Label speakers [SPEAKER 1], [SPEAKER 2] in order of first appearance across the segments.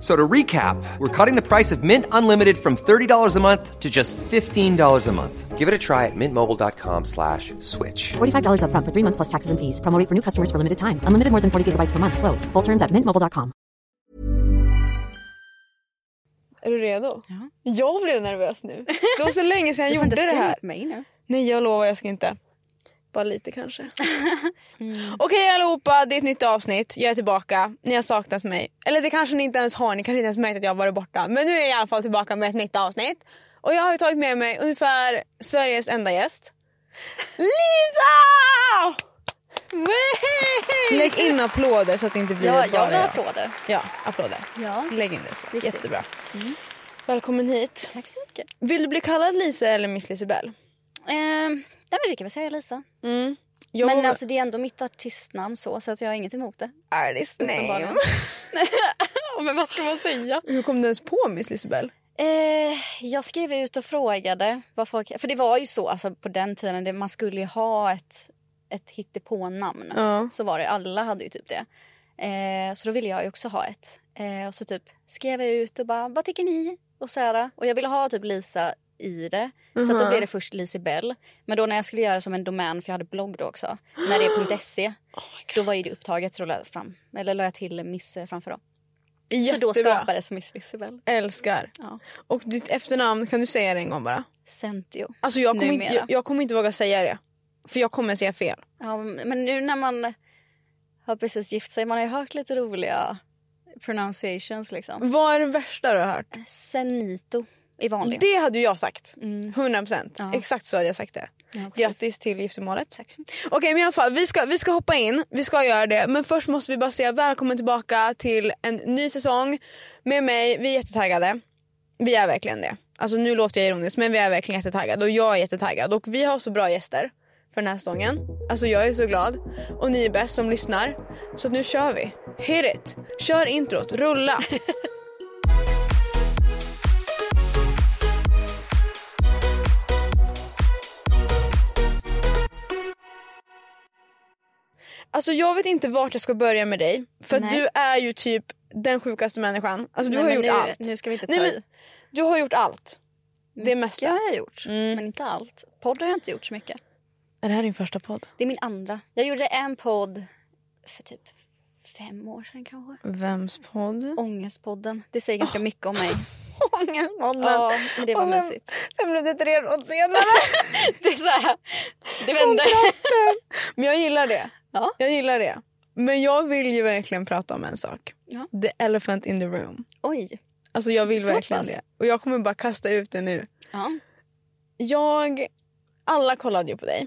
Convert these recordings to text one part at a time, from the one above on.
[SPEAKER 1] So to recap, we're cutting the price of Mint Unlimited from $30 a month to just $15 a month. Give it a try at mintmobile.com slash switch.
[SPEAKER 2] $45 upfront for three months plus taxes and fees. Promo rate for new customers for limited time. Unlimited more than 40 gigabytes per month. Slows. Full terms at mintmobile.com.
[SPEAKER 3] Är du redo?
[SPEAKER 4] Ja.
[SPEAKER 3] Jag blev nervös nu. Det var så länge sedan jag gjorde det här.
[SPEAKER 4] mig nu.
[SPEAKER 3] Nej jag lovar jag ska inte. Bara lite kanske.
[SPEAKER 4] Mm.
[SPEAKER 3] Okej allihopa, det är ett nytt avsnitt. Jag är tillbaka. Ni har saknat mig. Eller det kanske ni inte ens har. Ni kanske inte ens märkt att jag har varit borta. Men nu är jag i alla fall tillbaka med ett nytt avsnitt. Och jag har ju tagit med mig ungefär Sveriges enda gäst. Lisa! Lägg in applåder så att det inte blir
[SPEAKER 4] Ja,
[SPEAKER 3] bara
[SPEAKER 4] jag vill ha applåder.
[SPEAKER 3] Ja, applåder.
[SPEAKER 4] Ja.
[SPEAKER 3] Lägg in det så.
[SPEAKER 4] Viktigt. Mm.
[SPEAKER 3] Jättebra. Välkommen hit.
[SPEAKER 4] Tack så mycket.
[SPEAKER 3] Vill du bli kallad Lisa eller Miss Lisebell?
[SPEAKER 4] Ehm, nej men vi kan väl säga Lisa.
[SPEAKER 3] Jag
[SPEAKER 4] Men alltså det är ändå mitt artistnamn så, så att jag har inget emot det.
[SPEAKER 3] Alice name.
[SPEAKER 4] Uppenbarligen. Ja, men vad ska man säga?
[SPEAKER 3] Hur kom du ens på Miss Lisebell?
[SPEAKER 4] Eh, jag skrev ut och frågade vad folk... För det var ju så alltså, på den tiden, det, man skulle ju ha ett, ett hittepånamn.
[SPEAKER 3] Ja.
[SPEAKER 4] Så var det, alla hade ju typ det. Eh, så då ville jag ju också ha ett. Eh, och så typ skrev jag ut och bara, vad tycker ni? Och så här, och jag ville ha typ Lisa i det. Så att då
[SPEAKER 3] Mhm.
[SPEAKER 4] blev det först Lisibell. Men då när jag skulle göra som en domän, för jag hade blogg då också. När det är .se. då var ju det upptaget så då la jag, fram, eller la jag till Miss eh, framför då. Så då skapades Miss Lisibell.
[SPEAKER 3] Älskar.
[SPEAKER 4] Ja.
[SPEAKER 3] Och ditt efternamn, kan du säga det en gång bara?
[SPEAKER 4] Centio.
[SPEAKER 3] Alltså jag kommer, inte,
[SPEAKER 4] Numera.
[SPEAKER 3] jag, jag kommer inte våga säga det. För jag kommer säga fel.
[SPEAKER 4] Ja, men nu när man har precis gift sig, man har ju hört lite roliga pronunciations liksom.
[SPEAKER 3] Vad är det värsta du har hört?
[SPEAKER 4] Senito är vanlig.
[SPEAKER 3] Mm. Det hade ju jag sagt.
[SPEAKER 4] Mm.
[SPEAKER 3] 100%.
[SPEAKER 4] Ja.
[SPEAKER 3] Exakt så hade jag sagt det.
[SPEAKER 4] Ja, precis.
[SPEAKER 3] Grattis till giftermålet. Tack så mycket. Okej men i alla fall, vi ska, vi ska hoppa in, vi ska göra det. Men först måste vi bara säga välkommen tillbaka till en ny säsong med mig. Vi är jättetaggade. Vi är verkligen det. Alltså nu låter jag ironisk men vi är verkligen jättetaggade och jag är jättetaggad. Och vi har så bra gäster för den här säsongen. Alltså jag är så glad. Och ni är bäst som lyssnar. Så att nu kör vi. Hit it! Kör introt, rulla! Alltså jag vet inte vart jag ska börja med dig. För att
[SPEAKER 4] Nej.
[SPEAKER 3] du är ju typ den sjukaste människan. Alltså du
[SPEAKER 4] Nej,
[SPEAKER 3] har
[SPEAKER 4] men
[SPEAKER 3] gjort
[SPEAKER 4] nu,
[SPEAKER 3] allt.
[SPEAKER 4] Nu ska vi inte ta
[SPEAKER 3] Nej, men,
[SPEAKER 4] i.
[SPEAKER 3] du har gjort allt. Det mesta.
[SPEAKER 4] Jag har jag gjort,
[SPEAKER 3] Mm.
[SPEAKER 4] men inte allt. Podd har jag inte gjort så mycket.
[SPEAKER 3] Är det här din första podd?
[SPEAKER 4] Det är min andra. Jag gjorde en podd för typ fem år sedan kanske.
[SPEAKER 3] Vems podd?
[SPEAKER 4] Ångestpodden. Det säger ganska mycket om mig.
[SPEAKER 3] Ångestpodden.
[SPEAKER 4] Ja, men det var
[SPEAKER 3] Och vem-
[SPEAKER 4] mysigt.
[SPEAKER 3] Sen blev det tre råd senare.
[SPEAKER 4] Det är så här, det vände.
[SPEAKER 3] Kontrasten. Men jag gillar det.
[SPEAKER 4] Ja.
[SPEAKER 3] Jag gillar det. Men jag vill ju verkligen prata om en sak.
[SPEAKER 4] Ja.
[SPEAKER 3] The elephant in the room.
[SPEAKER 4] Oj.
[SPEAKER 3] Alltså jag vill
[SPEAKER 4] Så
[SPEAKER 3] verkligen
[SPEAKER 4] pass.
[SPEAKER 3] det. Och jag kommer bara kasta ut det nu.
[SPEAKER 4] Ja.
[SPEAKER 3] Jag... Alla kollade ju på dig.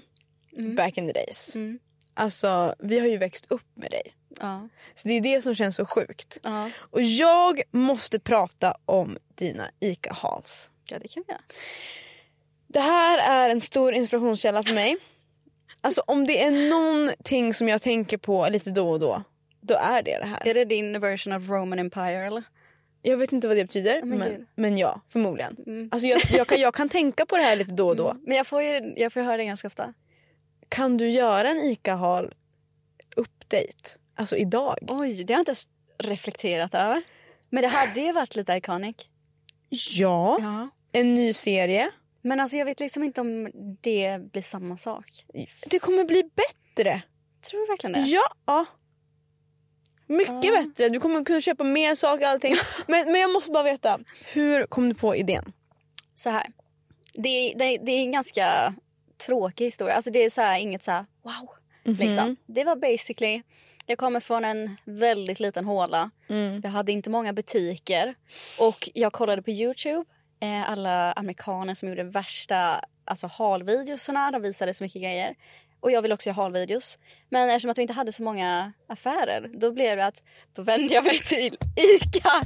[SPEAKER 4] Mm.
[SPEAKER 3] Back in the days.
[SPEAKER 4] Mm.
[SPEAKER 3] Alltså vi har ju växt upp med dig.
[SPEAKER 4] Ja.
[SPEAKER 3] Så det är det som känns så sjukt.
[SPEAKER 4] Ja.
[SPEAKER 3] Och jag måste prata om dina ICA-hals.
[SPEAKER 4] ja, det kan vi göra.
[SPEAKER 3] Det här är en stor inspirationskälla för mig. Alltså om det är någonting som jag tänker på lite då och då, då är det det här.
[SPEAKER 4] Är det din version av Roman Empire eller?
[SPEAKER 3] Jag vet inte vad det betyder,
[SPEAKER 4] men
[SPEAKER 3] men,
[SPEAKER 4] gud.
[SPEAKER 3] men ja, förmodligen.
[SPEAKER 4] Mm.
[SPEAKER 3] Alltså jag, jag, kan, jag kan tänka på det här lite då och då.
[SPEAKER 4] Men jag får ju jag får höra det ganska ofta.
[SPEAKER 3] Kan du göra en ICA-hal update? Alltså idag?
[SPEAKER 4] Oj, det har jag inte ens reflekterat över. Men det hade ju varit lite iconic.
[SPEAKER 3] Ja.
[SPEAKER 4] Ja.
[SPEAKER 3] En ny serie.
[SPEAKER 4] Men alltså jag vet liksom inte om det blir samma sak.
[SPEAKER 3] Det kommer bli bättre.
[SPEAKER 4] Tror du verkligen det?
[SPEAKER 3] Ja. Mycket
[SPEAKER 4] Ja.
[SPEAKER 3] bättre. Du kommer kunna köpa mer saker och allting. Men, men jag måste bara veta, hur kom du på idén?
[SPEAKER 4] Så här. Det, är- det, är- det är en ganska tråkig historia. Alltså det är så här, inget så här wow. Liksom. Det var basically, jag kommer från en väldigt liten håla.
[SPEAKER 3] Mm.
[SPEAKER 4] Jag hade inte många butiker. Och jag kollade på Youtube. Eh, alla amerikaner som gjorde värsta alltså, halvideosarna. De visade så mycket grejer. Och jag vill också göra halvideos. Men eftersom att vi inte hade så många affärer. Då blev det att då vände jag mig till ICA.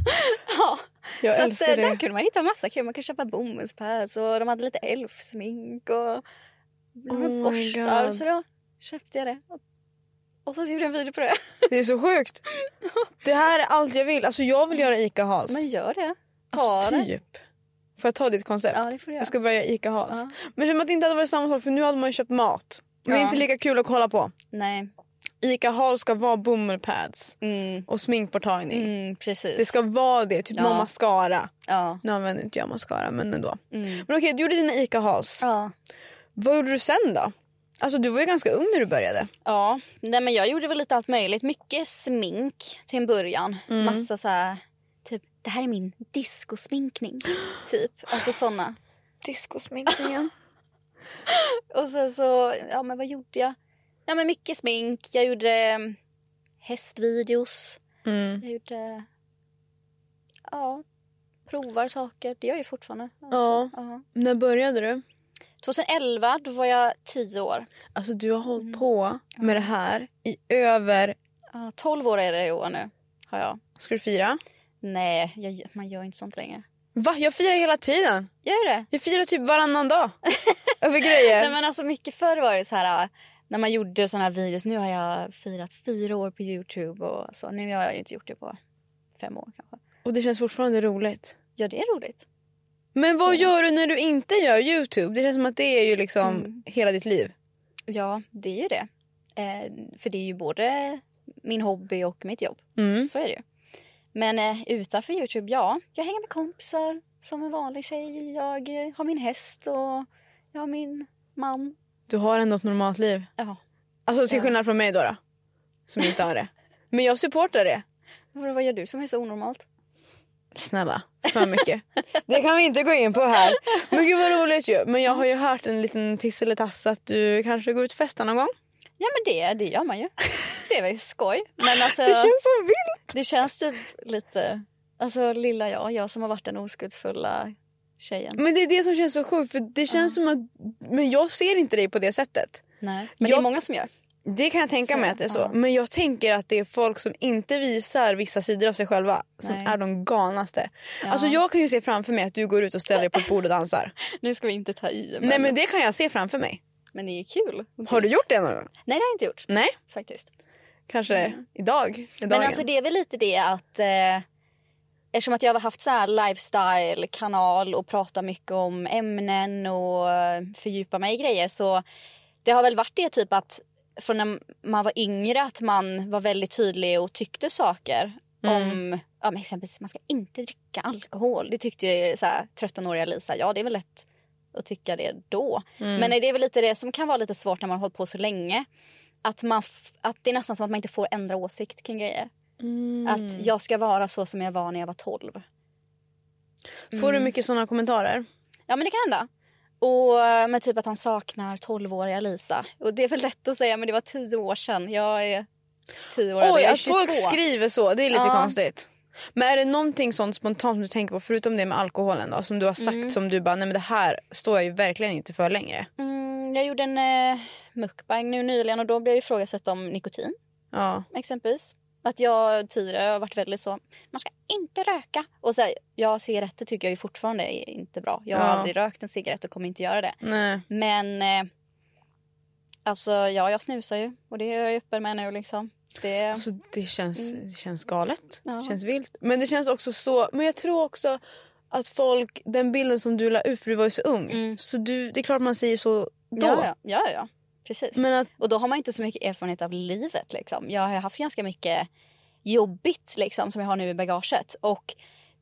[SPEAKER 4] ja.
[SPEAKER 3] Jag
[SPEAKER 4] så att,
[SPEAKER 3] älskar
[SPEAKER 4] eh,
[SPEAKER 3] det.
[SPEAKER 4] där kunde man hitta massa kul. Man kunde köpa bomullspads och de hade lite elfsmink och
[SPEAKER 3] Oh my
[SPEAKER 4] borstar.
[SPEAKER 3] God.
[SPEAKER 4] Så då köpte jag det. Och Och sen så gjorde jag en video på det.
[SPEAKER 3] Det är så sjukt. Det här är allt jag vill. Alltså jag vill göra ICA-hals.
[SPEAKER 4] Men gör det. Ta
[SPEAKER 3] Alltså
[SPEAKER 4] det.
[SPEAKER 3] typ. Får jag ta ditt koncept?
[SPEAKER 4] Ja det får du göra.
[SPEAKER 3] Jag ska börja göra ICA-hals.
[SPEAKER 4] Ja.
[SPEAKER 3] Men som att det inte hade varit samma sak för nu hade man ju köpt mat. Men Det är
[SPEAKER 4] Ja.
[SPEAKER 3] inte lika kul att kolla på.
[SPEAKER 4] Nej.
[SPEAKER 3] ICA-hals ska vara bomullpads
[SPEAKER 4] Mm.
[SPEAKER 3] och sminkborttagning.
[SPEAKER 4] Mm, precis.
[SPEAKER 3] Det ska vara det. Typ
[SPEAKER 4] Ja.
[SPEAKER 3] någon mascara.
[SPEAKER 4] Ja.
[SPEAKER 3] Nu använder inte jag mascara men ändå.
[SPEAKER 4] Mm.
[SPEAKER 3] Men okej, du gjorde dina ICA-hals.
[SPEAKER 4] Ja.
[SPEAKER 3] Vad gjorde du sen då? Alltså du var ju ganska ung när du började.
[SPEAKER 4] Ja, nej men jag gjorde väl lite allt möjligt. Mycket smink till en början.
[SPEAKER 3] Mm.
[SPEAKER 4] Massa så här, typ det här är min discosminkning. Typ, alltså såna.
[SPEAKER 3] Diskosminkningen.
[SPEAKER 4] Och sen så, ja men vad gjorde jag? Nej men mycket smink. Jag gjorde eh, hästvideos.
[SPEAKER 3] mm.
[SPEAKER 4] Jag gjorde, ja, provar saker. Det gör jag ju fortfarande.
[SPEAKER 3] Ja. När började du?
[SPEAKER 4] 2011, då var jag 10 år.
[SPEAKER 3] Alltså du har hållit på med det här i över...
[SPEAKER 4] Ja, 12 år är det i år nu, har jag.
[SPEAKER 3] Ska du fira?
[SPEAKER 4] Nej, jag, man gör inte sånt längre.
[SPEAKER 3] Va? Jag firar hela tiden.
[SPEAKER 4] Gör det?
[SPEAKER 3] Jag firar typ varannan dag. över grejer.
[SPEAKER 4] Nej men alltså mycket förr var det så här äh, när man gjorde såna här videos. Nu har jag firat fyra år på Youtube och så. Nu har jag ju inte gjort det på fem år kanske.
[SPEAKER 3] Och det känns fortfarande roligt.
[SPEAKER 4] Ja det är roligt.
[SPEAKER 3] Men vad gör du när du inte gör Youtube? Det känns som att det är ju liksom
[SPEAKER 4] Mm.
[SPEAKER 3] hela ditt liv.
[SPEAKER 4] Ja det är ju det. Eh, för det är ju både min hobby och mitt jobb.
[SPEAKER 3] Mm.
[SPEAKER 4] Så är det ju. Men eh, utanför Youtube, ja. Jag hänger med kompisar som en vanlig tjej. Jag eh, har min häst och jag har min man.
[SPEAKER 3] Du har ändå ett normalt liv.
[SPEAKER 4] Ja.
[SPEAKER 3] Alltså till skillnad från mig då. då som inte har det. Men jag supportar det.
[SPEAKER 4] Vadå, Vad gör du som är så onormalt?
[SPEAKER 3] Snälla, för mycket. Det kan vi inte gå in på här. Men gud vad roligt ju. Men jag har ju hört en liten tiss eller tass att du kanske går ut och festar någon gång.
[SPEAKER 4] Ja men det, det gör man ju. Det är väl skoj. Men alltså...
[SPEAKER 3] Det känns så vilt.
[SPEAKER 4] Det känns typ lite... Alltså lilla jag, jag som har varit den oskuldsfulla tjejen.
[SPEAKER 3] Men det är det som känns så sjukt för det känns som att men jag ser inte dig på det sättet.
[SPEAKER 4] Nej. Men det
[SPEAKER 3] Jag-
[SPEAKER 4] är många som gör.
[SPEAKER 3] Det kan jag tänka
[SPEAKER 4] Så,
[SPEAKER 3] mig att det är så.
[SPEAKER 4] ja.
[SPEAKER 3] Men jag tänker att det är folk som inte visar vissa sidor av sig själva som
[SPEAKER 4] Nej.
[SPEAKER 3] är de galnaste.
[SPEAKER 4] Ja.
[SPEAKER 3] Alltså jag kan ju se framför mig att du går ut och ställer dig på ett bord och dansar.
[SPEAKER 4] Nu ska vi inte ta i. Men,
[SPEAKER 3] Nej men det kan jag se framför mig.
[SPEAKER 4] men det är ju kul.
[SPEAKER 3] Har du gjort det någon gång?
[SPEAKER 4] Nej det har jag inte gjort
[SPEAKER 3] Nej,
[SPEAKER 4] faktiskt.
[SPEAKER 3] kanske idag.
[SPEAKER 4] Men alltså det är väl lite det att eh, eftersom att jag har haft så här lifestyle-kanal och pratat mycket om ämnen och eh, fördjupa mig i grejer så det har väl varit det typ att från när man var yngre att man var väldigt tydlig och tyckte saker om ja, men exempelvis man ska inte dricka alkohol. Det tyckte ju så här 13-åriga Lisa. Ja, det är väl lätt att tycka det då.
[SPEAKER 3] Mm.
[SPEAKER 4] Men det är väl lite det som kan vara lite svårt när man har hållit på så länge. Att, man f- att det är nästan som att man inte får ändra åsikt kring grejer.
[SPEAKER 3] Mm.
[SPEAKER 4] Att jag ska vara så som jag var när jag var 12.
[SPEAKER 3] Får
[SPEAKER 4] Mm.
[SPEAKER 3] du mycket sådana kommentarer?
[SPEAKER 4] Ja men det kan hända. Och men typ att han saknar 12-åriga Lisa. Och det är väl lätt att säga men det var 10 år sedan. Jag är 10 år äldre,
[SPEAKER 3] Oj,
[SPEAKER 4] jag är
[SPEAKER 3] att
[SPEAKER 4] 22.
[SPEAKER 3] folk skriver så, det är lite
[SPEAKER 4] Ja.
[SPEAKER 3] konstigt. Men är det någonting sånt spontant som du tänker på, förutom det med alkoholen då, som du har sagt som du bara, nej men det här står jag ju verkligen inte för längre.
[SPEAKER 4] Mm, jag gjorde en eh, mukbang nu nyligen och då blev jag ifrågasatt om nikotin
[SPEAKER 3] Ja.
[SPEAKER 4] exempelvis. Att jag tidigare har varit väldigt så, man ska inte röka. Och så här, ja, cigaretter tycker jag ju fortfarande är inte bra. Jag har
[SPEAKER 3] Ja.
[SPEAKER 4] aldrig rökt en cigarett och kommer inte göra det.
[SPEAKER 3] Nej.
[SPEAKER 4] Men eh, alltså ja, jag snusar ju och det är jag ju öppen med nu liksom. Det,
[SPEAKER 3] Alltså det känns, det känns galet.
[SPEAKER 4] Mm. Ja.
[SPEAKER 3] Det känns vilt. Men det känns också så, men jag tror också att folk, den bilden som du la ut för du var ju så ung.
[SPEAKER 4] Mm.
[SPEAKER 3] Så du, det är klart man säger så då.
[SPEAKER 4] Ja, ja, ja, ja. precis.
[SPEAKER 3] Men att,
[SPEAKER 4] Och då har man ju inte så mycket erfarenhet av livet liksom. Jag har haft ganska mycket jobbigt liksom som jag har nu i bagaget. Och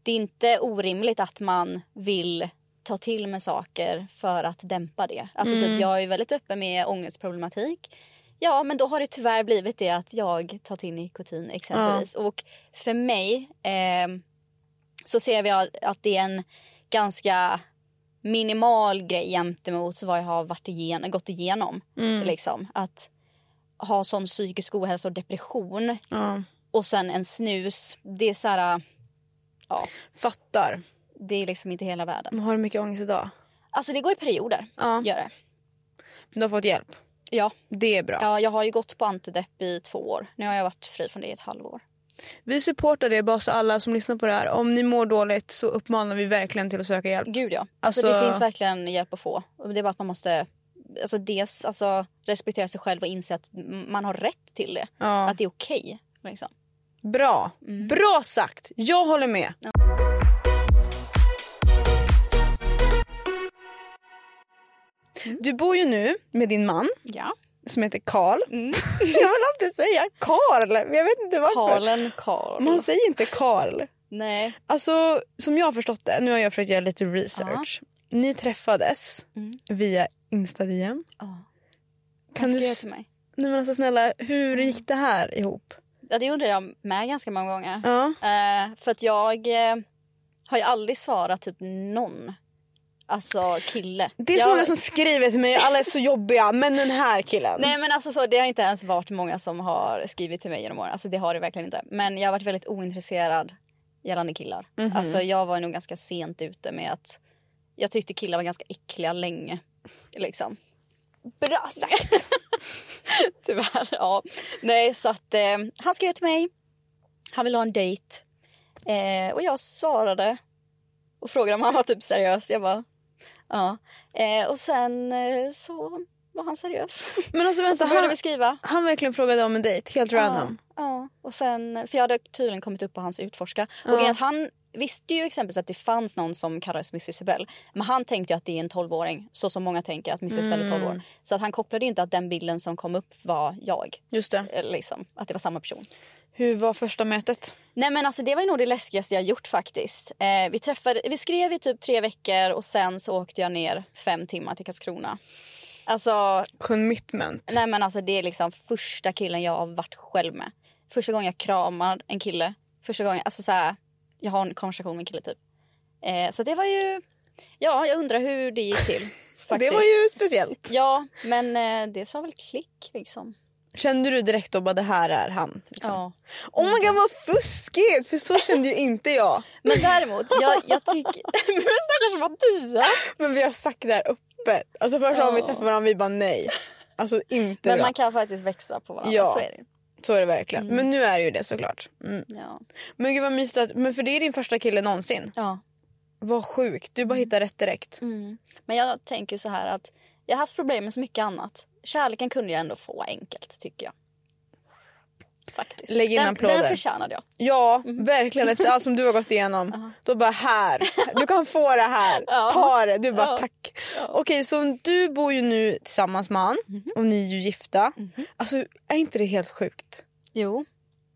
[SPEAKER 4] det är inte orimligt att man vill ta till med saker för att dämpa det. Alltså typ, jag är ju väldigt öppen med ångestproblematik. Ja men då har det tyvärr blivit det att jag tar till nikotin exempelvis. Och för mig ehm, så ser vi att det är en ganska minimal grej gentemot vad jag har varit igen, gått igenom.
[SPEAKER 3] mm,
[SPEAKER 4] Liksom. Att ha sån psykisk ohälsa och depression
[SPEAKER 3] ja.
[SPEAKER 4] och sen en snus. Det är så här, äh, ja,
[SPEAKER 3] Fattar.
[SPEAKER 4] det är liksom inte hela världen.
[SPEAKER 3] Men Har du mycket ångest idag?
[SPEAKER 4] Alltså det går i perioder.
[SPEAKER 3] Ja.
[SPEAKER 4] Gör det.
[SPEAKER 3] Du har fått hjälp?
[SPEAKER 4] Ja.
[SPEAKER 3] Det är bra.
[SPEAKER 4] ja, jag har ju gått på antidepp i två år. Nu har jag varit fri från det i ett halvår.
[SPEAKER 3] Vi supportar det bara så alla som lyssnar på det här. Om ni mår dåligt så uppmanar vi verkligen till att söka hjälp.
[SPEAKER 4] Gud ja.
[SPEAKER 3] Alltså-
[SPEAKER 4] Alltså... det finns verkligen hjälp att få. Det är bara att man måste alltså dels alltså, respektera sig själv och inse att m- man har rätt till det.
[SPEAKER 3] Ja.
[SPEAKER 4] Att Mm. det är okej. liksom.
[SPEAKER 3] Bra. Bra sagt. Jag håller med. Mm. Du bor ju nu med din man
[SPEAKER 4] Ja.
[SPEAKER 3] som heter Karl.
[SPEAKER 4] Mm.
[SPEAKER 3] Jag vill alltid säga Karl. men Jag vet inte varför.
[SPEAKER 4] Karlen Karl.
[SPEAKER 3] Man säger inte Karl.
[SPEAKER 4] Nej.
[SPEAKER 3] Alltså som jag har förstått det, nu har jag försökt göra lite research. Ni träffades
[SPEAKER 4] Mm.
[SPEAKER 3] via Insta-DM.
[SPEAKER 4] Ja.
[SPEAKER 3] Kan du...
[SPEAKER 4] göra
[SPEAKER 3] s-
[SPEAKER 4] till mig?
[SPEAKER 3] Nej men alltså snälla, hur gick det här ihop?
[SPEAKER 4] Ja, det undrar jag med ganska många gånger.
[SPEAKER 3] Ja.
[SPEAKER 4] Eh, för att jag eh, har ju aldrig svarat typ någon. Alltså kille.
[SPEAKER 3] Det är så
[SPEAKER 4] jag,
[SPEAKER 3] många som skriver till mig, alla är så jobbiga, men den här killen.
[SPEAKER 4] Nej men alltså så, det har inte ens varit många som har skrivit till mig genom åren. Alltså det har det verkligen inte. Men jag har varit väldigt ointresserad gällande killar.
[SPEAKER 3] Mhm.
[SPEAKER 4] Alltså jag var nog ganska sent ute med att jag tyckte killar var ganska äckliga länge. Liksom.
[SPEAKER 3] Bra sagt.
[SPEAKER 4] Tyvärr, ja. Nej, så att eh, han skrev till mig. Han ville ha en dejt. Eh, och jag svarade och frågade om han var typ seriös. Jag bara, ja. Eh, och sen eh, så var han seriös.
[SPEAKER 3] Men alltså
[SPEAKER 4] Så
[SPEAKER 3] vänta,
[SPEAKER 4] började vi
[SPEAKER 3] han,
[SPEAKER 4] skriva.
[SPEAKER 3] han verkligen frågade om en dejt, helt random.
[SPEAKER 4] Ja, ja. Och sen, för jag hade tydligen kommit upp på hans utforska. Och grejen är att han visste ju exempelvis att det fanns någon som kallades Miss Isabel. Men han tänkte ju att det är en 12-åring. Så som många tänker att Miss Isabel är 12 år. Så att han kopplade ju inte att den bilden som kom upp var jag.
[SPEAKER 3] Just det.
[SPEAKER 4] Eller liksom, att det var samma person.
[SPEAKER 3] Hur var första mötet?
[SPEAKER 4] Nej men alltså det var ju nog det läskigaste jag gjort faktiskt. Eh, vi, träffade, vi skrev i typ tre veckor och sen så åkte jag ner fem timmar till Karlskrona. Alltså,
[SPEAKER 3] Commitment.
[SPEAKER 4] nej men alltså det är liksom första killen jag har varit själv med. Första gången jag kramar en kille. Första gången, alltså så här, jag har en konversation med en kille typ. Eh, så det var ju, ja jag undrar hur det gick till.
[SPEAKER 3] Det
[SPEAKER 4] faktiskt.
[SPEAKER 3] var ju speciellt.
[SPEAKER 4] Ja men eh, det sa väl klick liksom.
[SPEAKER 3] Kände du direkt då bara det här är han? Liksom.
[SPEAKER 4] Ja.
[SPEAKER 3] Oh my god vad fuskigt! För så kände ju inte jag.
[SPEAKER 4] Men däremot, jag, jag tycker... Men stackars Mattias!
[SPEAKER 3] Men vi har sagt det här öppet. Alltså första gången vi
[SPEAKER 4] Ja.
[SPEAKER 3] träffade varandra vi bara nej. Alltså inte
[SPEAKER 4] Men
[SPEAKER 3] bra.
[SPEAKER 4] man kan faktiskt växa på varandra.
[SPEAKER 3] Ja.
[SPEAKER 4] Så är det. ju.
[SPEAKER 3] Så är det verkligen. Men nu är det ju det såklart. Mm.
[SPEAKER 4] Ja.
[SPEAKER 3] Men gud vad mysigt att, men för det är din första kille någonsin.
[SPEAKER 4] ja.
[SPEAKER 3] Vad sjukt, du bara
[SPEAKER 4] Mm.
[SPEAKER 3] hittar rätt direkt.
[SPEAKER 4] Men jag tänker så här att jag har haft problem med så mycket annat. Kärleken kunde jag ändå få enkelt tycker jag. Faktiskt.
[SPEAKER 3] Lägg in
[SPEAKER 4] den,
[SPEAKER 3] applåder.
[SPEAKER 4] den förtjänade jag.
[SPEAKER 3] Ja,
[SPEAKER 4] Mm-hmm.
[SPEAKER 3] verkligen. Efter allt som du har gått igenom. Då bara här, du kan få det här.
[SPEAKER 4] Ja.
[SPEAKER 3] Ta det. Du bara
[SPEAKER 4] Ja. Mm-hmm.
[SPEAKER 3] tack. Okej, så du bor ju nu tillsammans med han och ni är ju gifta. Alltså är inte det helt sjukt?
[SPEAKER 4] Jo.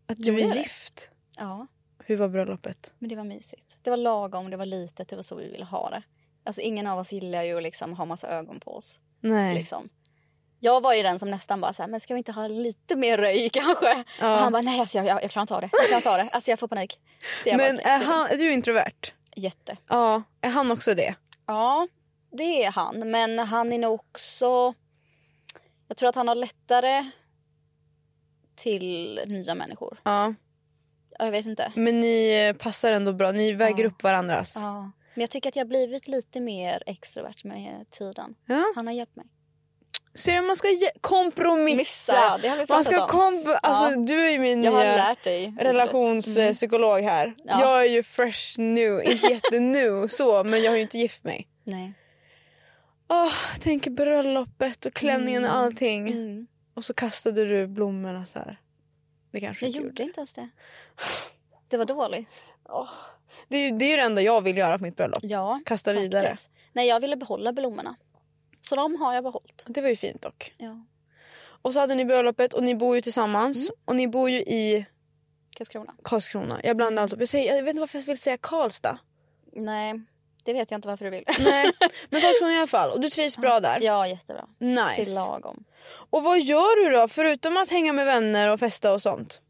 [SPEAKER 3] Att du
[SPEAKER 4] Jo, det är
[SPEAKER 3] är
[SPEAKER 4] det.
[SPEAKER 3] gift.
[SPEAKER 4] Ja.
[SPEAKER 3] Hur var bröllopet?
[SPEAKER 4] Men det var mysigt. Det var lagom, det var litet, det var så vi ville ha det. Alltså ingen av oss gillar ju att liksom ha massa ögon på oss.
[SPEAKER 3] Nej.
[SPEAKER 4] Liksom. Jag var ju den som nästan bara så här, men ska vi inte ha lite mer röj kanske?
[SPEAKER 3] Ja.
[SPEAKER 4] Och han bara, nej alltså jag, jag, jag klarar inte av det. Jag klarar inte av det. Alltså jag får panik. Så jag
[SPEAKER 3] Men
[SPEAKER 4] bara,
[SPEAKER 3] är, han, är du introvert?
[SPEAKER 4] Jätte.
[SPEAKER 3] Ja. Är han också det?
[SPEAKER 4] Ja, det är han. Men han är nog också... Jag tror att han har lättare till nya människor.
[SPEAKER 3] Ja.
[SPEAKER 4] Ja, Jag vet inte.
[SPEAKER 3] Men ni eh, passar ändå bra. Ni väger upp varandras. Ja.
[SPEAKER 4] Ja. Men jag tycker att jag har blivit lite mer extrovert med tiden. Han har hjälpt mig.
[SPEAKER 3] Ser du, man ska ge- kompromissa.
[SPEAKER 4] Missa, det har vi
[SPEAKER 3] man
[SPEAKER 4] pratat
[SPEAKER 3] ska
[SPEAKER 4] om.
[SPEAKER 3] komp... Alltså du är ju min
[SPEAKER 4] Jag har
[SPEAKER 3] nya-
[SPEAKER 4] lärt dig. ordet. Mm.
[SPEAKER 3] relationspsykolog här.
[SPEAKER 4] Ja.
[SPEAKER 3] Jag är ju fresh nu, inte jättenu så men jag har ju inte gift mig.
[SPEAKER 4] Nej.
[SPEAKER 3] Åh, tänk bröllopet och klänningen och allting.
[SPEAKER 4] Mm.
[SPEAKER 3] Och så kastade du blommorna så här. Det kanske
[SPEAKER 4] Jag
[SPEAKER 3] du inte
[SPEAKER 4] gjorde inte ens det. Det var dåligt.
[SPEAKER 3] Åh. Det, är ju, det är ju det enda jag vill göra på mitt bröllop.
[SPEAKER 4] Ja.
[SPEAKER 3] Kasta vidare.
[SPEAKER 4] faktiskt. Nej, jag ville behålla blommorna. Så de har jag behållit.
[SPEAKER 3] Det var ju fint dock.
[SPEAKER 4] Ja.
[SPEAKER 3] Och så hade ni bröllopet och ni bor ju tillsammans
[SPEAKER 4] Mm.
[SPEAKER 3] och ni bor ju i
[SPEAKER 4] Karlskrona.
[SPEAKER 3] Karlskrona. Jag blandar allt upp. Jag, säger, jag vet inte varför jag vill säga Karlstad.
[SPEAKER 4] Nej, det vet jag inte varför du vill.
[SPEAKER 3] Nej, men Karlskrona i alla fall. Och du trivs bra där?
[SPEAKER 4] Ja, jättebra.
[SPEAKER 3] Nice.
[SPEAKER 4] Till lagom.
[SPEAKER 3] Och vad gör du då förutom att hänga med vänner och festa och sånt?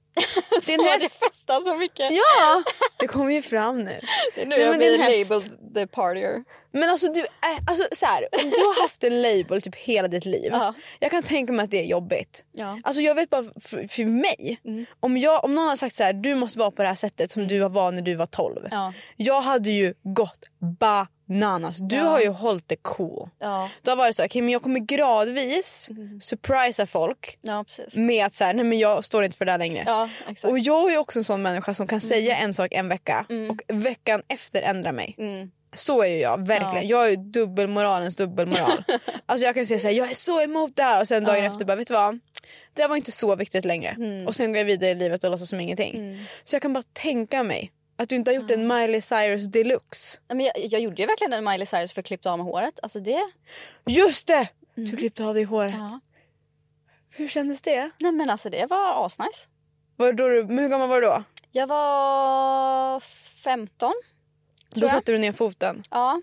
[SPEAKER 3] Din häst.
[SPEAKER 4] festar så mycket.
[SPEAKER 3] Ja, det kommer ju fram nu.
[SPEAKER 4] nu
[SPEAKER 3] jag blir
[SPEAKER 4] labeled the partyer.
[SPEAKER 3] Men alltså du är, alltså så här, om du har haft en label typ hela ditt liv.
[SPEAKER 4] Ja.
[SPEAKER 3] Jag kan tänka mig att det är jobbigt.
[SPEAKER 4] Ja. Mm.
[SPEAKER 3] Alltså jag vet bara för, för mig. Om, jag, om någon har sagt så här, du måste vara på det här sättet som du var när du var 12.
[SPEAKER 4] Ja.
[SPEAKER 3] Jag hade ju gått bananas. Du har ju hållit det cool.
[SPEAKER 4] Ja. Mm.
[SPEAKER 3] Då har varit så här, okej men jag kommer gradvis surprisa folk
[SPEAKER 4] ja, precis.
[SPEAKER 3] med att så här, nej men jag står inte för det där längre.
[SPEAKER 4] Ja, exakt. Mm.
[SPEAKER 3] Och jag är också en sån människa som kan säga en sak en vecka och veckan efter ändra mig.
[SPEAKER 4] Mm.
[SPEAKER 3] Så är ju jag verkligen. Jag är ju dubbelmoralens dubbelmoral. alltså jag kan ju säga så här, jag är så emot det här och sen dagen efter bara vet du vad? Det där var inte så viktigt längre.
[SPEAKER 4] Mm.
[SPEAKER 3] Och sen går jag vidare i livet och låtsas som ingenting. Så jag kan bara tänka mig att du inte har gjort en Miley Cyrus deluxe.
[SPEAKER 4] Nej, Men jag, jag gjorde ju verkligen en Miley Cyrus för att klippa av mig håret. Alltså det...
[SPEAKER 3] Just det! Du klippte av dig håret.
[SPEAKER 4] Mm. Ja.
[SPEAKER 3] Hur kändes det?
[SPEAKER 4] Nej men alltså det var asnice.
[SPEAKER 3] Var det då du, men hur gammal var du då?
[SPEAKER 4] Jag var 15.
[SPEAKER 3] då
[SPEAKER 4] jag.
[SPEAKER 3] satte du ner foten.
[SPEAKER 4] Ja.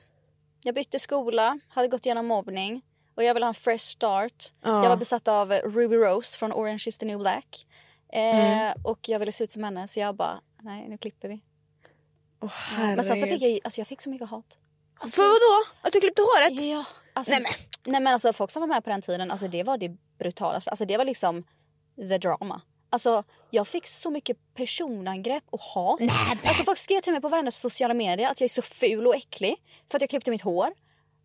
[SPEAKER 4] Jag bytte skola, hade gått igenom mobbning och jag ville ha en fresh start.
[SPEAKER 3] Ja.
[SPEAKER 4] Jag var besatt av Ruby Rose från Orange is the new black. Eh, Och jag ville se ut som henne så jag bara, nej nu klipper vi.
[SPEAKER 3] Åh
[SPEAKER 4] Men sen så fick
[SPEAKER 3] herregud.
[SPEAKER 4] jag, ju- alltså jag fick så mycket hat.
[SPEAKER 3] För vadå? Att du klippte håret?
[SPEAKER 4] Ja, alltså,
[SPEAKER 3] Nej, men.
[SPEAKER 4] nej men alltså folk som var med på den tiden, alltså det var det brutalaste. Alltså det var liksom the drama. Alltså jag fick så mycket personangrepp och hat. Alltså folk skrev till mig på varenda sociala medier att jag är så ful och äcklig för att jag klippte mitt hår.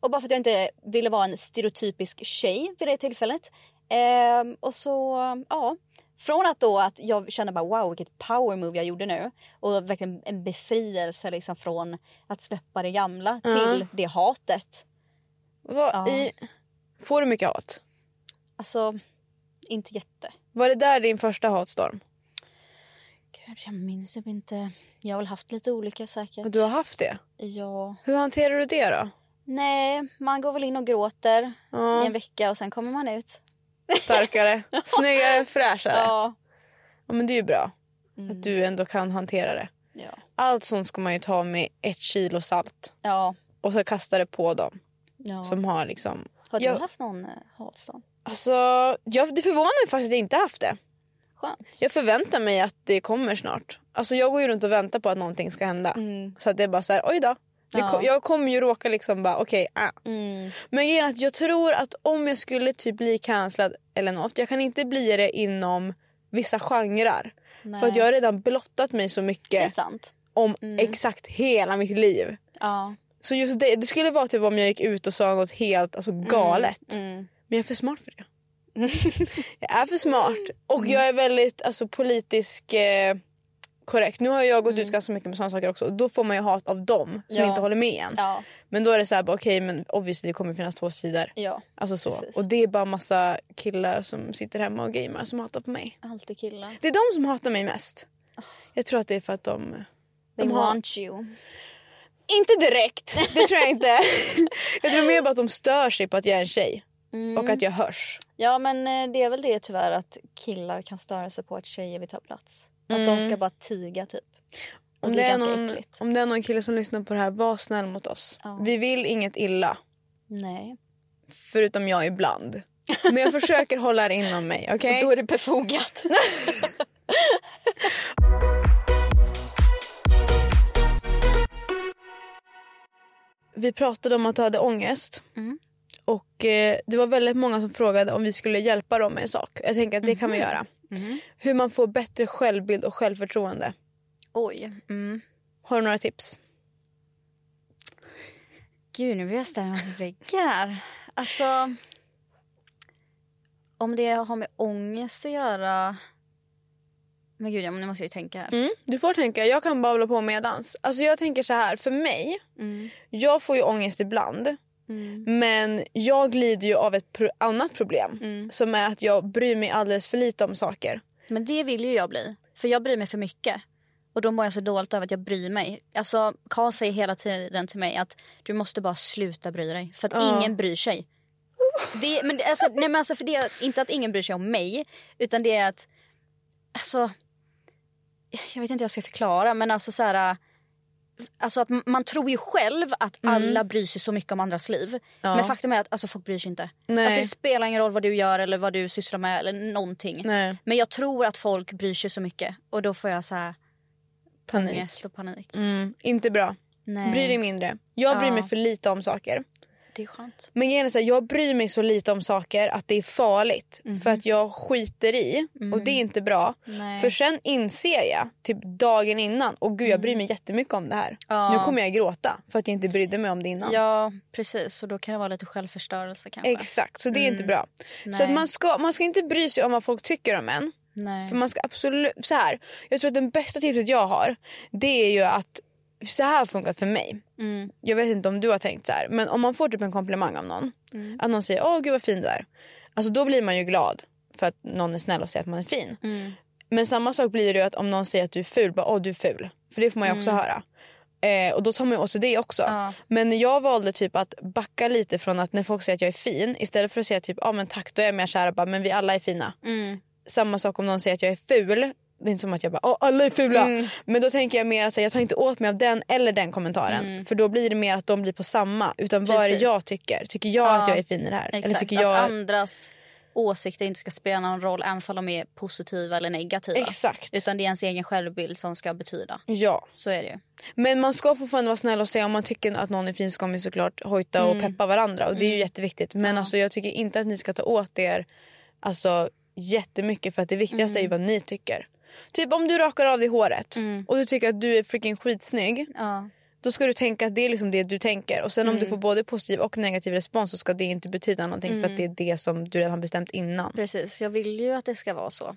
[SPEAKER 4] Och bara för att jag inte ville vara en stereotypisk tjej vid det tillfället. Ehm, och så, ja. Från att då att jag kände bara wow vilket power move jag gjorde nu. Och verkligen en befrielse liksom från att släppa det gamla till det hatet.
[SPEAKER 3] Vad
[SPEAKER 4] Ja.
[SPEAKER 3] i... Får du mycket hat?
[SPEAKER 4] Alltså, inte jätte.
[SPEAKER 3] Var det där din första hatstorm?
[SPEAKER 4] Gud, jag minns typ inte. Jag har väl haft lite olika
[SPEAKER 3] Och
[SPEAKER 4] säkert.
[SPEAKER 3] du har haft det?
[SPEAKER 4] Ja.
[SPEAKER 3] Hur hanterar du det då?
[SPEAKER 4] Nej, man går väl in och gråter i en vecka och sen kommer man ut.
[SPEAKER 3] Starkare, snyggare, fräschare. Ja.
[SPEAKER 4] Ja.
[SPEAKER 3] men det är ju bra. Att du ändå kan hantera det.
[SPEAKER 4] Mm. Ja.
[SPEAKER 3] Allt sånt ska man ju ta med ett kilo salt
[SPEAKER 4] Ja.
[SPEAKER 3] och så kasta det på dem
[SPEAKER 4] ja.
[SPEAKER 3] som har liksom...
[SPEAKER 4] Har du
[SPEAKER 3] jag-
[SPEAKER 4] haft någon eh, hatstorm?
[SPEAKER 3] Alltså, jag, det förvånar mig faktiskt att jag inte haft det.
[SPEAKER 4] Skönt.
[SPEAKER 3] Jag förväntar mig att det kommer snart. Alltså jag går ju runt och väntar på att någonting ska hända. Så att det är bara så här, oj då. Det
[SPEAKER 4] Ja.
[SPEAKER 3] ko- jag kommer ju råka liksom bara okej, ah.
[SPEAKER 4] Mm.
[SPEAKER 3] Men grejen är att jag tror att om jag skulle typ bli cancellad eller något, jag kan inte bli det inom vissa genrer. För att jag har redan blottat mig så
[SPEAKER 4] Det är
[SPEAKER 3] mycket
[SPEAKER 4] sant.
[SPEAKER 3] om
[SPEAKER 4] Mm.
[SPEAKER 3] exakt hela mitt liv.
[SPEAKER 4] Ja.
[SPEAKER 3] Så just det, det skulle vara typ om jag gick ut och sa något helt alltså galet.
[SPEAKER 4] Mm.
[SPEAKER 3] Men jag är för smart för det. jag är för smart. Och jag är väldigt alltså, politisk eh, korrekt. Nu har jag gått ut ganska mycket med sådana saker också. Och då får man ju hat av dem som
[SPEAKER 4] Mm. Ja.
[SPEAKER 3] inte håller med en.
[SPEAKER 4] Ja.
[SPEAKER 3] Men då är det så här, bara, okej men obviously det kommer finnas två sidor.
[SPEAKER 4] Ja.
[SPEAKER 3] Alltså så.
[SPEAKER 4] Precis.
[SPEAKER 3] Och det är bara massa killar som sitter hemma och gamer som hatar på mig.
[SPEAKER 4] Alltid killar.
[SPEAKER 3] Det är de som hatar mig mest.
[SPEAKER 4] Ah.
[SPEAKER 3] Jag tror att det är för att de...
[SPEAKER 4] They
[SPEAKER 3] De har-
[SPEAKER 4] want you.
[SPEAKER 3] Inte direkt, det tror jag inte. jag tror mer bara att de stör sig på att jag är en tjej.
[SPEAKER 4] Mm.
[SPEAKER 3] Och att jag hörs.
[SPEAKER 4] Ja men eh, det är väl det tyvärr att killar kan störa sig på att tjejer vill ta plats. Att de ska bara tiga typ. Och
[SPEAKER 3] Mm. Om
[SPEAKER 4] det
[SPEAKER 3] det,
[SPEAKER 4] är
[SPEAKER 3] är
[SPEAKER 4] ganska
[SPEAKER 3] någon,
[SPEAKER 4] äckligt.
[SPEAKER 3] om det är någon kille som lyssnar på det här, var snäll mot oss.
[SPEAKER 4] Ja.
[SPEAKER 3] Vi vill inget illa,
[SPEAKER 4] Nej.
[SPEAKER 3] förutom jag ibland. Men jag försöker hålla det inom mig, okej?
[SPEAKER 4] Då är det befogat.
[SPEAKER 3] Vi pratade om att du hade ångest.
[SPEAKER 4] Mm.
[SPEAKER 3] Och eh, det var väldigt många som frågade om vi skulle hjälpa dem med en sak. Jag tänker att det kan vi göra. Hur man får bättre självbild och självförtroende.
[SPEAKER 4] Oj. Mm.
[SPEAKER 3] Har du några tips?
[SPEAKER 4] Gud, nu blir jag ställa mig mot väggen här. Alltså... Om det har med ångest att göra... Men gud, ja, men nu måste jag ju tänka här.
[SPEAKER 3] Mm, du får tänka, jag kan babbla på medans. Alltså jag tänker så här, för mig,
[SPEAKER 4] Mm.
[SPEAKER 3] jag får ju ångest ibland. Men jag lider ju av ett pro- annat problem. Som är att jag bryr mig alldeles för lite om saker.
[SPEAKER 4] Men det vill ju jag bli. För jag bryr mig för mycket. Och då mår jag så dåligt över att jag bryr mig. Alltså, Carl säger hela tiden till mig att du måste bara sluta bry dig. För att
[SPEAKER 3] Ja.
[SPEAKER 4] ingen bryr sig. Det, men, det- alltså, nej, men alltså, för det är inte att ingen bryr sig om mig. Utan det är att... Alltså... Jag vet inte hur jag ska förklara, men alltså så här... Alltså att m- man tror ju själv att
[SPEAKER 3] Mm.
[SPEAKER 4] alla bryr sig så mycket om andras liv. Men faktum är att alltså, folk bryr sig inte.
[SPEAKER 3] Nej.
[SPEAKER 4] Alltså, det spelar ingen roll vad du gör eller vad du sysslar med eller någonting.
[SPEAKER 3] Nej.
[SPEAKER 4] Men jag tror att folk bryr sig så mycket och då får jag så här
[SPEAKER 3] Panik.
[SPEAKER 4] ångest och panik.
[SPEAKER 3] Mm, inte bra.
[SPEAKER 4] Nej.
[SPEAKER 3] Bry dig mindre. Jag bryr
[SPEAKER 4] Ja.
[SPEAKER 3] mig för lite om saker.
[SPEAKER 4] Det är skönt.
[SPEAKER 3] Men grejen är så här, jag bryr mig så lite om saker att det är farligt. För att jag skiter i och det är inte bra.
[SPEAKER 4] Mhm. Mm. Nej.
[SPEAKER 3] För sen inser jag, typ dagen innan, och gud jag bryr mig jättemycket om det här.
[SPEAKER 4] Mm. Ja.
[SPEAKER 3] Nu kommer jag gråta för att jag inte brydde mig om det innan.
[SPEAKER 4] Ja precis och då kan det vara lite självförstörelse kanske.
[SPEAKER 3] Exakt, så det är inte bra. Så
[SPEAKER 4] Mm. Nej.
[SPEAKER 3] att man, ska, man ska inte bry sig om vad folk tycker om en.
[SPEAKER 4] Nej.
[SPEAKER 3] För man ska absolut, så här, jag tror att den bästa tipset jag har det är ju att så här har funkat för mig.
[SPEAKER 4] Mm.
[SPEAKER 3] Jag vet inte om du har tänkt så här, men om man får typ en komplimang av någon.
[SPEAKER 4] Mm.
[SPEAKER 3] Att någon säger åh gud vad fin du är. Alltså då blir man ju glad för att någon är snäll och säger att man är fin.
[SPEAKER 4] Mm.
[SPEAKER 3] Men samma sak blir det ju att om någon säger att du är ful, bara åh du är ful. För det får man ju också höra. Eh, och då tar man ju åt sig det också.
[SPEAKER 4] Mm. Ja.
[SPEAKER 3] Men jag valde typ att backa lite från att när folk säger att jag är fin istället för att säga typ ah, men tack då är jag mer såhär bara men vi alla är fina.
[SPEAKER 4] Mm.
[SPEAKER 3] Samma sak om någon säger att jag är ful. Det är inte som att jag bara åh alla är fula.
[SPEAKER 4] Mm.
[SPEAKER 3] Men då tänker jag mer att så här, jag tar inte åt mig av den eller den kommentaren. För då blir det mer att de blir på samma. Utan vad är det
[SPEAKER 4] Mm. Precis.
[SPEAKER 3] jag tycker? Tycker jag
[SPEAKER 4] Ja,
[SPEAKER 3] att jag är fin i det här? Eller
[SPEAKER 4] Exakt.
[SPEAKER 3] tycker jag...
[SPEAKER 4] Att andras åsikter inte ska spela någon roll även om de är positiva eller negativa.
[SPEAKER 3] Exakt.
[SPEAKER 4] Utan det är ens egen självbild som ska betyda.
[SPEAKER 3] Ja.
[SPEAKER 4] Så är det ju.
[SPEAKER 3] Men man ska fortfarande vara snäll och säga om man tycker att någon är fin ska man ju såklart hojta och peppa varandra. Och det är ju jätteviktigt. Men alltså, jag tycker inte att ni ska ta åt er alltså, jättemycket för att det viktigaste är ju vad ni tycker. Typ om du rakar av dig håret och du tycker att du är freaking skitsnygg.
[SPEAKER 4] Ja.
[SPEAKER 3] Då ska du tänka att det är liksom det du tänker. Och sen om du får både positiv och negativ respons så ska det inte betyda någonting för att det är det som du redan har bestämt innan. Mm.
[SPEAKER 4] Precis, jag vill ju att det ska vara så. Eh,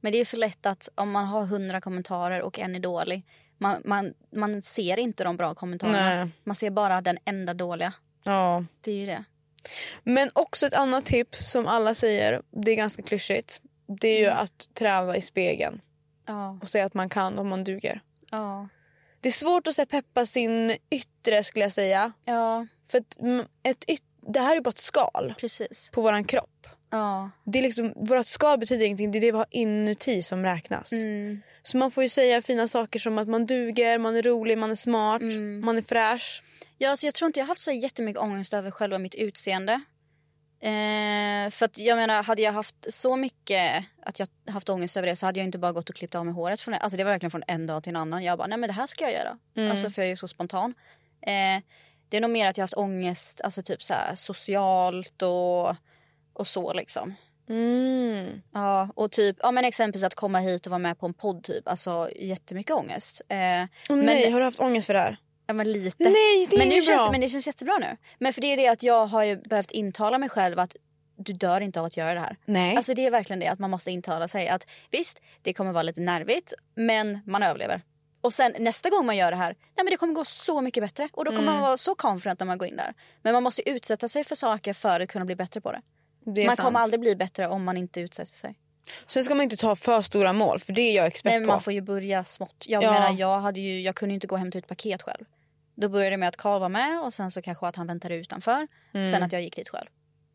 [SPEAKER 4] men det är så lätt att om man har hundra kommentarer och en är dålig. Man, man, man ser inte de bra kommentarerna.
[SPEAKER 3] Nej.
[SPEAKER 4] Man ser bara den enda dåliga.
[SPEAKER 3] Ja.
[SPEAKER 4] Det är ju det.
[SPEAKER 3] Men också ett annat tips som alla säger, det är ganska klyschigt. Det är ju att träna i spegeln.
[SPEAKER 4] Ja.
[SPEAKER 3] och säga att man kan om man duger.
[SPEAKER 4] Ja.
[SPEAKER 3] Det är svårt att så här, peppa sin yttre skulle jag säga.
[SPEAKER 4] Ja,
[SPEAKER 3] För att, mm, ett yt- det här är bara ett skal
[SPEAKER 4] precis.
[SPEAKER 3] på våran kropp.
[SPEAKER 4] Ja.
[SPEAKER 3] Det är liksom, vårat skal betyder ingenting, det är det vi har inuti som räknas.
[SPEAKER 4] Mm.
[SPEAKER 3] Så man får ju säga fina saker som att man duger, man är rolig, man är smart,
[SPEAKER 4] Mm.
[SPEAKER 3] man är fräsch.
[SPEAKER 4] Ja, alltså jag tror inte jag har haft så här jättemycket ångest över själva mitt utseende. Eh, för att jag menar, hade jag haft så mycket att jag haft ångest över det så hade jag inte bara gått och klippt av mig håret. Från, alltså det var verkligen från en dag till en annan. Jag bara, nej men det här ska jag göra. Alltså för jag är ju så spontan. Eh, det är nog mer att jag haft ångest, alltså typ så här socialt och, och så liksom.
[SPEAKER 3] Mm.
[SPEAKER 4] Ja, och typ, ja men exempelvis att komma hit och vara med på en podd typ. Alltså jättemycket ångest. Eh,
[SPEAKER 3] Åh
[SPEAKER 4] Men-
[SPEAKER 3] nej, har du haft ångest för det här?
[SPEAKER 4] Ja men lite.
[SPEAKER 3] Nej, det är
[SPEAKER 4] men, nu
[SPEAKER 3] ju
[SPEAKER 4] känns,
[SPEAKER 3] bra.
[SPEAKER 4] men det känns jättebra nu. Men för det är det att jag har ju behövt intala mig själv att du dör inte av att göra det här.
[SPEAKER 3] Nej.
[SPEAKER 4] Alltså det är verkligen det att man måste intala sig att visst det kommer vara lite nervigt men man överlever. Och sen nästa gång man gör det här, nej men det kommer gå så mycket bättre och då kommer
[SPEAKER 3] Mm.
[SPEAKER 4] man vara så confident när man går in där. Men man måste ju utsätta sig för saker för att kunna bli bättre på det.
[SPEAKER 3] det är
[SPEAKER 4] man
[SPEAKER 3] sant.
[SPEAKER 4] kommer aldrig bli bättre om man inte utsätter sig.
[SPEAKER 3] Sen ska man inte ta för stora mål för det är jag expert
[SPEAKER 4] Nej men
[SPEAKER 3] på.
[SPEAKER 4] man får ju börja smått. Jag
[SPEAKER 3] Ja.
[SPEAKER 4] menar jag, hade ju, jag kunde ju inte gå och hämta ut paket själv. Då började det med att Karl var med och sen så kanske att han väntade utanför. Sen att jag gick dit själv.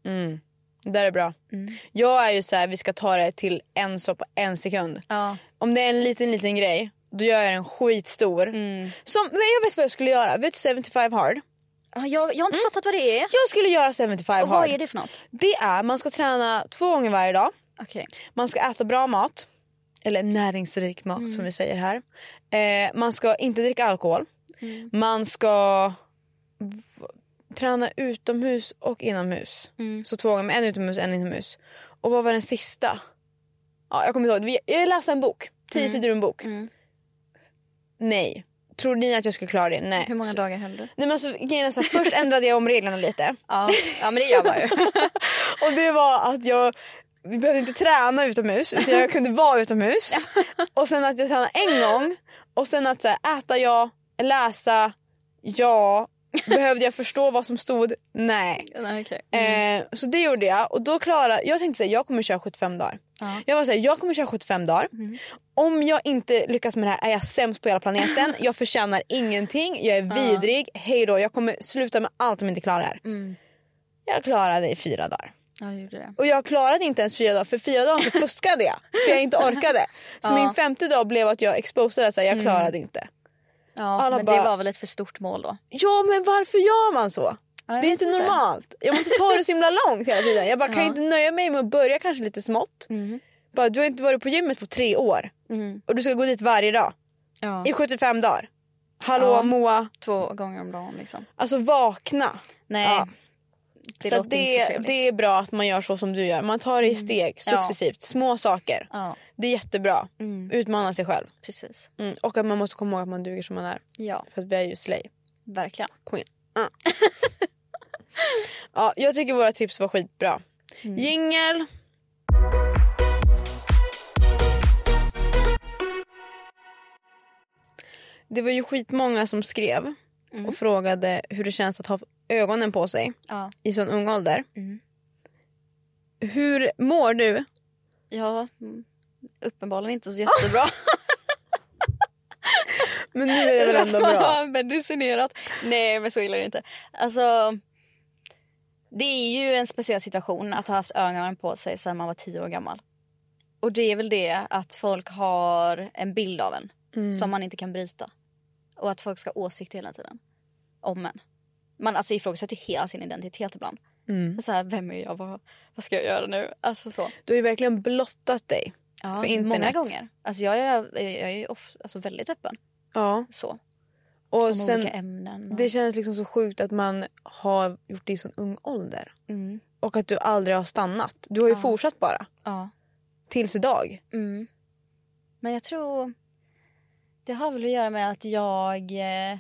[SPEAKER 3] Mm. Det där är bra.
[SPEAKER 4] Mm.
[SPEAKER 3] Jag är ju så här, vi ska ta det till en så på en sekund.
[SPEAKER 4] Ja.
[SPEAKER 3] Om det är en liten liten grej, då gör jag den skitstor.
[SPEAKER 4] Mm.
[SPEAKER 3] Som, men jag vet vad jag skulle göra. Vet du 75 hard?
[SPEAKER 4] Ja, Jag, jag har inte fattat vad det är.
[SPEAKER 3] Mm. Jag skulle göra 75
[SPEAKER 4] och
[SPEAKER 3] hard.
[SPEAKER 4] vad är det för något?
[SPEAKER 3] Det är man ska träna två gånger varje dag.
[SPEAKER 4] Okej.
[SPEAKER 3] Man ska äta bra mat. Eller näringsrik mat
[SPEAKER 4] Mm.
[SPEAKER 3] som vi säger här. Eh, man ska inte dricka alkohol.
[SPEAKER 4] Mm.
[SPEAKER 3] Man ska v- träna utomhus och inomhus.
[SPEAKER 4] Mm.
[SPEAKER 3] Så två gånger, men en utomhus en inomhus. Och vad var den sista? Ja, jag kommer inte ihåg. Vi- Jag läste en bok. Tio
[SPEAKER 4] Mm.
[SPEAKER 3] sidor ur en bok. Nej. Tror ni att jag skulle klara det? Nej.
[SPEAKER 4] Hur många
[SPEAKER 3] Så-
[SPEAKER 4] dagar höll du?
[SPEAKER 3] Nej men alltså, grejen är så här, först ändrade jag om reglerna lite.
[SPEAKER 4] Ja. ja men det gör man ju.
[SPEAKER 3] Och det var att jag vi behövde inte träna utomhus utan jag kunde vara utomhus. Och sen att jag tränade en gång och sen att så här, äta ja, läsa ja. Behövde jag förstå vad som stod? Nej.
[SPEAKER 4] Nej, okej. Mm.
[SPEAKER 3] Eh, så det gjorde jag och då klarade jag tänkte att jag kommer köra 75 dagar.
[SPEAKER 4] Ja. Mm.
[SPEAKER 3] Jag var så här, jag kommer köra 75 dagar. Om jag inte lyckas med det här är jag sämst på hela planeten. Jag förtjänar ingenting. Jag är vidrig. Hej då. Jag kommer sluta med allt om jag inte klarar det här.
[SPEAKER 4] Mm.
[SPEAKER 3] Jag klarade det i fyra dagar.
[SPEAKER 4] Ja det gjorde det.
[SPEAKER 3] Och jag klarade inte ens fyra dagar för fyra dagar så fuskade jag. För jag inte orkade. Så
[SPEAKER 4] Ja. Mm.
[SPEAKER 3] min femte dag blev att jag exposade så här, jag klarade inte.
[SPEAKER 4] Ja
[SPEAKER 3] Alla
[SPEAKER 4] men
[SPEAKER 3] bara-
[SPEAKER 4] det var väl ett för stort mål då.
[SPEAKER 3] Ja men varför gör man så?
[SPEAKER 4] Ja, jag
[SPEAKER 3] Det är
[SPEAKER 4] vet
[SPEAKER 3] inte normalt. Jag måste ta det så himla långt hela tiden. Jag bara kan jag inte nöja mig med att börja kanske lite smått.
[SPEAKER 4] Mm.
[SPEAKER 3] Bara, du har inte varit på gymmet på tre år och du ska gå dit varje dag
[SPEAKER 4] Ja.
[SPEAKER 3] i 75 dagar. Hallå
[SPEAKER 4] Ja.
[SPEAKER 3] Moa,
[SPEAKER 4] Två gånger om dagen liksom.
[SPEAKER 3] alltså vakna.
[SPEAKER 4] Nej.
[SPEAKER 3] Ja.
[SPEAKER 4] Det
[SPEAKER 3] så
[SPEAKER 4] låter
[SPEAKER 3] att det,
[SPEAKER 4] inte så trevligt. Mm.
[SPEAKER 3] det är bra att man gör så som du gör. Man tar det i steg
[SPEAKER 4] Ja.
[SPEAKER 3] successivt, små saker.
[SPEAKER 4] Ja
[SPEAKER 3] Det är jättebra.
[SPEAKER 4] Mm.
[SPEAKER 3] Utmana sig själv.
[SPEAKER 4] precis.
[SPEAKER 3] Mm, och att man måste komma ihåg att man duger som man är.
[SPEAKER 4] Ja
[SPEAKER 3] För att vi är ju slay
[SPEAKER 4] verkligen.
[SPEAKER 3] queen. Ah. ja, jag tycker våra tips var skitbra. Jingel! det var ju skitmånga som skrev
[SPEAKER 4] Mm.
[SPEAKER 3] och frågade hur det känns att ha ögonen på sig
[SPEAKER 4] Ja.
[SPEAKER 3] i sån ung ålder.
[SPEAKER 4] Mm.
[SPEAKER 3] Hur mår du?
[SPEAKER 4] ja, mm, uppenbarligen inte så jättebra.
[SPEAKER 3] Men nu är det väl ändå
[SPEAKER 4] man
[SPEAKER 3] bra?
[SPEAKER 4] har medicinerat. Nej men så illa är det inte. Alltså, det är ju en speciell situation att ha haft ögonen på sig sedan man var tio år gammal. Och det är väl det att folk har en bild av en
[SPEAKER 3] Mm.
[SPEAKER 4] som man inte kan bryta. Och att folk ska ha åsikter hela tiden. Om en. Man alltså, ifrågasätter hela sin identitet ibland.
[SPEAKER 3] Mm.
[SPEAKER 4] Så här, vem är jag? Vad, vad ska jag göra nu? Alltså så.
[SPEAKER 3] Du har ju verkligen blottat dig.
[SPEAKER 4] Ja,
[SPEAKER 3] För internet.
[SPEAKER 4] många gånger. Alltså, jag är, jag är ju off, alltså, väldigt öppen.
[SPEAKER 3] Ja.
[SPEAKER 4] Så.
[SPEAKER 3] Och
[SPEAKER 4] Om
[SPEAKER 3] sen,
[SPEAKER 4] olika ämnen. Och...
[SPEAKER 3] det känns liksom så sjukt att man har gjort det i sån ung ålder.
[SPEAKER 4] Mm.
[SPEAKER 3] Och att du aldrig har stannat. Du har ju
[SPEAKER 4] Ja.
[SPEAKER 3] fortsatt bara.
[SPEAKER 4] Ja.
[SPEAKER 3] Tills idag.
[SPEAKER 4] Mm. Men jag tror... Det har väl att göra med att jag... eh,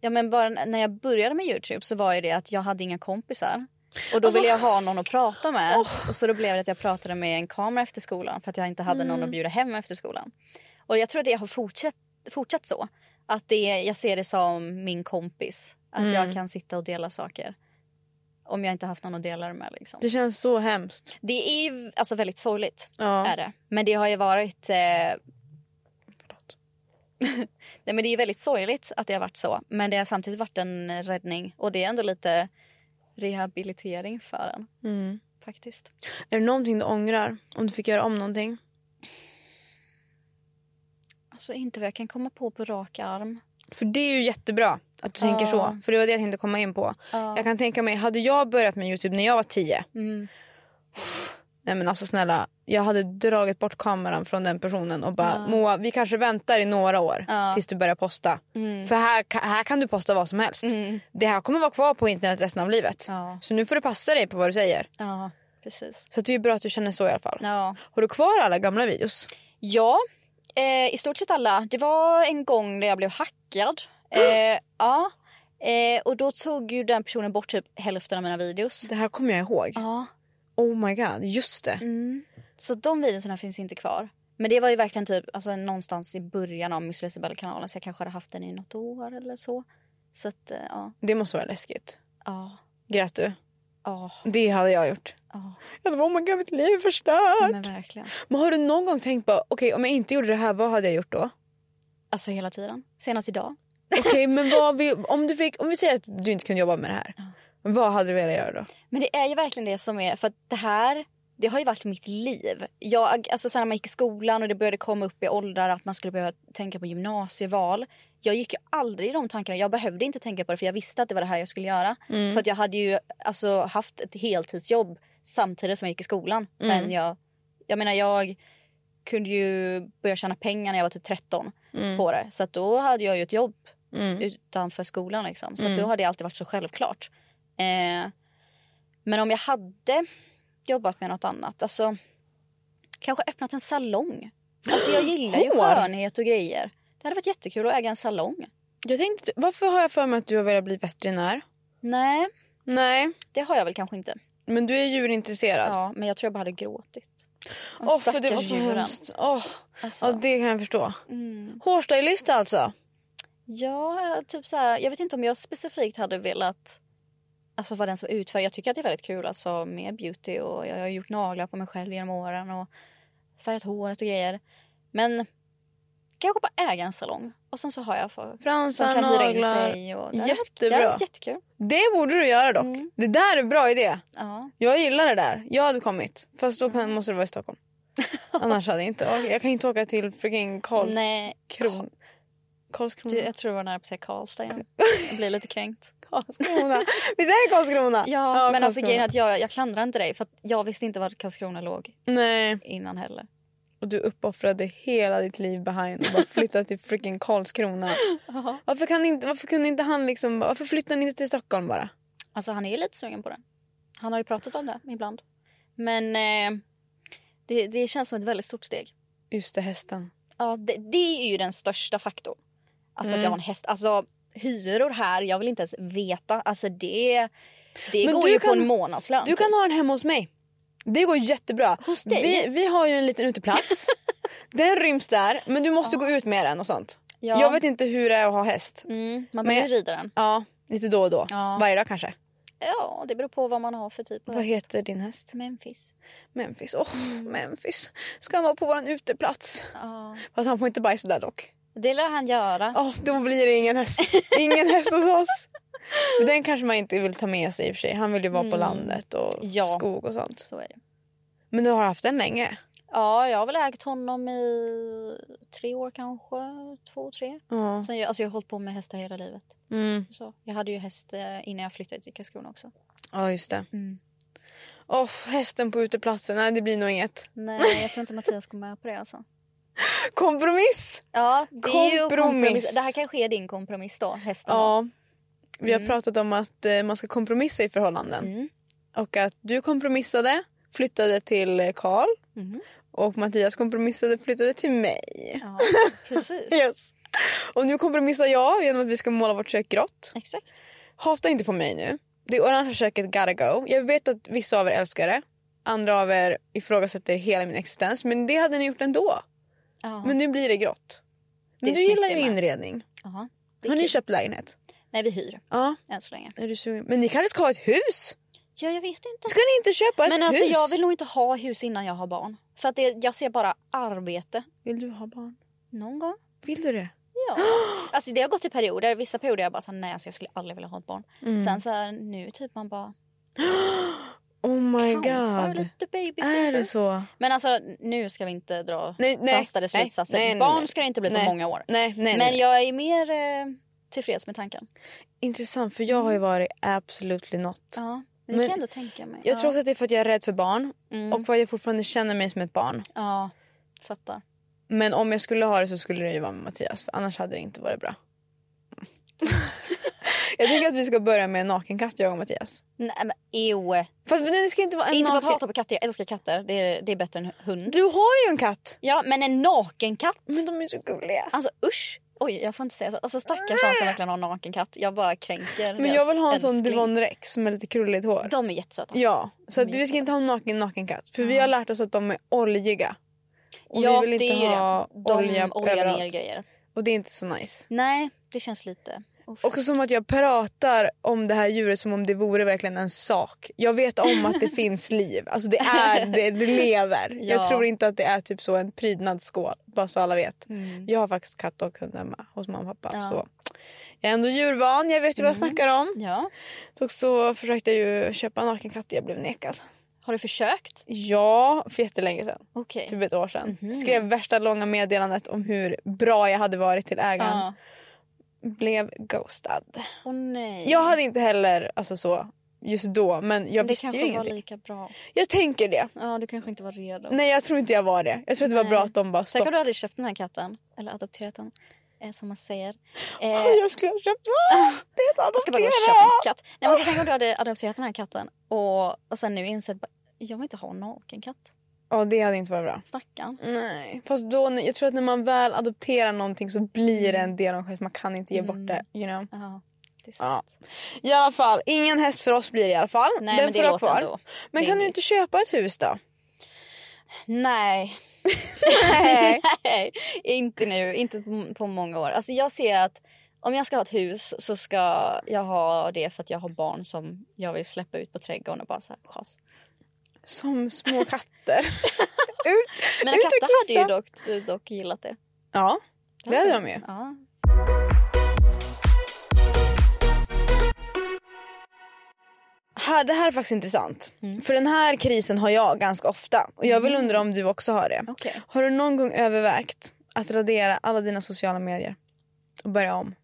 [SPEAKER 4] Ja, men bara n- när jag började med Youtube så var ju det att jag hade inga kompisar. Och då
[SPEAKER 3] Alltså-
[SPEAKER 4] ville jag ha någon att prata med.
[SPEAKER 3] Åh.
[SPEAKER 4] Och så då blev det att jag pratade med en kamera efter skolan för att jag inte hade någon
[SPEAKER 3] Mm.
[SPEAKER 4] att bjuda hem efter skolan. Och jag tror att det har fortsatt, fortsatt så. Att det, är- jag ser det som min kompis. Att
[SPEAKER 3] Mm.
[SPEAKER 4] jag kan sitta och dela saker. Om jag inte haft någon att dela det med liksom.
[SPEAKER 3] Det känns så hemskt.
[SPEAKER 4] Det är ju alltså väldigt sorgligt
[SPEAKER 3] Ja.
[SPEAKER 4] är det. Men det har ju varit... Eh... Nej, men det är ju väldigt sorgligt att det har varit så. Men det har samtidigt varit en räddning. Och det är ändå lite rehabilitering för en
[SPEAKER 3] Mm.
[SPEAKER 4] faktiskt.
[SPEAKER 3] Är det någonting du ångrar? Om du fick göra om någonting?
[SPEAKER 4] Alltså inte vad jag kan komma på på rak arm.
[SPEAKER 3] För det är ju jättebra att du
[SPEAKER 4] Ja.
[SPEAKER 3] tänker så. För det var det jag tänkte komma in på.
[SPEAKER 4] Ja.
[SPEAKER 3] Jag kan tänka mig, hade jag börjat med Youtube när jag var 10.
[SPEAKER 4] Mm.
[SPEAKER 3] Nej men alltså snälla. Jag hade dragit bort kameran från den personen och bara
[SPEAKER 4] Ja.
[SPEAKER 3] Moa vi kanske väntar i några år
[SPEAKER 4] Ja.
[SPEAKER 3] tills du börjar posta.
[SPEAKER 4] Mm.
[SPEAKER 3] För här, ka- här kan du posta vad som helst.
[SPEAKER 4] Mm.
[SPEAKER 3] Det här kommer vara kvar på internet resten av livet.
[SPEAKER 4] Ja.
[SPEAKER 3] Så nu får du passa dig på vad du säger.
[SPEAKER 4] ja, precis.
[SPEAKER 3] Så att det är ju bra att du känner så i alla fall.
[SPEAKER 4] Ja.
[SPEAKER 3] Har du kvar alla gamla videos?
[SPEAKER 4] Ja, eh, i stort sett alla. Det var en gång där jag blev hackad. Eh, ja. Eh, och då tog ju den personen bort typ hälften av mina videos.
[SPEAKER 3] Det här kommer jag ihåg.
[SPEAKER 4] Ja.
[SPEAKER 3] Oh my god, just det.
[SPEAKER 4] Mm. Så de videorna finns inte kvar. Men det var ju verkligen typ alltså, någonstans i början av Miss Lisabelle-kanalen så jag kanske hade haft den i något år eller så. Så att eh, ja,
[SPEAKER 3] Det måste vara läskigt.
[SPEAKER 4] ja,
[SPEAKER 3] Grät du?
[SPEAKER 4] ja,
[SPEAKER 3] Det hade jag gjort.
[SPEAKER 4] ja.
[SPEAKER 3] Jag bara, oh my god mitt liv är förstört.
[SPEAKER 4] Men verkligen.
[SPEAKER 3] Men har du någon gång tänkt bara okej om jag inte gjorde det här vad hade jag gjort då?
[SPEAKER 4] Alltså hela tiden. Senast idag.
[SPEAKER 3] Okej men vad vill, om du fick, om vi säger att du inte kunde jobba med det här. Vad hade du velat göra då?
[SPEAKER 4] Men det är ju verkligen det som är, för att det här det har ju varit mitt liv. Jag, alltså sen när man gick i skolan och det började komma upp i åldrar att man skulle behöva tänka på gymnasieval. Jag gick ju aldrig i de tankarna. Jag behövde inte tänka på det för jag visste att det var det här jag skulle göra.
[SPEAKER 3] Mm.
[SPEAKER 4] För att jag hade ju alltså, haft ett heltidsjobb samtidigt som jag gick i skolan. Sen jag, jag menar jag kunde ju börja tjäna pengar när jag var typ 13
[SPEAKER 3] mm,
[SPEAKER 4] på det. Så att då hade jag ju ett jobb utanför skolan liksom. Så att
[SPEAKER 3] Mm.
[SPEAKER 4] då har det alltid varit så självklart. Eh, men om jag hade jobbat med något annat, alltså kanske öppnat en salong. Alltså jag gillar ju
[SPEAKER 3] Hår.
[SPEAKER 4] skönhet och grejer. Det hade varit jättekul att äga en salong.
[SPEAKER 3] Jag tänkte, varför har jag för mig att du har velat bli veterinär?
[SPEAKER 4] Nej,
[SPEAKER 3] Nej,
[SPEAKER 4] det har jag väl kanske inte.
[SPEAKER 3] men du är djurintresserad.
[SPEAKER 4] Ja, men jag tror jag bara hade gråtit. De
[SPEAKER 3] Åh för det var
[SPEAKER 4] stackars
[SPEAKER 3] så
[SPEAKER 4] djuren.
[SPEAKER 3] hemskt. Åh,
[SPEAKER 4] Alltså,
[SPEAKER 3] ja, det kan jag förstå.
[SPEAKER 4] mm.
[SPEAKER 3] Hårstylist alltså?
[SPEAKER 4] Ja, typ så här, jag vet inte om jag specifikt hade velat alltså vara den som utför. Jag tycker att det är väldigt kul alltså med beauty och jag har gjort naglar på mig själv genom åren och färgat håret och grejer. Men kanske bara äga en salong och sen så har jag folk som
[SPEAKER 3] Fransar,
[SPEAKER 4] kan hyra in
[SPEAKER 3] naglar.
[SPEAKER 4] sig. Och det hade varit- Det hade
[SPEAKER 3] Jättebra.
[SPEAKER 4] varit jättekul.
[SPEAKER 3] Det borde du göra dock.
[SPEAKER 4] Mm.
[SPEAKER 3] Det där är en bra idé.
[SPEAKER 4] Ja.
[SPEAKER 3] Jag gillar det där. Jag hade kommit. Fast då
[SPEAKER 4] Mm.
[SPEAKER 3] kan, måste det vara i Stockholm. Annars hade jag inte orkat. Jag kan inte åka till freaking Karls... Mm.
[SPEAKER 4] Nej,
[SPEAKER 3] Kron... Karlskrona.
[SPEAKER 4] du, jag tror det var nära på att säga Karlstad igen. Jag blir lite kränkt.
[SPEAKER 3] Karlskrona. Visst är det Karlskrona?
[SPEAKER 4] Ja, men alltså
[SPEAKER 3] Karlskrona.
[SPEAKER 4] grejen är att jag, jag klandrar inte dig för att jag visste inte var Karlskrona låg
[SPEAKER 3] Nej.
[SPEAKER 4] innan heller.
[SPEAKER 3] Och du uppoffrade hela ditt liv behind och bara flyttade till freaking Karlskrona. Varför, kan inte, varför kunde inte han liksom... Varför flyttade ni inte till Stockholm bara?
[SPEAKER 4] Alltså han är lite sugen på det. Han har ju pratat om det ibland. Men eh, det, det känns som ett väldigt stort steg.
[SPEAKER 3] Just det, hästen.
[SPEAKER 4] Ja, det, det är ju den största faktorn. Alltså att jag
[SPEAKER 3] Mm.
[SPEAKER 4] har en häst. Alltså hyror här, jag vill inte ens veta. Alltså det, det
[SPEAKER 3] Men
[SPEAKER 4] går
[SPEAKER 3] du
[SPEAKER 4] ju på
[SPEAKER 3] kan-
[SPEAKER 4] en månadslön. typ.
[SPEAKER 3] Du kan ha den hemma hos mig. Det går jättebra.
[SPEAKER 4] Hos dig?
[SPEAKER 3] vi, vi har ju en liten uteplats. den ryms där, men du måste gå ut med den och sånt.
[SPEAKER 4] Ja.
[SPEAKER 3] Jag vet inte hur det är att ha häst.
[SPEAKER 4] mm,
[SPEAKER 3] men-
[SPEAKER 4] man behöver ju rida den.
[SPEAKER 3] Ja, lite då och då.
[SPEAKER 4] Ja.
[SPEAKER 3] Varje dag kanske.
[SPEAKER 4] Ja, det beror på vad man har för typ av
[SPEAKER 3] Vad heter din häst?
[SPEAKER 4] Memphis.
[SPEAKER 3] Memphis. Åh, Memphis. Ska han vara på våran uteplats?
[SPEAKER 4] Ja.
[SPEAKER 3] Fast han får inte bajsa där dock.
[SPEAKER 4] Det lär han göra.
[SPEAKER 3] Åh, då blir det ingen häst. Ingen häst hos oss. För den kanske man inte vill ta med sig i och för sig. Han vill ju vara på
[SPEAKER 4] Mm.
[SPEAKER 3] landet och
[SPEAKER 4] Ja.
[SPEAKER 3] skog och sånt.
[SPEAKER 4] Så är det.
[SPEAKER 3] Men du har haft den länge.
[SPEAKER 4] Ja, jag har väl ägt honom i tre år kanske. Två, tre.
[SPEAKER 3] Ja.
[SPEAKER 4] Sen, jag- alltså jag har hållit på med hästar hela livet.
[SPEAKER 3] Mm.
[SPEAKER 4] Så. Jag hade ju häst eh, innan jag flyttade till Karlskrona också.
[SPEAKER 3] ja, just det.
[SPEAKER 4] Mm.
[SPEAKER 3] Åh, hästen på uteplatsen. Nej, det blir nog inget.
[SPEAKER 4] Nej, jag tror inte Mattias går med på det alltså.
[SPEAKER 3] Kompromiss!
[SPEAKER 4] Ja, det är ju
[SPEAKER 3] Kompromiss.
[SPEAKER 4] kompromiss. Det här kanske är din kompromiss då, hästen. då.
[SPEAKER 3] Ja. Vi har
[SPEAKER 4] Mm.
[SPEAKER 3] pratat om att eh, man ska kompromissa i förhållanden.
[SPEAKER 4] Mm.
[SPEAKER 3] Och att du kompromissade, flyttade till eh, Karl.
[SPEAKER 4] Mm.
[SPEAKER 3] Och Mattias kompromissade, flyttade till mig.
[SPEAKER 4] Ja, precis.
[SPEAKER 3] Yes. Och nu kompromissar jag genom att vi ska måla vårt kök grått.
[SPEAKER 4] Exakt.
[SPEAKER 3] Hata inte på mig nu. Det orangea köket gotta go. Jag vet att vissa av er älskar det. Andra av er ifrågasätter hela min existens. Men det hade ni gjort ändå.
[SPEAKER 4] Ja.
[SPEAKER 3] Men nu blir det grått.
[SPEAKER 4] Det är
[SPEAKER 3] Men du
[SPEAKER 4] snyggt
[SPEAKER 3] gillar
[SPEAKER 4] det
[SPEAKER 3] ju
[SPEAKER 4] med.
[SPEAKER 3] inredning.
[SPEAKER 4] ja. det är
[SPEAKER 3] Har ni
[SPEAKER 4] kul.
[SPEAKER 3] köpt lägenhet?
[SPEAKER 4] Nej, vi hyr
[SPEAKER 3] Ja.
[SPEAKER 4] än så länge.
[SPEAKER 3] Är du sugen? Men ni kanske ska ha ett hus?
[SPEAKER 4] Ja, jag vet inte.
[SPEAKER 3] Ska ni inte köpa ett
[SPEAKER 4] Men
[SPEAKER 3] hus?
[SPEAKER 4] alltså jag vill nog inte ha hus innan jag har barn. För att det, jag ser bara arbete.
[SPEAKER 3] vill du ha barn?
[SPEAKER 4] Någon gång.
[SPEAKER 3] Vill du det?
[SPEAKER 4] Ja. Alltså det har gått i perioder. Vissa perioder jag bara så här, nej alltså jag skulle aldrig vilja ha ett barn.
[SPEAKER 3] Mm.
[SPEAKER 4] Sen så här, nu typ man bara
[SPEAKER 3] Oh my
[SPEAKER 4] kanske har
[SPEAKER 3] god.
[SPEAKER 4] lite baby
[SPEAKER 3] Är det så?
[SPEAKER 4] Men alltså nu ska vi inte dra
[SPEAKER 3] Nej, nej,
[SPEAKER 4] fastare
[SPEAKER 3] nej,
[SPEAKER 4] slutsatser.
[SPEAKER 3] nej, nej,
[SPEAKER 4] barn
[SPEAKER 3] nej.
[SPEAKER 4] ska det inte bli på
[SPEAKER 3] Nej.
[SPEAKER 4] många år.
[SPEAKER 3] Nej, nej,
[SPEAKER 4] Men
[SPEAKER 3] nej.
[SPEAKER 4] jag är mer eh, tillfreds med tanken.
[SPEAKER 3] Intressant för jag har ju varit absolutely not.
[SPEAKER 4] Mm. Ja, det
[SPEAKER 3] Men
[SPEAKER 4] kan jag ändå tänka mig.
[SPEAKER 3] Jag
[SPEAKER 4] ja.
[SPEAKER 3] tror också att det är för att jag är rädd för barn
[SPEAKER 4] Mm.
[SPEAKER 3] och för att jag fortfarande känner mig som ett barn.
[SPEAKER 4] Ja, fattar.
[SPEAKER 3] Men om jag skulle ha det så skulle det ju vara med Mattias för annars hade det inte varit bra. jag tänker att vi ska börja med en nakenkatt jag och Mattias.
[SPEAKER 4] Nej men ew.
[SPEAKER 3] Fast men det ska inte vara en
[SPEAKER 4] Inte för att
[SPEAKER 3] naken...
[SPEAKER 4] hata på katter, jag älskar katter. Det är, det är bättre än hund.
[SPEAKER 3] Du har ju en katt!
[SPEAKER 4] Ja men en naken katt.
[SPEAKER 3] Men de är så gulliga.
[SPEAKER 4] Alltså usch. Oj jag får inte säga så. Alltså stackars de som verkligen har en naken katt. Jag bara kränker
[SPEAKER 3] Men
[SPEAKER 4] deras
[SPEAKER 3] jag vill ha en sån
[SPEAKER 4] älskling.
[SPEAKER 3] Devon Rex som har lite krulligt hår.
[SPEAKER 4] De är jättesöta.
[SPEAKER 3] Ja, så att vi ska inte ha en naken nakenkatt för vi har lärt oss att de är oljiga. Och
[SPEAKER 4] Ja,
[SPEAKER 3] vi vill
[SPEAKER 4] det
[SPEAKER 3] inte
[SPEAKER 4] är ju
[SPEAKER 3] ha
[SPEAKER 4] det. De
[SPEAKER 3] olja
[SPEAKER 4] oljar ner
[SPEAKER 3] överallt.
[SPEAKER 4] grejer.
[SPEAKER 3] Och det är inte så nice.
[SPEAKER 4] Nej det känns lite
[SPEAKER 3] Också som att jag pratar om det här djuret som om det vore verkligen en sak. Jag vet om att det finns liv. Alltså det är det, det lever. Jag
[SPEAKER 4] Ja.
[SPEAKER 3] tror inte att det är typ så en prydnadsskål. Bara så alla vet. Jag har faktiskt katt och hund hemma hos mamma och pappa.
[SPEAKER 4] Mm. Ja. Mm.
[SPEAKER 3] Så. Jag är ändå djurvan, jag vet ju vad jag snackar om.
[SPEAKER 4] Ja.
[SPEAKER 3] Så också försökte jag ju köpa en nakenkatt jag blev nekad.
[SPEAKER 4] Har du försökt?
[SPEAKER 3] Ja, för jättelänge sedan.
[SPEAKER 4] Okej.
[SPEAKER 3] Typ ett år sedan.
[SPEAKER 4] Mhm.
[SPEAKER 3] Skrev värsta långa meddelandet om hur bra jag hade varit till ägaren.
[SPEAKER 4] Ja.
[SPEAKER 3] Blev ghostad.
[SPEAKER 4] Åh nej.
[SPEAKER 3] Jag hade inte heller alltså så just då men jag
[SPEAKER 4] det
[SPEAKER 3] visste
[SPEAKER 4] kanske
[SPEAKER 3] ju
[SPEAKER 4] var
[SPEAKER 3] ingenting.
[SPEAKER 4] lika bra.
[SPEAKER 3] Jag tänker det.
[SPEAKER 4] Ja du kanske inte var redo.
[SPEAKER 3] Nej jag tror inte jag var det. Jag tror att det var
[SPEAKER 4] Nej.
[SPEAKER 3] bra att de bara
[SPEAKER 4] Tänk
[SPEAKER 3] stopp.
[SPEAKER 4] om du hade köpt den här katten, eller adopterat den, eh, som man säger. Eh,
[SPEAKER 3] Åh, Jag skulle ha köpt det är ett
[SPEAKER 4] jag ska bara gå och
[SPEAKER 3] adopterat.
[SPEAKER 4] köpa en katt. Nej, men så tänk om du hade adopterat den här katten och, och sen nu insett bara, jag vill inte ha en naken katt.
[SPEAKER 3] Ja det hade inte varit bra.
[SPEAKER 4] Stackarn.
[SPEAKER 3] Nej. Fast då, jag tror att när man väl adopterar någonting så blir det
[SPEAKER 4] Mm.
[SPEAKER 3] en del av själv. Man kan inte ge bort det. You know?
[SPEAKER 4] Ja, det är
[SPEAKER 3] Ja.
[SPEAKER 4] sant.
[SPEAKER 3] I alla fall, ingen häst för oss blir det i alla fall.
[SPEAKER 4] Nej
[SPEAKER 3] Den
[SPEAKER 4] men
[SPEAKER 3] får
[SPEAKER 4] det
[SPEAKER 3] jag ha
[SPEAKER 4] låter
[SPEAKER 3] kvar.
[SPEAKER 4] ändå.
[SPEAKER 3] Men kan du inte köpa ett hus då?
[SPEAKER 4] Nej.
[SPEAKER 3] Nej.
[SPEAKER 4] Nej, inte nu. Inte på- på många år. Alltså jag ser att om jag ska ha ett hus så ska jag ha det för att jag har barn som jag vill släppa ut på trädgården och bara så här schas.
[SPEAKER 3] Som små katter. Ut.
[SPEAKER 4] Mina
[SPEAKER 3] Ut och
[SPEAKER 4] katter hade ju dock, dock gillat det.
[SPEAKER 3] Ja, det hade de ju.
[SPEAKER 4] Ja.
[SPEAKER 3] Här, det här är faktiskt intressant. För den här krisen har jag ganska ofta. Och jag vill undra om du också har det.
[SPEAKER 4] Okej.
[SPEAKER 3] Har du någon gång övervägt att radera alla dina sociala medier? Och börja om?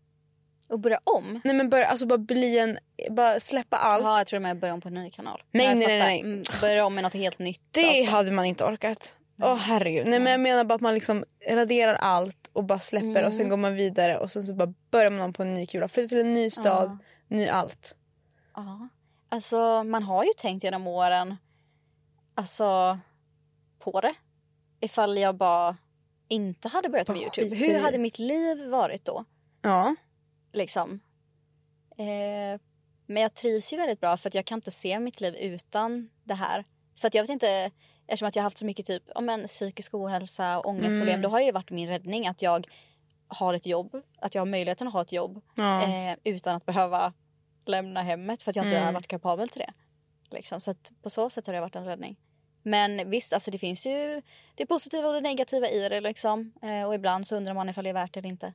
[SPEAKER 4] Och börja om.
[SPEAKER 3] Nej men börja, alltså bara bli en, bara släppa allt.
[SPEAKER 4] Ja, jag tror med att börja om på en ny kanal.
[SPEAKER 3] Nej,
[SPEAKER 4] jag
[SPEAKER 3] nej, nej,
[SPEAKER 4] fattar.
[SPEAKER 3] nej.
[SPEAKER 4] Mm, Börja om med något helt nytt.
[SPEAKER 3] det
[SPEAKER 4] alltså.
[SPEAKER 3] hade man inte orkat. Åh herregud. Nej men jag menar bara att man liksom raderar allt och bara släpper och sen går man vidare och sen så bara börjar man om på en ny kula. Flyttar till en ny stad, ny allt.
[SPEAKER 4] Ja. Alltså, man har ju tänkt genom åren alltså, på det. Ifall jag bara inte hade börjat med
[SPEAKER 3] Bara
[SPEAKER 4] Youtube.
[SPEAKER 3] skiter i
[SPEAKER 4] Hur
[SPEAKER 3] det.
[SPEAKER 4] hade mitt liv varit då?
[SPEAKER 3] Ja.
[SPEAKER 4] Liksom. Eh, men jag trivs ju väldigt bra för att jag kan inte se mitt liv utan det här. För att jag vet inte,
[SPEAKER 3] Mm.
[SPEAKER 4] eftersom att jag har haft så mycket typ, om en psykisk ohälsa och ångestproblem. Då har det ju varit min räddning att jag har ett jobb, att jag har möjligheten att ha ett jobb
[SPEAKER 3] Ja.
[SPEAKER 4] eh, utan att behöva lämna hemmet för att jag inte
[SPEAKER 3] Mm.
[SPEAKER 4] har varit kapabel till det. Liksom. Så att på så sätt har det varit en räddning. Men visst, alltså det finns ju det positiva och det negativa i det liksom. Eh, och ibland så undrar man ifall det är värt det eller inte.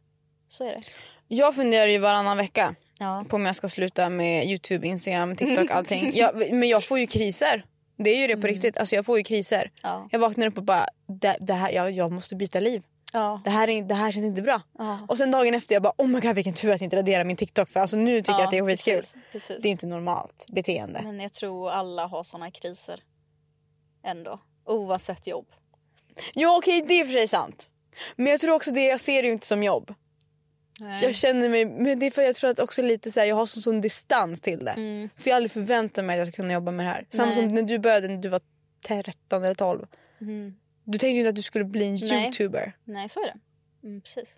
[SPEAKER 4] Så är det.
[SPEAKER 3] Jag funderar ju varannan vecka
[SPEAKER 4] Ja.
[SPEAKER 3] på om jag ska sluta med Youtube, Instagram, TikTok, allting. Jag, men jag får ju kriser. Det är ju det på riktigt. Alltså jag får ju kriser.
[SPEAKER 4] Ja.
[SPEAKER 3] Jag vaknar upp och bara, det, det här, jag, jag måste byta liv.
[SPEAKER 4] Ja.
[SPEAKER 3] Det här, är, det här känns inte bra.
[SPEAKER 4] ja.
[SPEAKER 3] Och sen dagen efter jag bara, oh my god vilken tur att jag inte raderar min TikTok för alltså nu tycker jag att det är skitkul.
[SPEAKER 4] Precis, Mm. precis.
[SPEAKER 3] Det är inte normalt beteende.
[SPEAKER 4] Men jag tror alla har såna kriser. Ändå. Oavsett jobb.
[SPEAKER 3] Ja okej det är i och för sig sant. Men jag tror också det, jag ser det ju inte som jobb.
[SPEAKER 4] Eh,
[SPEAKER 3] Jag känner mig, men det är för jag tror att också lite så här, jag har sån, sån distans till det.
[SPEAKER 4] Mm.
[SPEAKER 3] För jag har aldrig förväntat mig att jag ska kunna jobba med det här. Samma
[SPEAKER 4] Nej.
[SPEAKER 3] som när du började när du var 13 eller 12.
[SPEAKER 4] Mm.
[SPEAKER 3] Du tänkte ju inte att du skulle bli en
[SPEAKER 4] Nej.
[SPEAKER 3] youtuber.
[SPEAKER 4] Nej, så är det. Mm, precis.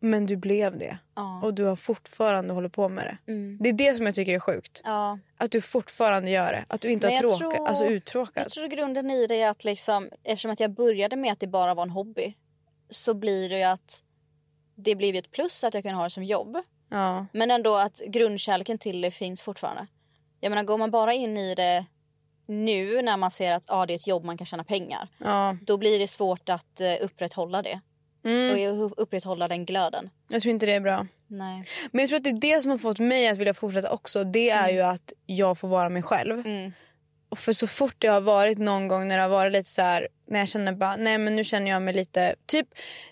[SPEAKER 3] Men du blev det.
[SPEAKER 4] Ja.
[SPEAKER 3] Och du har fortfarande håller på med det.
[SPEAKER 4] Mm.
[SPEAKER 3] Det är det som jag tycker är sjukt.
[SPEAKER 4] ja.
[SPEAKER 3] Att du fortfarande gör det. Att du inte
[SPEAKER 4] Men
[SPEAKER 3] har
[SPEAKER 4] jag
[SPEAKER 3] tråka,
[SPEAKER 4] tror-
[SPEAKER 3] alltså uttråkad.
[SPEAKER 4] Jag tror grunden i det är att liksom, eftersom att jag började med att det bara var en hobby så blir det ju att det blev ju ett plus att jag kan ha det som jobb.
[SPEAKER 3] Ja.
[SPEAKER 4] Men ändå att grundkärleken till det finns fortfarande. Jag menar går man bara in i det nu när man ser att ah, det är ett jobb man kan tjäna pengar.
[SPEAKER 3] ja.
[SPEAKER 4] Då blir det svårt att eh, upprätthålla det.
[SPEAKER 3] Mm.
[SPEAKER 4] Och upprätthålla den glöden.
[SPEAKER 3] Jag tror inte det är bra.
[SPEAKER 4] Nej.
[SPEAKER 3] Men jag tror att det är det som har fått mig att vilja fortsätta också. Det är ju att jag får vara mig själv.
[SPEAKER 4] Mm.
[SPEAKER 3] Och för så fort det har varit någon gång när det har varit lite så här när jag känner bara nej men nu känner jag mig lite typ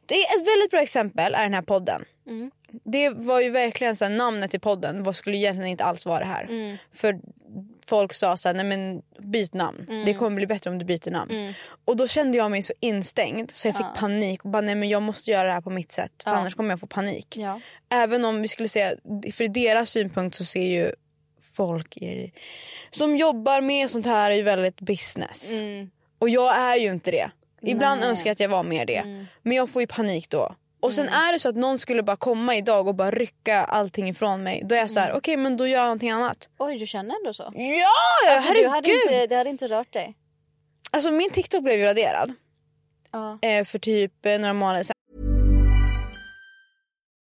[SPEAKER 3] det är ett väldigt bra exempel är den här podden.
[SPEAKER 4] Mm.
[SPEAKER 3] Det var ju verkligen så här, namnet till podden vad skulle egentligen inte alls vara det här.
[SPEAKER 4] Mm.
[SPEAKER 3] För folk sa så här, nej men byt namn. Det kommer bli bättre om du byter namn.
[SPEAKER 4] Mm.
[SPEAKER 3] Och då kände jag mig så instängd så jag fick panik och bara nej men jag måste göra det här på mitt sätt för
[SPEAKER 4] Ja.
[SPEAKER 3] annars kommer jag få panik.
[SPEAKER 4] Ja.
[SPEAKER 3] Även om vi skulle säga, för i deras synpunkt så ser ju folk i, som jobbar med sånt här är ju väldigt business.
[SPEAKER 4] Mm.
[SPEAKER 3] Och jag är ju inte det. Ibland
[SPEAKER 4] Nej.
[SPEAKER 3] önskar jag att jag var mer det. Men jag får ju panik då. Och sen är det så att någon skulle bara komma idag och bara rycka allting ifrån mig. Då är jag så här, okej men då gör jag någonting annat.
[SPEAKER 4] Oj, du känner ändå så?
[SPEAKER 3] Ja,
[SPEAKER 4] Alltså, du
[SPEAKER 3] herregud!
[SPEAKER 4] hade inte, det hade inte rört dig?
[SPEAKER 3] Alltså min TikTok blev ju raderad
[SPEAKER 4] Ja.
[SPEAKER 3] eh, för typ eh, några månader sedan.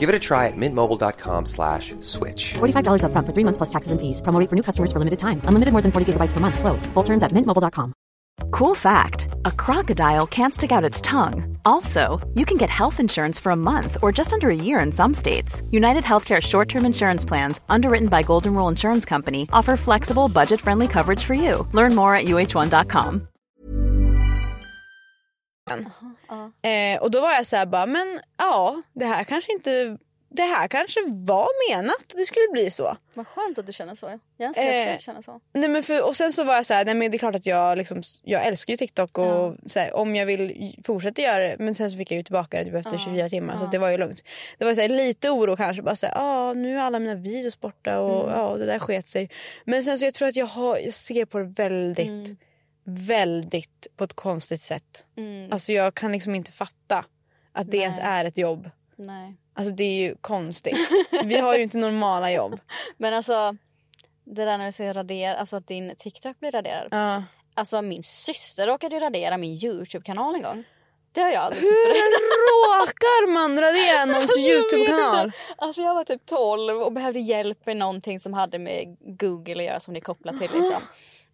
[SPEAKER 5] Give it a try at mintmobile.com slash switch.
[SPEAKER 2] $45 upfront for three months plus taxes and fees. Promo rate for new customers for limited time. Unlimited more than 40 gigabytes per month. Slows. Full terms at mintmobile.com.
[SPEAKER 6] Cool fact a crocodile can't stick out its tongue. Also, you can get health insurance for a month or just under a year in some states. United Healthcare short term insurance plans, underwritten by Golden Rule Insurance Company, offer flexible, budget friendly coverage for you. Learn more at uh1.com.
[SPEAKER 3] Eh, och då var jag så här bara, men ja det här kanske inte, det här kanske var menat att det skulle bli så.
[SPEAKER 4] Vad skönt att du känner så. Jag önskar också
[SPEAKER 3] Eh.
[SPEAKER 4] att känna så.
[SPEAKER 3] Nej, men för, och sen så var jag så här, nej men det är klart att jag, liksom, jag älskar ju TikTok och så här, om jag vill j- fortsätta göra det. Men sen så fick jag ju tillbaka det typ efter 24 timmar så att det var ju lugnt. Det var så här, lite oro kanske, bara så här, ah, nu är alla mina videos borta och
[SPEAKER 4] Mm.
[SPEAKER 3] ja det där sket sig. Men sen så jag tror att jag, har, jag ser på det väldigt, väldigt på ett konstigt sätt.
[SPEAKER 4] Mm.
[SPEAKER 3] Alltså jag kan liksom inte fatta att det
[SPEAKER 4] Nej.
[SPEAKER 3] ens är ett jobb.
[SPEAKER 4] Nej.
[SPEAKER 3] Alltså det är ju konstigt. Vi har ju inte normala jobb.
[SPEAKER 4] Men alltså, det där när du säger radera, alltså att din TikTok blir raderad.
[SPEAKER 3] Ja.
[SPEAKER 4] Alltså min syster råkade ju radera min YouTube-kanal en gång. Det har jag aldrig typ
[SPEAKER 3] Hur
[SPEAKER 4] berättat.
[SPEAKER 3] råkar man radera någons Youtube-kanal?
[SPEAKER 4] Alltså jag var typ 12 och behövde hjälp med någonting som hade med Google att göra som det är kopplat till liksom.
[SPEAKER 3] Ah.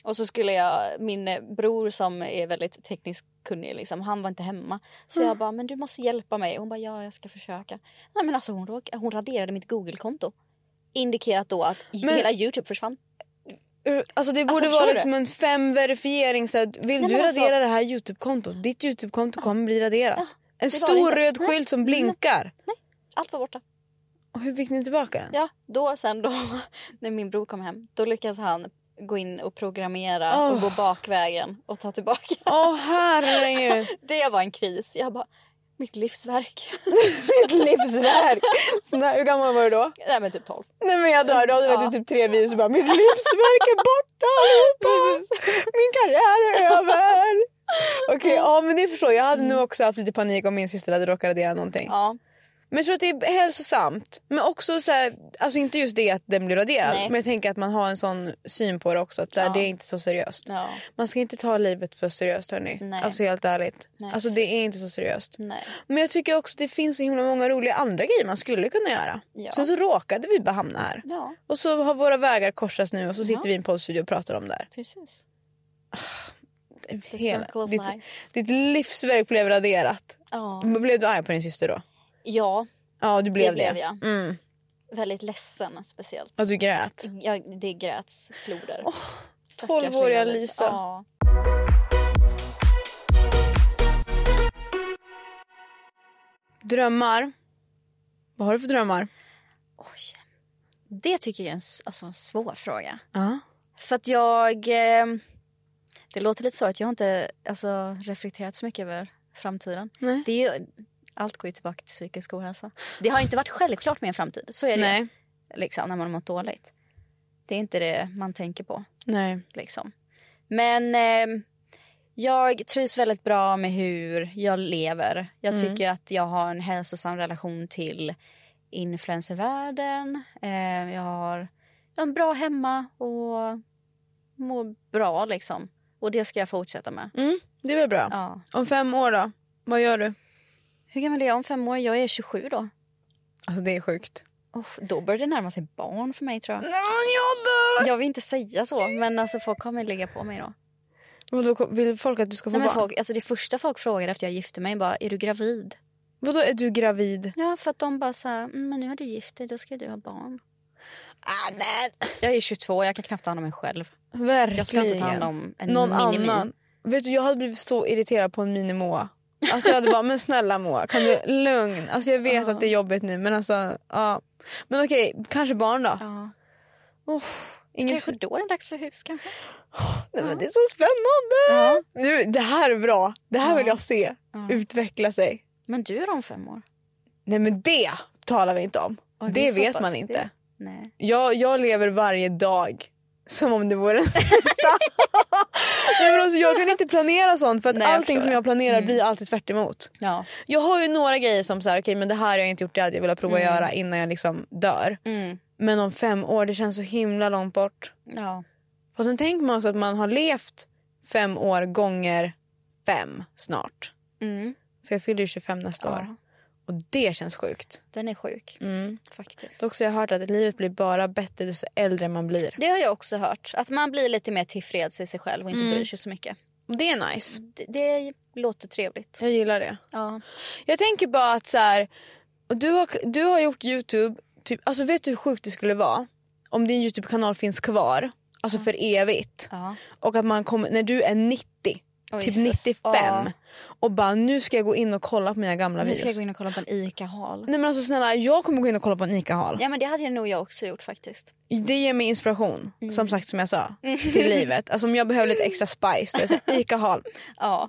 [SPEAKER 4] Och så skulle jag, min eh, bror som är väldigt tekniskt kunnig liksom, han var inte hemma. Så
[SPEAKER 3] Ah.
[SPEAKER 4] jag bara, men du måste hjälpa mig. Hon bara, ja jag ska försöka. Nej men alltså hon, råk- hon raderade mitt Google-konto. Indikerat då att
[SPEAKER 3] Men-
[SPEAKER 4] hela Youtube försvann.
[SPEAKER 3] Alltså det borde
[SPEAKER 4] förstår
[SPEAKER 3] vara
[SPEAKER 4] du?
[SPEAKER 3] liksom en fem verifiering så att vill
[SPEAKER 4] men
[SPEAKER 3] du
[SPEAKER 4] alltså-
[SPEAKER 3] radera det här Youtube-kontot, ditt Youtube-konto kommer bli raderat. en
[SPEAKER 4] det var
[SPEAKER 3] stor
[SPEAKER 4] det
[SPEAKER 3] röd
[SPEAKER 4] inte. Nej,
[SPEAKER 3] skylt som blinkar.
[SPEAKER 4] Allt var borta.
[SPEAKER 3] Och hur fick ni tillbaka den?
[SPEAKER 4] Ja, då sen då när min bror kom hem, då lyckades han gå in och programmera och
[SPEAKER 3] Åh.
[SPEAKER 4] gå bakvägen och ta tillbaka.
[SPEAKER 3] Åh herregud.
[SPEAKER 4] Det var en kris. Jag bara, Mitt livsverk.
[SPEAKER 3] Mitt livsverk! Så när, hur gammal var du då?
[SPEAKER 4] Nej men typ 12.
[SPEAKER 3] Nej men jag dör, då hade du
[SPEAKER 4] Ja.
[SPEAKER 3] lagt ut typ tre videos och bara mitt livsverk är borta allihopa! Min karriär är över! Okej, ja men det förstår jag. Jag hade nog också haft lite panik om min syster hade råkat radera någonting.
[SPEAKER 4] Mm. Ja.
[SPEAKER 3] Men jag tror att det är hälsosamt. Men också så här, alltså inte just det att den blir raderad.
[SPEAKER 4] Nej.
[SPEAKER 3] Men jag tänker att man har en sån syn på det också. Att så här,
[SPEAKER 4] Ja.
[SPEAKER 3] det är inte så seriöst.
[SPEAKER 4] ja.
[SPEAKER 3] Man ska inte ta livet för seriöst hörni.
[SPEAKER 4] Nej.
[SPEAKER 3] Alltså helt ärligt.
[SPEAKER 4] Nej. Mm.
[SPEAKER 3] Alltså det är inte så seriöst.
[SPEAKER 4] Nej.
[SPEAKER 3] Men jag tycker också att det finns så himla många roliga andra grejer man skulle kunna göra.
[SPEAKER 4] Ja.
[SPEAKER 3] Sen så råkade vi bara hamna här.
[SPEAKER 4] Ja.
[SPEAKER 3] Och så har våra vägar korsats nu och så sitter vi i en poddstudio och pratar om det här.
[SPEAKER 4] Precis. The circle
[SPEAKER 3] Hela,
[SPEAKER 4] of
[SPEAKER 3] ditt,
[SPEAKER 4] life.
[SPEAKER 3] ditt livsverk blev raderat.
[SPEAKER 4] Ja.
[SPEAKER 3] Men Blev du arg på din syster då?
[SPEAKER 4] Ja,
[SPEAKER 3] Ja du blev det.
[SPEAKER 4] blev jag.
[SPEAKER 3] Mm.
[SPEAKER 4] väldigt ledsen speciellt.
[SPEAKER 3] Och du grät.
[SPEAKER 4] Jag, det gräts floder. Stackars
[SPEAKER 3] 12-åriga
[SPEAKER 4] lilla Lisa.
[SPEAKER 3] Lisa.
[SPEAKER 4] Ja.
[SPEAKER 3] Drömmar. Vad har du för drömmar?
[SPEAKER 4] Oj. Det tycker jag är en, s- alltså, en svår fråga.
[SPEAKER 3] Ja.
[SPEAKER 4] För att jag... Eh, det låter lite så att jag har inte alltså, reflekterat så mycket över framtiden.
[SPEAKER 3] Nej.
[SPEAKER 4] Det är ju, allt går ju tillbaka till psykisk ohälsa. Det har inte varit självklart med en framtid. Så är det
[SPEAKER 3] Nej.
[SPEAKER 4] liksom, när man har mått dåligt. Det är inte det man tänker på.
[SPEAKER 3] Nej.
[SPEAKER 4] Liksom. Men eh, jag trivs väldigt bra med hur jag lever. Jag tycker att jag har en hälsosam relation till influencervärlden. Eh, jag har jag har en bra hemma och mår bra liksom. Och det ska jag fortsätta med.
[SPEAKER 3] Mm, det är väl bra.
[SPEAKER 4] Ja.
[SPEAKER 3] Om fem år då? Vad gör du?
[SPEAKER 4] Hur gammal är jag om fem år? Jag är 27 då.
[SPEAKER 3] Alltså det är sjukt.
[SPEAKER 4] Oh, då börjar det närma sig barn för mig tror jag.
[SPEAKER 3] jag dör!
[SPEAKER 4] Jag vill inte säga så men alltså, folk kommer ligga på mig då.
[SPEAKER 3] Vadå, vill folk att du ska få
[SPEAKER 4] Nej, men
[SPEAKER 3] barn?
[SPEAKER 4] folk, alltså, det första folk frågar efter jag gifte mig bara, är du gravid?
[SPEAKER 3] Vadå är du gravid?
[SPEAKER 4] Ja, för att de bara så här, "Mm, men nu har du gift dig, då ska du ha barn.
[SPEAKER 3] Ah, nej.
[SPEAKER 4] Jag är 22, jag kan knappt ta hand om mig själv.
[SPEAKER 3] Verkligen.
[SPEAKER 4] Jag ska inte ta hand om en
[SPEAKER 3] Någon
[SPEAKER 4] minimi.
[SPEAKER 3] annan. Vet du jag hade blivit så irriterad på en mini Moa. Alltså jag hade bara men snälla Moa kan du lugn. Alltså jag vet att det är jobbigt nu men alltså ja. Men okej kanske barn då.
[SPEAKER 4] Ja.
[SPEAKER 3] Oh, inget
[SPEAKER 4] Kanske då är det dags för hus kanske.
[SPEAKER 3] Nej, men det är så spännande!
[SPEAKER 4] Ja.
[SPEAKER 3] Nu, det här är bra. Det här
[SPEAKER 4] Ja.
[SPEAKER 3] vill jag se
[SPEAKER 4] Ja.
[SPEAKER 3] utveckla sig.
[SPEAKER 4] Men du är om fem år.
[SPEAKER 3] Nej men det talar vi inte om.
[SPEAKER 4] Och
[SPEAKER 3] det
[SPEAKER 4] är så
[SPEAKER 3] vet
[SPEAKER 4] pass-
[SPEAKER 3] man inte.
[SPEAKER 4] det- Nej.
[SPEAKER 3] Jag, jag lever varje dag som om det vore den sista. Nej, men alltså, jag kan inte planera sånt för att
[SPEAKER 4] Nej, jag
[SPEAKER 3] allting
[SPEAKER 4] förstår
[SPEAKER 3] som
[SPEAKER 4] det.
[SPEAKER 3] jag planerar blir alltid tvärt emot.
[SPEAKER 4] Ja.
[SPEAKER 3] Jag har ju några grejer som så här, okej, men det här har jag inte gjort, det hade jag velat prova att göra innan jag liksom dör.
[SPEAKER 4] Mm.
[SPEAKER 3] Men om fem år, det känns så himla långt bort.
[SPEAKER 4] Ja.
[SPEAKER 3] Och sen tänker man också att man har levt fem år gånger fem snart.
[SPEAKER 4] Mm.
[SPEAKER 3] För jag fyller ju 25 nästa år.
[SPEAKER 4] ja.
[SPEAKER 3] Och det känns sjukt.
[SPEAKER 4] Den är sjuk
[SPEAKER 3] Mm.
[SPEAKER 4] faktiskt.
[SPEAKER 3] Dock så har jag hört att livet blir bara bättre ju så äldre man blir.
[SPEAKER 4] Det har jag också hört. Att man blir lite mer tillfreds i sig själv och inte bryr sig så mycket.
[SPEAKER 3] Och det är nice.
[SPEAKER 4] Det, det låter trevligt.
[SPEAKER 3] Jag gillar det.
[SPEAKER 4] Ja.
[SPEAKER 3] Jag tänker bara att så här, och du, har, du har gjort Youtube, typ, alltså vet du hur sjukt det skulle vara om din Youtube-kanal finns kvar, alltså för evigt.
[SPEAKER 4] ja.
[SPEAKER 3] Och att man kommer, när du är 90,
[SPEAKER 4] Oj,
[SPEAKER 3] typ
[SPEAKER 4] Jesus.
[SPEAKER 3] 95
[SPEAKER 4] Ja.
[SPEAKER 3] och bara nu ska jag gå in och kolla på mina gamla
[SPEAKER 4] Nu
[SPEAKER 3] videos.
[SPEAKER 4] ska jag gå in och kolla på en ICA-hal.
[SPEAKER 3] Nej men alltså snälla jag kommer gå in och kolla på en ICA-hal.
[SPEAKER 4] Ja men det hade jag nog jag också gjort faktiskt.
[SPEAKER 3] Det ger mig inspiration,
[SPEAKER 4] Mm.
[SPEAKER 3] som sagt som jag sa, till livet. Alltså om jag behöver lite extra spice, då är det så här, ICA-hal.
[SPEAKER 4] Ja.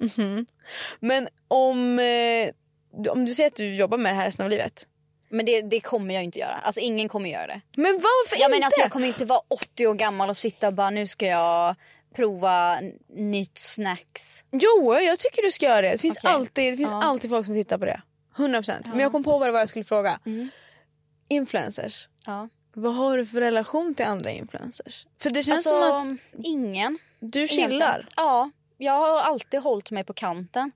[SPEAKER 3] Men om, eh, du- om du säger att du jobbar med det här resten av livet.
[SPEAKER 4] Men det, det kommer jag inte göra. Alltså ingen kommer göra det.
[SPEAKER 3] Men varför
[SPEAKER 4] Jag
[SPEAKER 3] inte?
[SPEAKER 4] menar alltså jag kommer inte vara 80 år gammal och sitta och bara nu ska jag prova n- nytt snacks.
[SPEAKER 3] Jo, jag tycker du ska göra det. Det finns,
[SPEAKER 4] Okej.
[SPEAKER 3] alltid, det finns
[SPEAKER 4] Ja.
[SPEAKER 3] alltid folk som tittar på det. 100%. Men jag kom på vad det var jag skulle fråga.
[SPEAKER 4] Mm.
[SPEAKER 3] Influencers.
[SPEAKER 4] Ja.
[SPEAKER 3] Vad har du för relation till andra influencers? För det känns
[SPEAKER 4] Alltså
[SPEAKER 3] som att
[SPEAKER 4] ingen.
[SPEAKER 3] du
[SPEAKER 4] egentligen.
[SPEAKER 3] chillar.
[SPEAKER 4] Ja. Jag har alltid hållit mig på kanten.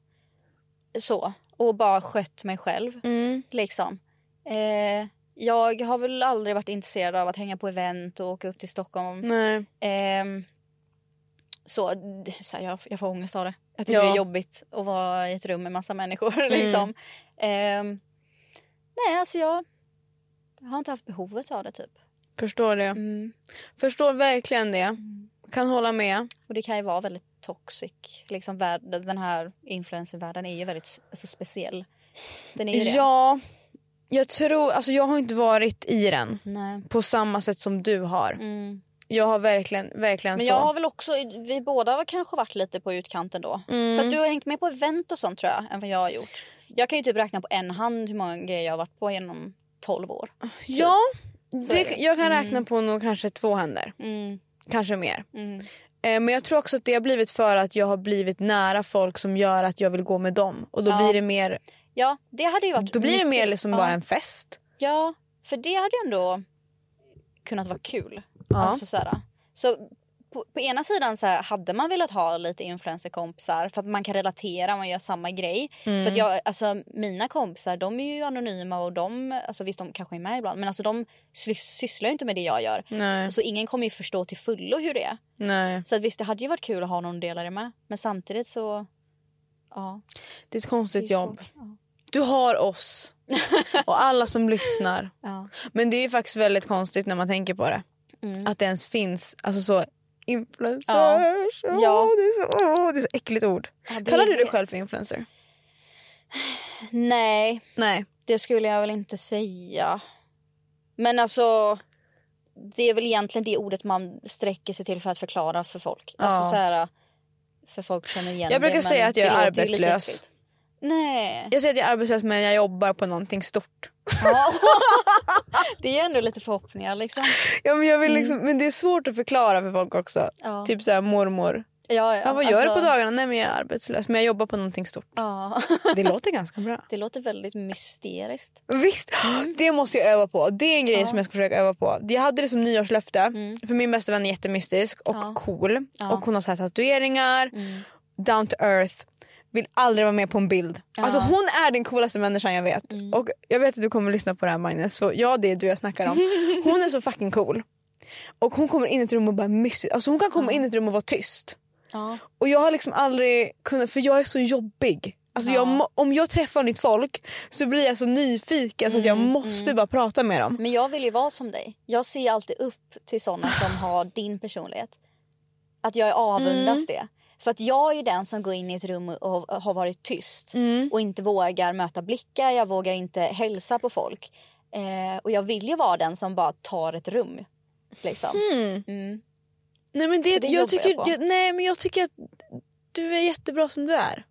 [SPEAKER 4] Så. Och bara skött mig själv.
[SPEAKER 3] Mm.
[SPEAKER 4] Liksom. Eh, jag har väl aldrig varit intresserad av att hänga på event och åka upp till Stockholm.
[SPEAKER 3] Nej.
[SPEAKER 4] Ehm, så, d- så här, jag, jag får ångest av det. Jag tycker
[SPEAKER 3] Ja. Mm.
[SPEAKER 4] det är jobbigt att vara i ett rum med massa människor. liksom. Ehm, nej, alltså jag, jag har inte haft behovet av det typ.
[SPEAKER 3] Förstår det.
[SPEAKER 4] Mm.
[SPEAKER 3] Förstår verkligen det. Kan hålla med.
[SPEAKER 4] Och det kan ju vara väldigt toxic. Liksom, världen, den här influencervärlden är ju väldigt s- alltså, speciell. Den är ju det.
[SPEAKER 3] Ja, jag tror, alltså jag har inte varit i den
[SPEAKER 4] Nej.
[SPEAKER 3] på samma sätt som du har.
[SPEAKER 4] Mm.
[SPEAKER 3] Jag har verkligen, verkligen
[SPEAKER 4] Men
[SPEAKER 3] så.
[SPEAKER 4] jag har väl också, vi
[SPEAKER 3] Mm.
[SPEAKER 4] båda har kanske varit lite på utkanten då. Fast du har hängt med på event och sånt tror jag, än vad jag har gjort. Jag kan ju typ räkna på en hand hur många grejer jag har varit på genom 12 år.
[SPEAKER 3] Ja,
[SPEAKER 4] Typ. Så är
[SPEAKER 3] det,
[SPEAKER 4] det.
[SPEAKER 3] jag kan räkna på nog kanske två händer.
[SPEAKER 4] Mm,
[SPEAKER 3] Kanske mer.
[SPEAKER 4] mm.
[SPEAKER 3] Eh, men jag tror också att det har blivit för att jag har blivit nära folk som gör att jag vill gå med dem. Och då
[SPEAKER 4] Ja.
[SPEAKER 3] blir det mer,
[SPEAKER 4] Ja, det hade ju varit
[SPEAKER 3] då blir det
[SPEAKER 4] mycket-
[SPEAKER 3] mer liksom
[SPEAKER 4] ja.
[SPEAKER 3] bara en fest.
[SPEAKER 4] Ja, för det hade ju ändå kunnat vara kul.
[SPEAKER 3] Ja.
[SPEAKER 4] Alltså så här, så på, på ena sidan så här, hade man velat ha lite influencerkompisar för att man kan relatera, man gör samma grej.
[SPEAKER 3] Mm.
[SPEAKER 4] För att jag, alltså, mina kompisar de är ju anonyma och de, alltså, visst de kanske är med ibland men alltså, de sly- sysslar ju inte med det jag gör.
[SPEAKER 3] Nej.
[SPEAKER 4] Så ingen kommer ju förstå till fullo hur det är.
[SPEAKER 3] Nej.
[SPEAKER 4] Så att, visst det hade ju varit kul att ha någon att dela det med men samtidigt så ja.
[SPEAKER 3] Det är ett konstigt
[SPEAKER 4] det är
[SPEAKER 3] jobb.
[SPEAKER 4] svårt. Ja.
[SPEAKER 3] Du har oss. Och alla som lyssnar.
[SPEAKER 4] Ja.
[SPEAKER 3] Men det är ju faktiskt väldigt konstigt när man tänker på det.
[SPEAKER 4] Mm.
[SPEAKER 3] Att det ens finns alltså så influencers.
[SPEAKER 4] Ja.
[SPEAKER 3] Åh,
[SPEAKER 4] Ja.
[SPEAKER 3] det, är så, åh, det är så äckligt ord.
[SPEAKER 4] Ja, det-
[SPEAKER 3] Kallar du dig
[SPEAKER 4] det-
[SPEAKER 3] själv för influencer?
[SPEAKER 4] Nej
[SPEAKER 3] Nej.
[SPEAKER 4] Det skulle jag väl inte säga. Men alltså, det är väl egentligen det ordet man sträcker sig till för att förklara för folk.
[SPEAKER 3] Ja.
[SPEAKER 4] Alltså så här, för folk känner igen
[SPEAKER 3] Jag brukar
[SPEAKER 4] det, men
[SPEAKER 3] säga att jag
[SPEAKER 4] det
[SPEAKER 3] är
[SPEAKER 4] låter ju lite
[SPEAKER 3] arbetslös.
[SPEAKER 4] äckligt. Nej.
[SPEAKER 3] Jag säger att jag är arbetslös men jag jobbar på någonting stort.
[SPEAKER 4] Ja. det är ändå lite förhoppningar liksom.
[SPEAKER 3] Ja, men, jag vill liksom, men det är svårt att förklara för folk också.
[SPEAKER 4] Ja.
[SPEAKER 3] Typ såhär mormor.
[SPEAKER 4] Ja,
[SPEAKER 3] Ja, vad gör du på dagarna? Nej men jag är arbetslös men jag jobbar på någonting stort.
[SPEAKER 4] alltså, Ja.
[SPEAKER 3] Det låter ganska bra.
[SPEAKER 4] Det låter väldigt mysteriskt.
[SPEAKER 3] Visst,
[SPEAKER 4] Mm.
[SPEAKER 3] det måste jag öva på. Det är en grej som jag ska försöka öva på. Jag hade det som nyårslöfte. För min bästa vän är jättemystisk och
[SPEAKER 4] Mm. Ja.
[SPEAKER 3] cool.
[SPEAKER 4] Ja. Mm.
[SPEAKER 3] Och hon har så här tatueringar. Down to earth. Vill aldrig vara med på en bild. Alltså hon är den coolaste människan jag vet.
[SPEAKER 4] Mm.
[SPEAKER 3] Och jag vet att du kommer lyssna på det här Magnus. Så ja det är du jag snackar om. Hon är så fucking cool. Och hon kommer in i ett rum och bara mysigt. Alltså hon kan komma in i ett rum och vara tyst.
[SPEAKER 4] Ja.
[SPEAKER 3] Och jag har liksom aldrig kunnat, för jag är så jobbig. Alltså jag, må- om jag träffar nytt folk så blir jag så nyfiken så att jag måste bara prata med dem.
[SPEAKER 4] Men jag vill ju vara som dig. Jag ser alltid upp till såna som har din personlighet. Att jag avundas
[SPEAKER 3] Mm.
[SPEAKER 4] det. För att jag är ju den som går in i ett rum och och har varit tyst.
[SPEAKER 3] Mm.
[SPEAKER 4] Och inte vågar möta blickar, jag vågar inte hälsa på folk. Eh, och jag vill ju vara den som bara tar ett rum. Liksom.
[SPEAKER 3] Hmm.
[SPEAKER 4] Mm.
[SPEAKER 3] Nej men det,
[SPEAKER 4] Så det
[SPEAKER 3] jag,
[SPEAKER 4] jobbar
[SPEAKER 3] tycker,
[SPEAKER 4] jag
[SPEAKER 3] jag,
[SPEAKER 4] på.
[SPEAKER 3] nej, men jag tycker att du är jättebra som du är.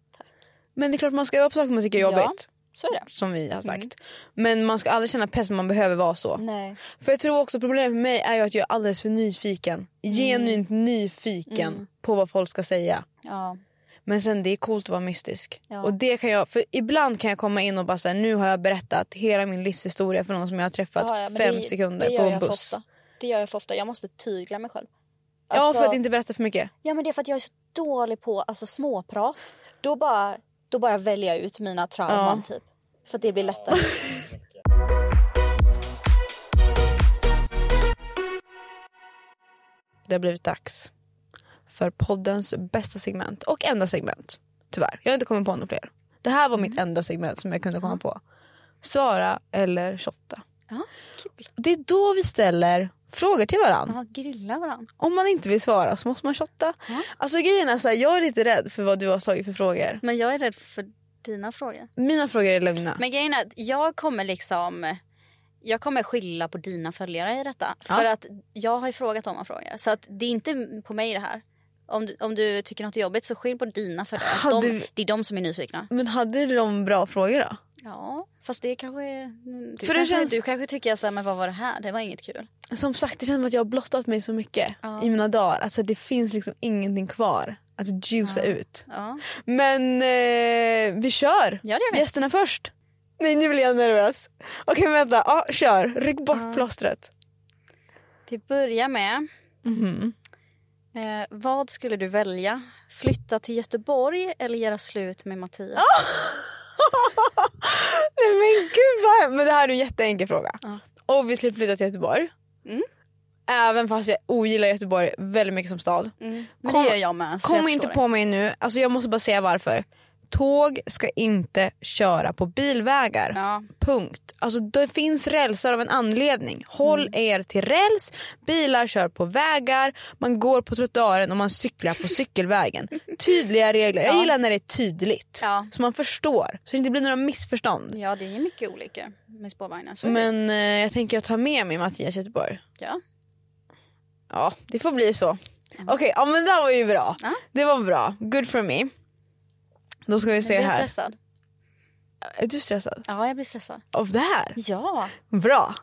[SPEAKER 3] Men det är klart man ska öva på saker man tycker är
[SPEAKER 4] Ja.
[SPEAKER 3] jobbigt.
[SPEAKER 4] Så är det.
[SPEAKER 3] Som vi har sagt. Men man ska aldrig känna press man behöver vara så.
[SPEAKER 4] Nej.
[SPEAKER 3] För jag tror också problemet med mig är ju att jag är alldeles för nyfiken. Genuint nyfiken på vad folk ska säga.
[SPEAKER 4] Ja.
[SPEAKER 3] Men sen det är coolt att vara mystisk.
[SPEAKER 4] Ja.
[SPEAKER 3] Och det kan jag, för ibland kan jag komma in och bara säga nu har jag berättat hela min livshistoria för någon som jag har träffat
[SPEAKER 4] Ja, ja, men
[SPEAKER 3] fem
[SPEAKER 4] det-
[SPEAKER 3] sekunder
[SPEAKER 4] det gör
[SPEAKER 3] på en
[SPEAKER 4] jag för
[SPEAKER 3] buss.
[SPEAKER 4] ofta. Det gör jag för ofta. Jag måste tygla mig själv.
[SPEAKER 3] Ja för
[SPEAKER 4] Alltså-
[SPEAKER 3] att inte berätta för mycket.
[SPEAKER 4] Ja men det är för att jag är så dålig på alltså, småprat. Då bara, då bara väljer jag ut mina trauman typ. För att det blir lättare.
[SPEAKER 3] Det har blivit dags för poddens bästa segment och enda segment. Tyvärr, jag har inte kommit på något fler. Det här var mitt
[SPEAKER 4] Mm.
[SPEAKER 3] enda segment som jag kunde komma på. Svara eller shotta.
[SPEAKER 4] Ja, kul.
[SPEAKER 3] Det är då vi ställer frågor till varandra.
[SPEAKER 4] Ja, grilla varandra.
[SPEAKER 3] Om man inte vill svara så måste man shotta. Alltså grejen är så här, jag är lite rädd för vad du har tagit för frågor.
[SPEAKER 4] Men jag är rädd för dina frågor.
[SPEAKER 3] Mina frågor är lugna.
[SPEAKER 4] Men grejen är att jag kommer liksom... Jag kommer skylla på dina följare i detta. För att jag har ju frågat om man frågar. Så att det är inte på mig det här. Om du, om du tycker något är jobbigt så skyll på dina följare.
[SPEAKER 3] Hade
[SPEAKER 4] De,
[SPEAKER 3] vi-
[SPEAKER 4] det är de som är nyfikna.
[SPEAKER 3] Men hade de bra frågor då?
[SPEAKER 4] Ja, fast det kanske är... Du,
[SPEAKER 3] det
[SPEAKER 4] För kanske,
[SPEAKER 3] känns-
[SPEAKER 4] du kanske tycker så här, men vad var det här? Det var inget kul.
[SPEAKER 3] Som sagt det känns som att jag har blottat mig så mycket
[SPEAKER 4] Ja.
[SPEAKER 3] i mina dagar. Alltså det finns liksom ingenting kvar att juica ut.
[SPEAKER 4] Ja.
[SPEAKER 3] Men eh, vi kör!
[SPEAKER 4] Ja, det gör vi.
[SPEAKER 3] Gästerna först. Nej nu blir jag nervös. Okej men vänta, ja, kör. Ryck bort plåstret.
[SPEAKER 4] Vi börjar med...
[SPEAKER 3] Mm-hmm.
[SPEAKER 4] Eh, vad skulle du välja? Flytta till Göteborg eller göra slut med Mattias?
[SPEAKER 3] Ah! Nej men gud vad Men det här är en jätteenkel fråga. Obviously flytta till Göteborg.
[SPEAKER 4] Mm.
[SPEAKER 3] Även fast jag ogillar Göteborg väldigt mycket som stad.
[SPEAKER 4] Mm. Men
[SPEAKER 3] Kom-
[SPEAKER 4] det gör jag med. så
[SPEAKER 3] Kom
[SPEAKER 4] jag
[SPEAKER 3] inte
[SPEAKER 4] förstår
[SPEAKER 3] på mig nu, alltså jag måste bara säga varför. Tåg ska inte köra på bilvägar.
[SPEAKER 4] det. Ja.
[SPEAKER 3] Punkt. Alltså det finns rälsar av en anledning. Håll
[SPEAKER 4] Mm.
[SPEAKER 3] er till räls, bilar kör på vägar, man går på trottoaren och man cyklar på cykelvägen. Tydliga regler. Jag gillar när det är tydligt.
[SPEAKER 4] Ja.
[SPEAKER 3] Så man förstår. Så det inte blir några missförstånd.
[SPEAKER 4] ja, det är ju mycket olyckor med spårvagnar. Så
[SPEAKER 3] Men eh, jag tänker jag tar med mig Mattias Göteborg.
[SPEAKER 4] ja.
[SPEAKER 3] Ja, det får bli så. Okej, ja men det här var ju bra. Det var bra. Good for me. Då ska vi se
[SPEAKER 4] Jag blir
[SPEAKER 3] här.
[SPEAKER 4] stressad.
[SPEAKER 3] Är du stressad?
[SPEAKER 4] Ja, jag blir stressad.
[SPEAKER 3] Av det här?
[SPEAKER 4] Ja,
[SPEAKER 3] Bra!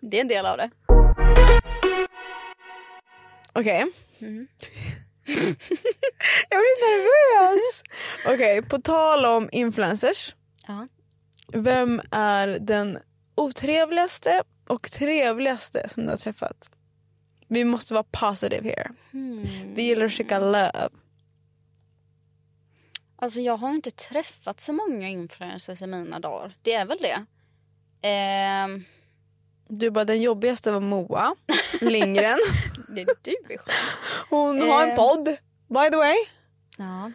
[SPEAKER 4] det är en del av det.
[SPEAKER 3] Okej. jag blir nervös! Okej, på tal om influencers.
[SPEAKER 4] Ja.
[SPEAKER 3] Vem är den otrevligaste och trevligaste som du har träffat? Vi måste vara positive here. Vi gillar att skicka love.
[SPEAKER 4] Alltså jag har ju inte träffat så många influencers i mina dagar. Det är väl det. Ehm,
[SPEAKER 3] Du bara den jobbigaste var Moa Lindgren.
[SPEAKER 4] det är du är skön.
[SPEAKER 3] Hon har en
[SPEAKER 4] Eh.
[SPEAKER 3] podd by the way.
[SPEAKER 4] Ja,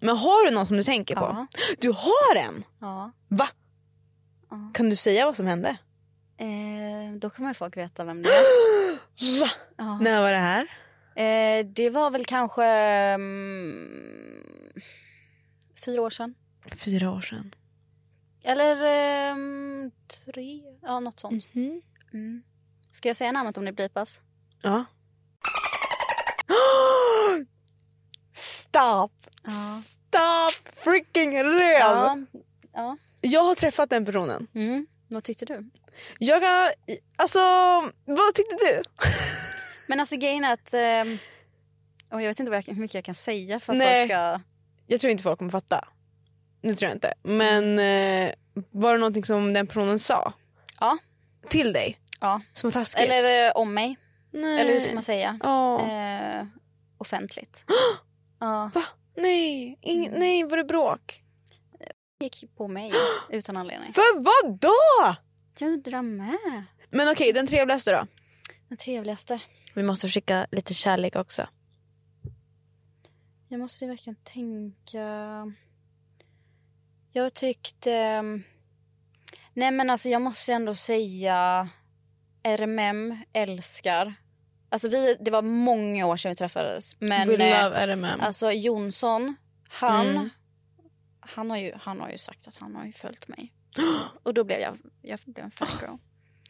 [SPEAKER 3] Men har du någon som du tänker på?
[SPEAKER 4] ja,
[SPEAKER 3] Du har en!
[SPEAKER 4] ja.
[SPEAKER 3] Va?
[SPEAKER 4] Ja.
[SPEAKER 3] Kan du säga vad som hände?
[SPEAKER 4] Ehm, då kommer folk veta vem det är.
[SPEAKER 3] Va?
[SPEAKER 4] Ja.
[SPEAKER 3] När var det här?
[SPEAKER 4] Eh, det var väl kanske mm, fyra år sedan.
[SPEAKER 3] Fyra år sedan.
[SPEAKER 4] Eller ehm, tre, ja något sånt. Mm. Ska jag säga namnet om det blipas?
[SPEAKER 3] Ja. Stop!
[SPEAKER 4] Ja.
[SPEAKER 3] Stop freaking röv!
[SPEAKER 4] ja.
[SPEAKER 3] Jag har träffat den personen.
[SPEAKER 4] Mm. Vad tyckte du?
[SPEAKER 3] Jag kan... Alltså, vad tyckte du?
[SPEAKER 4] Men alltså grejen är att... ehm, och jag vet inte vad jag, hur mycket jag kan säga för att
[SPEAKER 3] Nej.
[SPEAKER 4] folk ska...
[SPEAKER 3] Jag tror inte folk kommer fatta. Det tror jag inte. Men eh, var det någonting som den personen sa?
[SPEAKER 4] Ja.
[SPEAKER 3] Till dig?
[SPEAKER 4] Ja.
[SPEAKER 3] Som var taskigt?
[SPEAKER 4] Eller eh, om mig.
[SPEAKER 3] nej.
[SPEAKER 4] Eller hur ska man säga?
[SPEAKER 3] Ja.
[SPEAKER 4] Eh, offentligt. ja.
[SPEAKER 3] Va? Nej. Ing-
[SPEAKER 4] Mm.
[SPEAKER 3] nej, var det bråk?
[SPEAKER 4] gick på mig utan anledning.
[SPEAKER 3] För vad då?
[SPEAKER 4] Jag undrar med.
[SPEAKER 3] Men okej, den trevligaste då?
[SPEAKER 4] Den trevligaste.
[SPEAKER 3] Vi måste skicka lite kärlek också.
[SPEAKER 4] Jag måste ju verkligen tänka. Jag tyckte... ehm, Nej men alltså jag måste ändå säga RMM älskar. Alltså vi, det var många år sedan vi träffades. Men
[SPEAKER 3] We
[SPEAKER 4] eh,
[SPEAKER 3] love RMM.
[SPEAKER 4] alltså Jonsson, han,
[SPEAKER 3] Mm.
[SPEAKER 4] han, har ju, han har ju sagt att han har ju följt mig. Och då blev jag, jag blev en fangirl.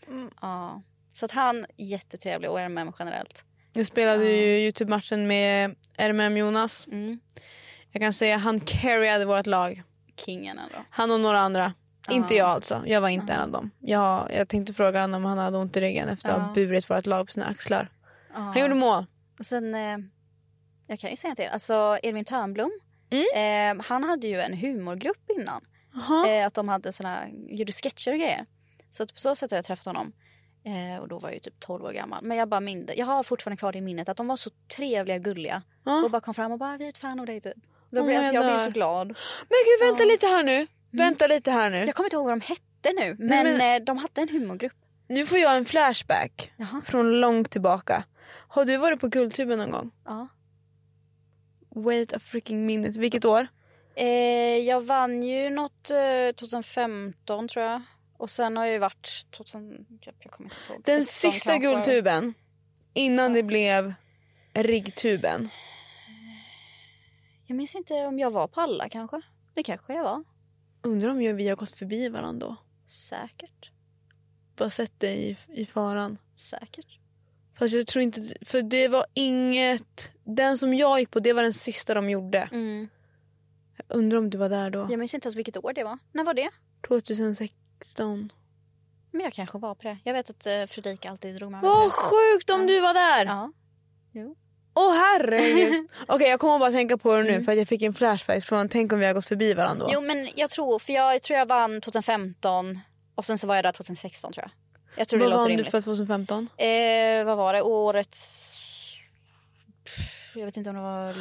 [SPEAKER 3] Mm.
[SPEAKER 4] Ja. Så att han jättetrevlig och RMM generellt.
[SPEAKER 3] Jag spelade ju Youtube-matchen med RMM Jonas.
[SPEAKER 4] Mm.
[SPEAKER 3] Jag kan säga han carryade vårt lag.
[SPEAKER 4] Kingen ändå.
[SPEAKER 3] Han och några andra. Inte
[SPEAKER 4] Ja.
[SPEAKER 3] jag alltså. Jag var inte en av dem. Jag, jag tänkte fråga honom om han hade ont i ryggen efter att ha
[SPEAKER 4] Ja.
[SPEAKER 3] burit vårt lag på sina axlar.
[SPEAKER 4] Ja.
[SPEAKER 3] Han gjorde mål.
[SPEAKER 4] Och sen, eh, jag kan ju säga till er, alltså Edvin Törnblom,
[SPEAKER 3] Mm.
[SPEAKER 4] eh, han hade ju en humorgrupp innan. Eh, att de hade såna, gjorde sketcher och grejer. Så att på så sätt har jag träffat honom. Eh, och då var jag ju typ 12 år gammal. Men jag bara minns, jag har fortfarande kvar det i minnet att de var så trevliga och gulliga.
[SPEAKER 3] Ja.
[SPEAKER 4] Och bara kom fram och bara, vi är ett fan av dig typ. Då
[SPEAKER 3] Åh,
[SPEAKER 4] blev,
[SPEAKER 3] jag
[SPEAKER 4] alltså, jag blev
[SPEAKER 3] dör.
[SPEAKER 4] så glad.
[SPEAKER 3] Men gud vänta lite här nu.
[SPEAKER 4] Mm.
[SPEAKER 3] Vänta lite här nu.
[SPEAKER 4] Jag kommer inte ihåg vad de hette nu. Men,
[SPEAKER 3] Nej,
[SPEAKER 4] Eh, de hade en humorgrupp.
[SPEAKER 3] Nu får jag en flashback.
[SPEAKER 4] Jaha.
[SPEAKER 3] Från långt tillbaka. Har du varit på Guldtuben någon gång?
[SPEAKER 4] Ja.
[SPEAKER 3] Wait a freaking minute. Vilket år?
[SPEAKER 4] Eh, jag vann ju något eh, 2015 tror jag. Och sen har jag ju varit 2000, jag jag kommer inte ihåg.
[SPEAKER 3] Den
[SPEAKER 4] 16
[SPEAKER 3] sista
[SPEAKER 4] kanske.
[SPEAKER 3] Guldtuben. Innan det blev Riggtuben.
[SPEAKER 4] Jag minns inte om jag var på alla kanske. Det kanske jag var.
[SPEAKER 3] Undrar om vi har gått förbi varandra då.
[SPEAKER 4] Säkert.
[SPEAKER 3] Bara sett dig i, i faran.
[SPEAKER 4] Säkert.
[SPEAKER 3] Fast jag tror inte... För det var inget... Den som jag gick på, det var den sista de gjorde.
[SPEAKER 4] Mm.
[SPEAKER 3] Undrar om du var där då?
[SPEAKER 4] Jag minns inte ens vilket år det var. När var det?
[SPEAKER 3] 2016.
[SPEAKER 4] Men jag kanske var på det. Jag vet att eh, Fredrika alltid drog med mig på
[SPEAKER 3] Vad
[SPEAKER 4] det.
[SPEAKER 3] sjukt om du var där!
[SPEAKER 4] Ja.
[SPEAKER 3] Åh herregud. Okej jag kommer bara tänka på det nu för att jag fick en flashback från tänk om vi har gått förbi varandra. då.
[SPEAKER 4] Mm. Jo men jag tror, för jag tror jag vann 2015 och sen så var jag där 2016 tror jag. Jag tror
[SPEAKER 3] Vad
[SPEAKER 4] det låter
[SPEAKER 3] vann du
[SPEAKER 4] rimligt.
[SPEAKER 3] för 2015?
[SPEAKER 4] Eh, vad var det? Årets... Jag vet inte om det var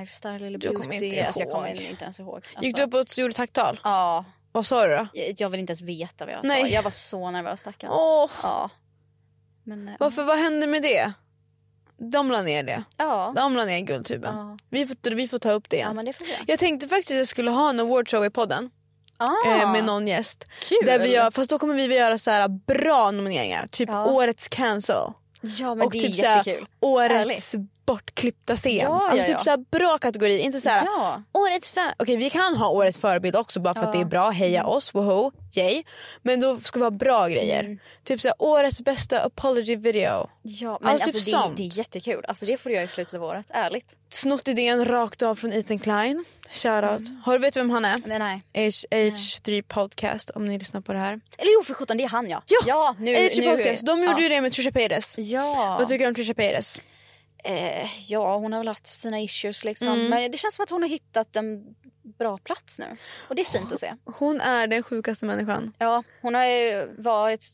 [SPEAKER 4] lifestyle eller
[SPEAKER 3] Du
[SPEAKER 4] beauty.
[SPEAKER 3] kommer inte
[SPEAKER 4] Alltså, jag
[SPEAKER 3] ihåg.
[SPEAKER 4] kommer inte ens ihåg. Alltså,
[SPEAKER 3] Gick du upp och gjorde tacktal?
[SPEAKER 4] Ja.
[SPEAKER 3] Vad sa du då?
[SPEAKER 4] Jag, jag vill inte ens veta vad jag sa.
[SPEAKER 3] Nej.
[SPEAKER 4] Jag var så nervös stackarn.
[SPEAKER 3] Åh,
[SPEAKER 4] Ja. Men, eh,
[SPEAKER 3] varför, vad hände med det? De la ner det.
[SPEAKER 4] Ja.
[SPEAKER 3] De la ner guldtuben.
[SPEAKER 4] Ja.
[SPEAKER 3] Vi, får, vi får ta upp det
[SPEAKER 4] ja
[SPEAKER 3] igen.
[SPEAKER 4] men det får vi göra.
[SPEAKER 3] Jag tänkte faktiskt att jag skulle ha en awardshow i podden
[SPEAKER 4] ah,
[SPEAKER 3] eh, med någon gäst.
[SPEAKER 4] Kul.
[SPEAKER 3] Där vi gör, fast då kommer vi väl göra så här bra nomineringar. Typ
[SPEAKER 4] Ja.
[SPEAKER 3] årets cancel.
[SPEAKER 4] Ja men
[SPEAKER 3] och
[SPEAKER 4] det är
[SPEAKER 3] typ
[SPEAKER 4] typ
[SPEAKER 3] så här,
[SPEAKER 4] jättekul.
[SPEAKER 3] årets bortklippta scen.
[SPEAKER 4] Ja, ja,
[SPEAKER 3] alltså typ
[SPEAKER 4] ja.
[SPEAKER 3] så här bra kategorier, inte så här
[SPEAKER 4] Ja.
[SPEAKER 3] årets för... Okej vi kan ha årets förebild också bara för att det är bra,
[SPEAKER 4] Mm.
[SPEAKER 3] heja oss, woho, yay. Men då ska det vara bra grejer.
[SPEAKER 4] Mm.
[SPEAKER 3] Typ så här, årets bästa apology video.
[SPEAKER 4] Ja,
[SPEAKER 3] Alltså,
[SPEAKER 4] men alltså,
[SPEAKER 3] typ
[SPEAKER 4] det, är,
[SPEAKER 3] sånt.
[SPEAKER 4] det är jättekul. Alltså det får du göra i slutet av året, ärligt.
[SPEAKER 3] Snott idén rakt av från Ethan Klein. Shoutout. Har du vet vem han är?
[SPEAKER 4] Men Mm. nej.
[SPEAKER 3] H- H3 podcast om ni lyssnar på det här.
[SPEAKER 4] Eller jo för sjutton, det är han ja.
[SPEAKER 3] Ja,
[SPEAKER 4] nu,
[SPEAKER 3] H3
[SPEAKER 4] nu.
[SPEAKER 3] podcast, de gjorde ju det med Trisha Paytas.
[SPEAKER 4] Ja.
[SPEAKER 3] Vad tycker du om Trisha Paytas?
[SPEAKER 4] eh, ja, hon har väl haft sina issues liksom.
[SPEAKER 3] Mm.
[SPEAKER 4] Men det känns som att hon har hittat en bra plats nu. Och det är fint att se.
[SPEAKER 3] Hon är den sjukaste människan.
[SPEAKER 4] Ja, hon har ju varit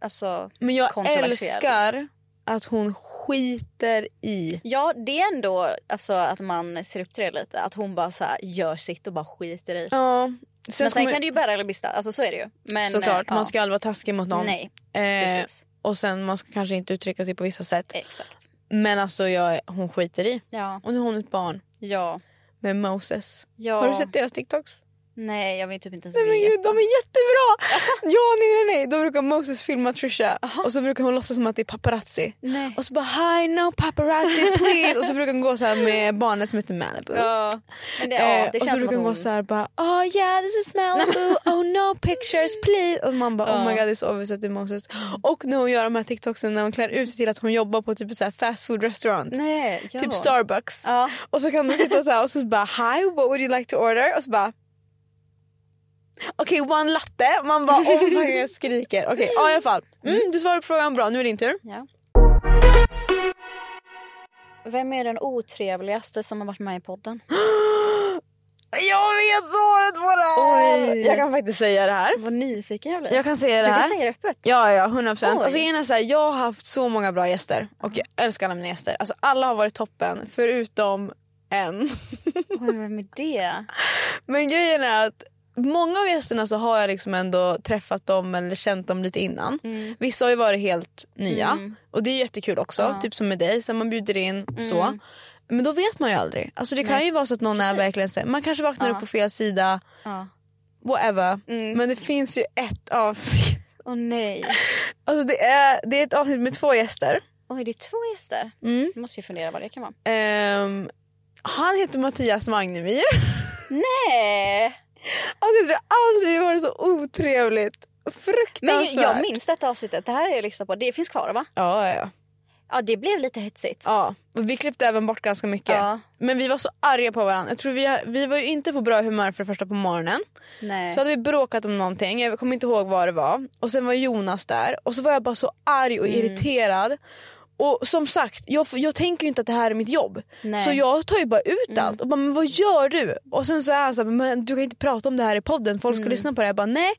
[SPEAKER 4] alltså
[SPEAKER 3] Men jag
[SPEAKER 4] kontroversiell.
[SPEAKER 3] älskar att hon skiter i.
[SPEAKER 4] Ja, det är ändå alltså, att man ser upp till det lite. Att hon bara så här, gör sitt och bara skiter i.
[SPEAKER 3] Ja.
[SPEAKER 4] men sen
[SPEAKER 3] kommer-
[SPEAKER 4] kan det ju bära eller brista. Alltså så är det ju. Men,
[SPEAKER 3] Såklart,
[SPEAKER 4] eh, ja.
[SPEAKER 3] man ska aldrig vara taskig mot någon.
[SPEAKER 4] Nej,
[SPEAKER 3] Eh,
[SPEAKER 4] precis.
[SPEAKER 3] och sen man ska kanske inte uttrycka sig på vissa sätt.
[SPEAKER 4] Exakt.
[SPEAKER 3] Men alltså jag, hon skiter i.
[SPEAKER 4] Ja,
[SPEAKER 3] Och nu har hon ett barn
[SPEAKER 4] ja,
[SPEAKER 3] med Moses.
[SPEAKER 4] ja.
[SPEAKER 3] Har du sett deras TikToks?
[SPEAKER 4] Nej, jag vill typ inte ens
[SPEAKER 3] Nej men
[SPEAKER 4] veta.
[SPEAKER 3] gud de är jättebra!
[SPEAKER 4] Alltså.
[SPEAKER 3] Ja nej nej nej, då brukar Moses filma Trisha och så brukar hon låtsas som att det är paparazzi.
[SPEAKER 4] Nej.
[SPEAKER 3] Och så bara hi no paparazzi please och så brukar hon gå så här med barnet som heter Malibu.
[SPEAKER 4] Ja, men det, ja,
[SPEAKER 3] Eh,
[SPEAKER 4] det
[SPEAKER 3] och så
[SPEAKER 4] känns som
[SPEAKER 3] brukar hon
[SPEAKER 4] att hon...
[SPEAKER 3] vara såhär bara oh yeah this is Malibu, oh no pictures please. Och man bara oh my god det är så obvious att det är Moses. Och när hon gör de här TikToksen när hon klär ut sig till att hon jobbar på typ ett så här fast food restaurant.
[SPEAKER 4] Nej, ja.
[SPEAKER 3] Typ Starbucks.
[SPEAKER 4] Ja.
[SPEAKER 3] Och så kan hon sitta så här och så bara hi what would you like to order? Och så bara Okej one latte. Man bara åh vad fan jag skriker. Okej ja, i alla fall. Mm, du svarade på frågan bra nu är det din tur.
[SPEAKER 4] ja. Vem är den otrevligaste som har varit med i podden?
[SPEAKER 3] Jag vet svaret på det här!
[SPEAKER 4] Oj.
[SPEAKER 3] Jag kan faktiskt säga det här.
[SPEAKER 4] Vad nyfiken jag blir.
[SPEAKER 3] Jag kan säga det
[SPEAKER 4] du
[SPEAKER 3] här.
[SPEAKER 4] kan säga det öppet.
[SPEAKER 3] Ja, ja, 100 procent.
[SPEAKER 4] Oj.
[SPEAKER 3] Alltså, grejen är så här, jag har haft så många bra gäster och jag älskar alla mina gäster. Alltså, alla har varit toppen förutom en.
[SPEAKER 4] Oj, vem är det?
[SPEAKER 3] Men grejen är att många av gästerna så har jag liksom ändå träffat dem eller känt dem lite innan.
[SPEAKER 4] Mm.
[SPEAKER 3] Vissa har ju varit helt nya och det är jättekul också. Typ som med dig, så här, man bjuder in
[SPEAKER 4] Mm.
[SPEAKER 3] så. Men då vet man ju aldrig. Alltså det kan ju vara så att någon är verkligen så här- man kanske vaknar upp på fel sida.
[SPEAKER 4] Ja. Mm.
[SPEAKER 3] Whatever. Men det finns ju ett avsnitt.
[SPEAKER 4] Åh nej.
[SPEAKER 3] Alltså det är, det är ett avsnitt med två gäster.
[SPEAKER 4] Oj, det är två gäster. Jag måste ju fundera vad det kan vara.
[SPEAKER 3] Ehm, han heter Mattias Magnemyr.
[SPEAKER 4] Nej!
[SPEAKER 3] Alltså jag tror aldrig det varit så otrevligt.
[SPEAKER 4] Men
[SPEAKER 3] Fruktansvärt.
[SPEAKER 4] jag minns detta avsnittet. Det här är jag lyssnat på. Det finns kvar va?
[SPEAKER 3] Ja, ja.
[SPEAKER 4] Ja, det blev lite hetsigt.
[SPEAKER 3] ja. Och vi klippte även bort ganska mycket.
[SPEAKER 4] Ja.
[SPEAKER 3] Men vi var så arga på varandra. Jag tror vi, vi var ju inte på bra humör för det första på morgonen.
[SPEAKER 4] Nej.
[SPEAKER 3] Så hade vi bråkat om någonting, jag kommer inte ihåg vad det var. Och sen var Jonas där och så var jag bara så arg
[SPEAKER 4] Mm.
[SPEAKER 3] och irriterad. Och som sagt, jag, jag tänker ju inte att det här är mitt jobb.
[SPEAKER 4] Nej. Mm.
[SPEAKER 3] Så jag tar ju bara ut allt och bara men vad gör du? Och sen så är han såhär, men du kan inte prata om det här i podden, folk ska
[SPEAKER 4] Mm.
[SPEAKER 3] lyssna på det. Jag bara nej,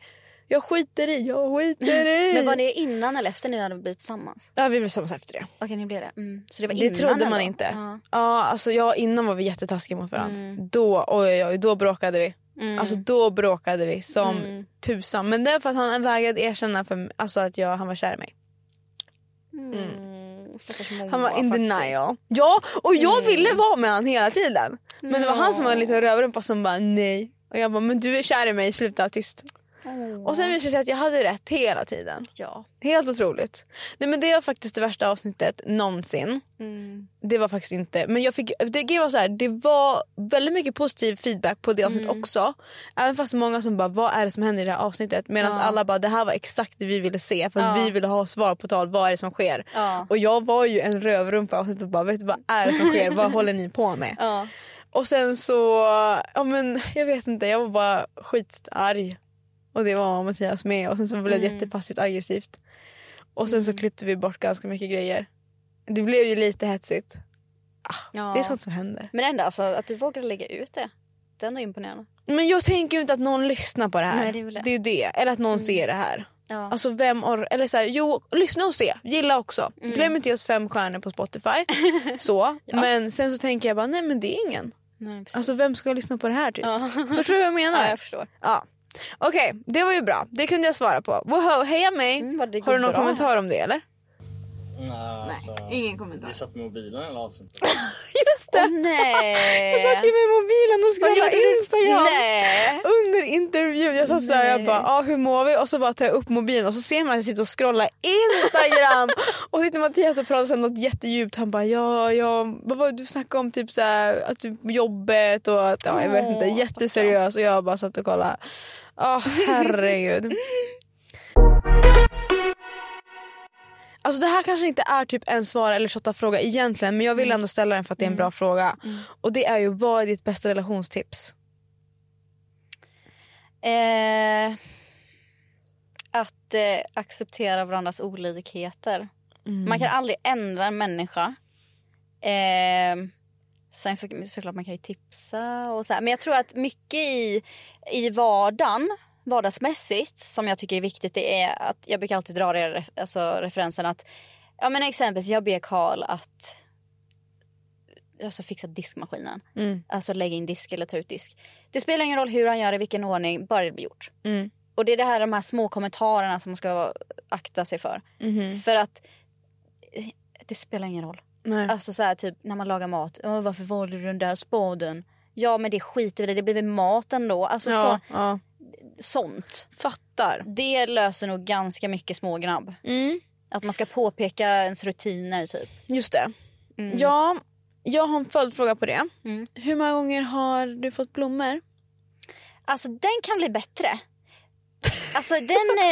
[SPEAKER 3] jag skiter i, jag skiter i.
[SPEAKER 4] Men var det innan eller efter ni hade blivit tillsammans?
[SPEAKER 3] Ja vi blev tillsammans efter det.
[SPEAKER 4] Okej, ni blev det. Mm. Så det var
[SPEAKER 3] Det
[SPEAKER 4] innan
[SPEAKER 3] trodde man
[SPEAKER 4] ändå?
[SPEAKER 3] inte.
[SPEAKER 4] Ja. Mm.
[SPEAKER 3] Ja. alltså ja, innan var vi jättetaskiga mot varandra. Då, oj, oj, oj, då bråkade vi. Alltså då bråkade vi som
[SPEAKER 4] Mm.
[SPEAKER 3] tusan. Men det är för att han vägrade erkänna för mig, alltså, att jag, han var kär i mig.
[SPEAKER 4] Mm. Stackars Moa,
[SPEAKER 3] Han var in
[SPEAKER 4] faktiskt. Mm.
[SPEAKER 3] denial. Ja, och jag ville vara med han hela tiden. Men det var han som var en liten rövrumpa som bara nej. Och jag bara men du är kär i mig, sluta tyst. Och sen visade det sig att jag hade rätt hela tiden.
[SPEAKER 4] Oh, Ja.
[SPEAKER 3] Helt otroligt. Nej men det var faktiskt det värsta avsnittet någonsin.
[SPEAKER 4] Mm.
[SPEAKER 3] Det var faktiskt inte, men jag fick, det, grejen var så här, det var väldigt mycket positiv feedback på det avsnittet också. Även fast många som bara vad är det som händer i det här avsnittet? Medan alla bara det här var exakt det vi ville se för att vi ville ha svar på tal, vad är det som sker?
[SPEAKER 4] Ja.
[SPEAKER 3] Och jag var ju en rövrumpa i avsnittet och bara vet du vad är det som sker? vad håller ni på med?
[SPEAKER 4] Ja.
[SPEAKER 3] Och sen så, ja men jag vet inte, jag var bara skitarg. Och det var Mattias med och sen så blev det jättepassivt aggressivt. Och sen så klippte vi bort ganska mycket grejer. Det blev ju lite hetsigt.
[SPEAKER 4] ja.
[SPEAKER 3] Det är sånt som händer.
[SPEAKER 4] Men ändå alltså, att du vågade lägga ut det. Det är ändå imponerande.
[SPEAKER 3] Men jag tänker ju inte att någon lyssnar på det här.
[SPEAKER 4] Nej, det är väl det.
[SPEAKER 3] är ju det. Eller att någon ser det här.
[SPEAKER 4] Ja.
[SPEAKER 3] Alltså vem or- eller så här, jo lyssna och se, gilla också.
[SPEAKER 4] Mm.
[SPEAKER 3] Glöm inte just fem stjärnor på Spotify. så. Men sen så tänker jag bara nej men det är ingen.
[SPEAKER 4] Nej, precis.
[SPEAKER 3] Alltså vem ska lyssna på det här typ? Förstår du vad jag menar?
[SPEAKER 4] ja, jag förstår.
[SPEAKER 3] Ja. Okej, det var ju bra. Det kunde jag svara på. Woho, heja mig!
[SPEAKER 4] Mm, vad det
[SPEAKER 3] Har
[SPEAKER 4] går
[SPEAKER 3] du någon
[SPEAKER 4] bra
[SPEAKER 3] kommentar om det eller?
[SPEAKER 7] Nej, ingen kommentar. Du satt med mobilen eller avsnittet?
[SPEAKER 3] Just det!
[SPEAKER 4] Nej.
[SPEAKER 3] Jag satt ju med mobilen och
[SPEAKER 4] Vad
[SPEAKER 3] scrollade
[SPEAKER 4] gjorde du?
[SPEAKER 3] Instagram
[SPEAKER 4] Nej.
[SPEAKER 3] under intervju. Jag sa såhär, jag bara ah, hur mår vi? Och så bara tar jag upp mobilen och så ser man att jag sitter och scrollar instagram. och sitter Mattias och pratar så här något jättedjupt. Han bara ja, ja vad var det du snackade om? Typ såhär att du jobbet och att ja, jag vet inte.
[SPEAKER 4] Åh,
[SPEAKER 3] Jätteseriös och jag bara satt och kollade. Ja herregud. Alltså det här kanske inte är typ en svara eller shotta fråga egentligen men jag
[SPEAKER 4] Mm.
[SPEAKER 3] vill ändå ställa den för att det är en bra fråga. Och det är ju vad är ditt bästa relationstips?
[SPEAKER 4] Eh, att eh, acceptera varandras olikheter. Mm. Man kan aldrig ändra en människa. Eh, sen så, såklart man kan ju tipsa och så här. Men jag tror att mycket i, i vardagen, vardagsmässigt, som jag tycker är viktigt det är att jag brukar alltid dra det, alltså, referensen att ja men exempelvis jag ber Karl att alltså, fixa diskmaskinen.
[SPEAKER 3] Mm.
[SPEAKER 4] Alltså lägga in disk eller ta ut disk. Det spelar ingen roll hur han gör det, i vilken ordning, bara det blir gjort.
[SPEAKER 3] Mm.
[SPEAKER 4] Och det är det här, de här små kommentarerna som man ska akta sig för.
[SPEAKER 3] Mm.
[SPEAKER 4] För att eh, det spelar ingen roll.
[SPEAKER 3] Nej.
[SPEAKER 4] Alltså så här, typ när man lagar mat. "Åh, varför valde du den där spaden? Ja men det skiter vi i, det blir väl mat ändå. Alltså
[SPEAKER 3] Ja,
[SPEAKER 4] så,
[SPEAKER 3] ja.
[SPEAKER 4] sånt.
[SPEAKER 3] Fattar.
[SPEAKER 4] Det löser nog ganska mycket smågnabb.
[SPEAKER 3] Mm.
[SPEAKER 4] Att man ska påpeka ens rutiner typ.
[SPEAKER 3] Just det.
[SPEAKER 4] Mm.
[SPEAKER 3] Ja, jag har en följdfråga på det. Hur många gånger har du fått blommor?
[SPEAKER 4] Alltså den kan bli bättre. Alltså den,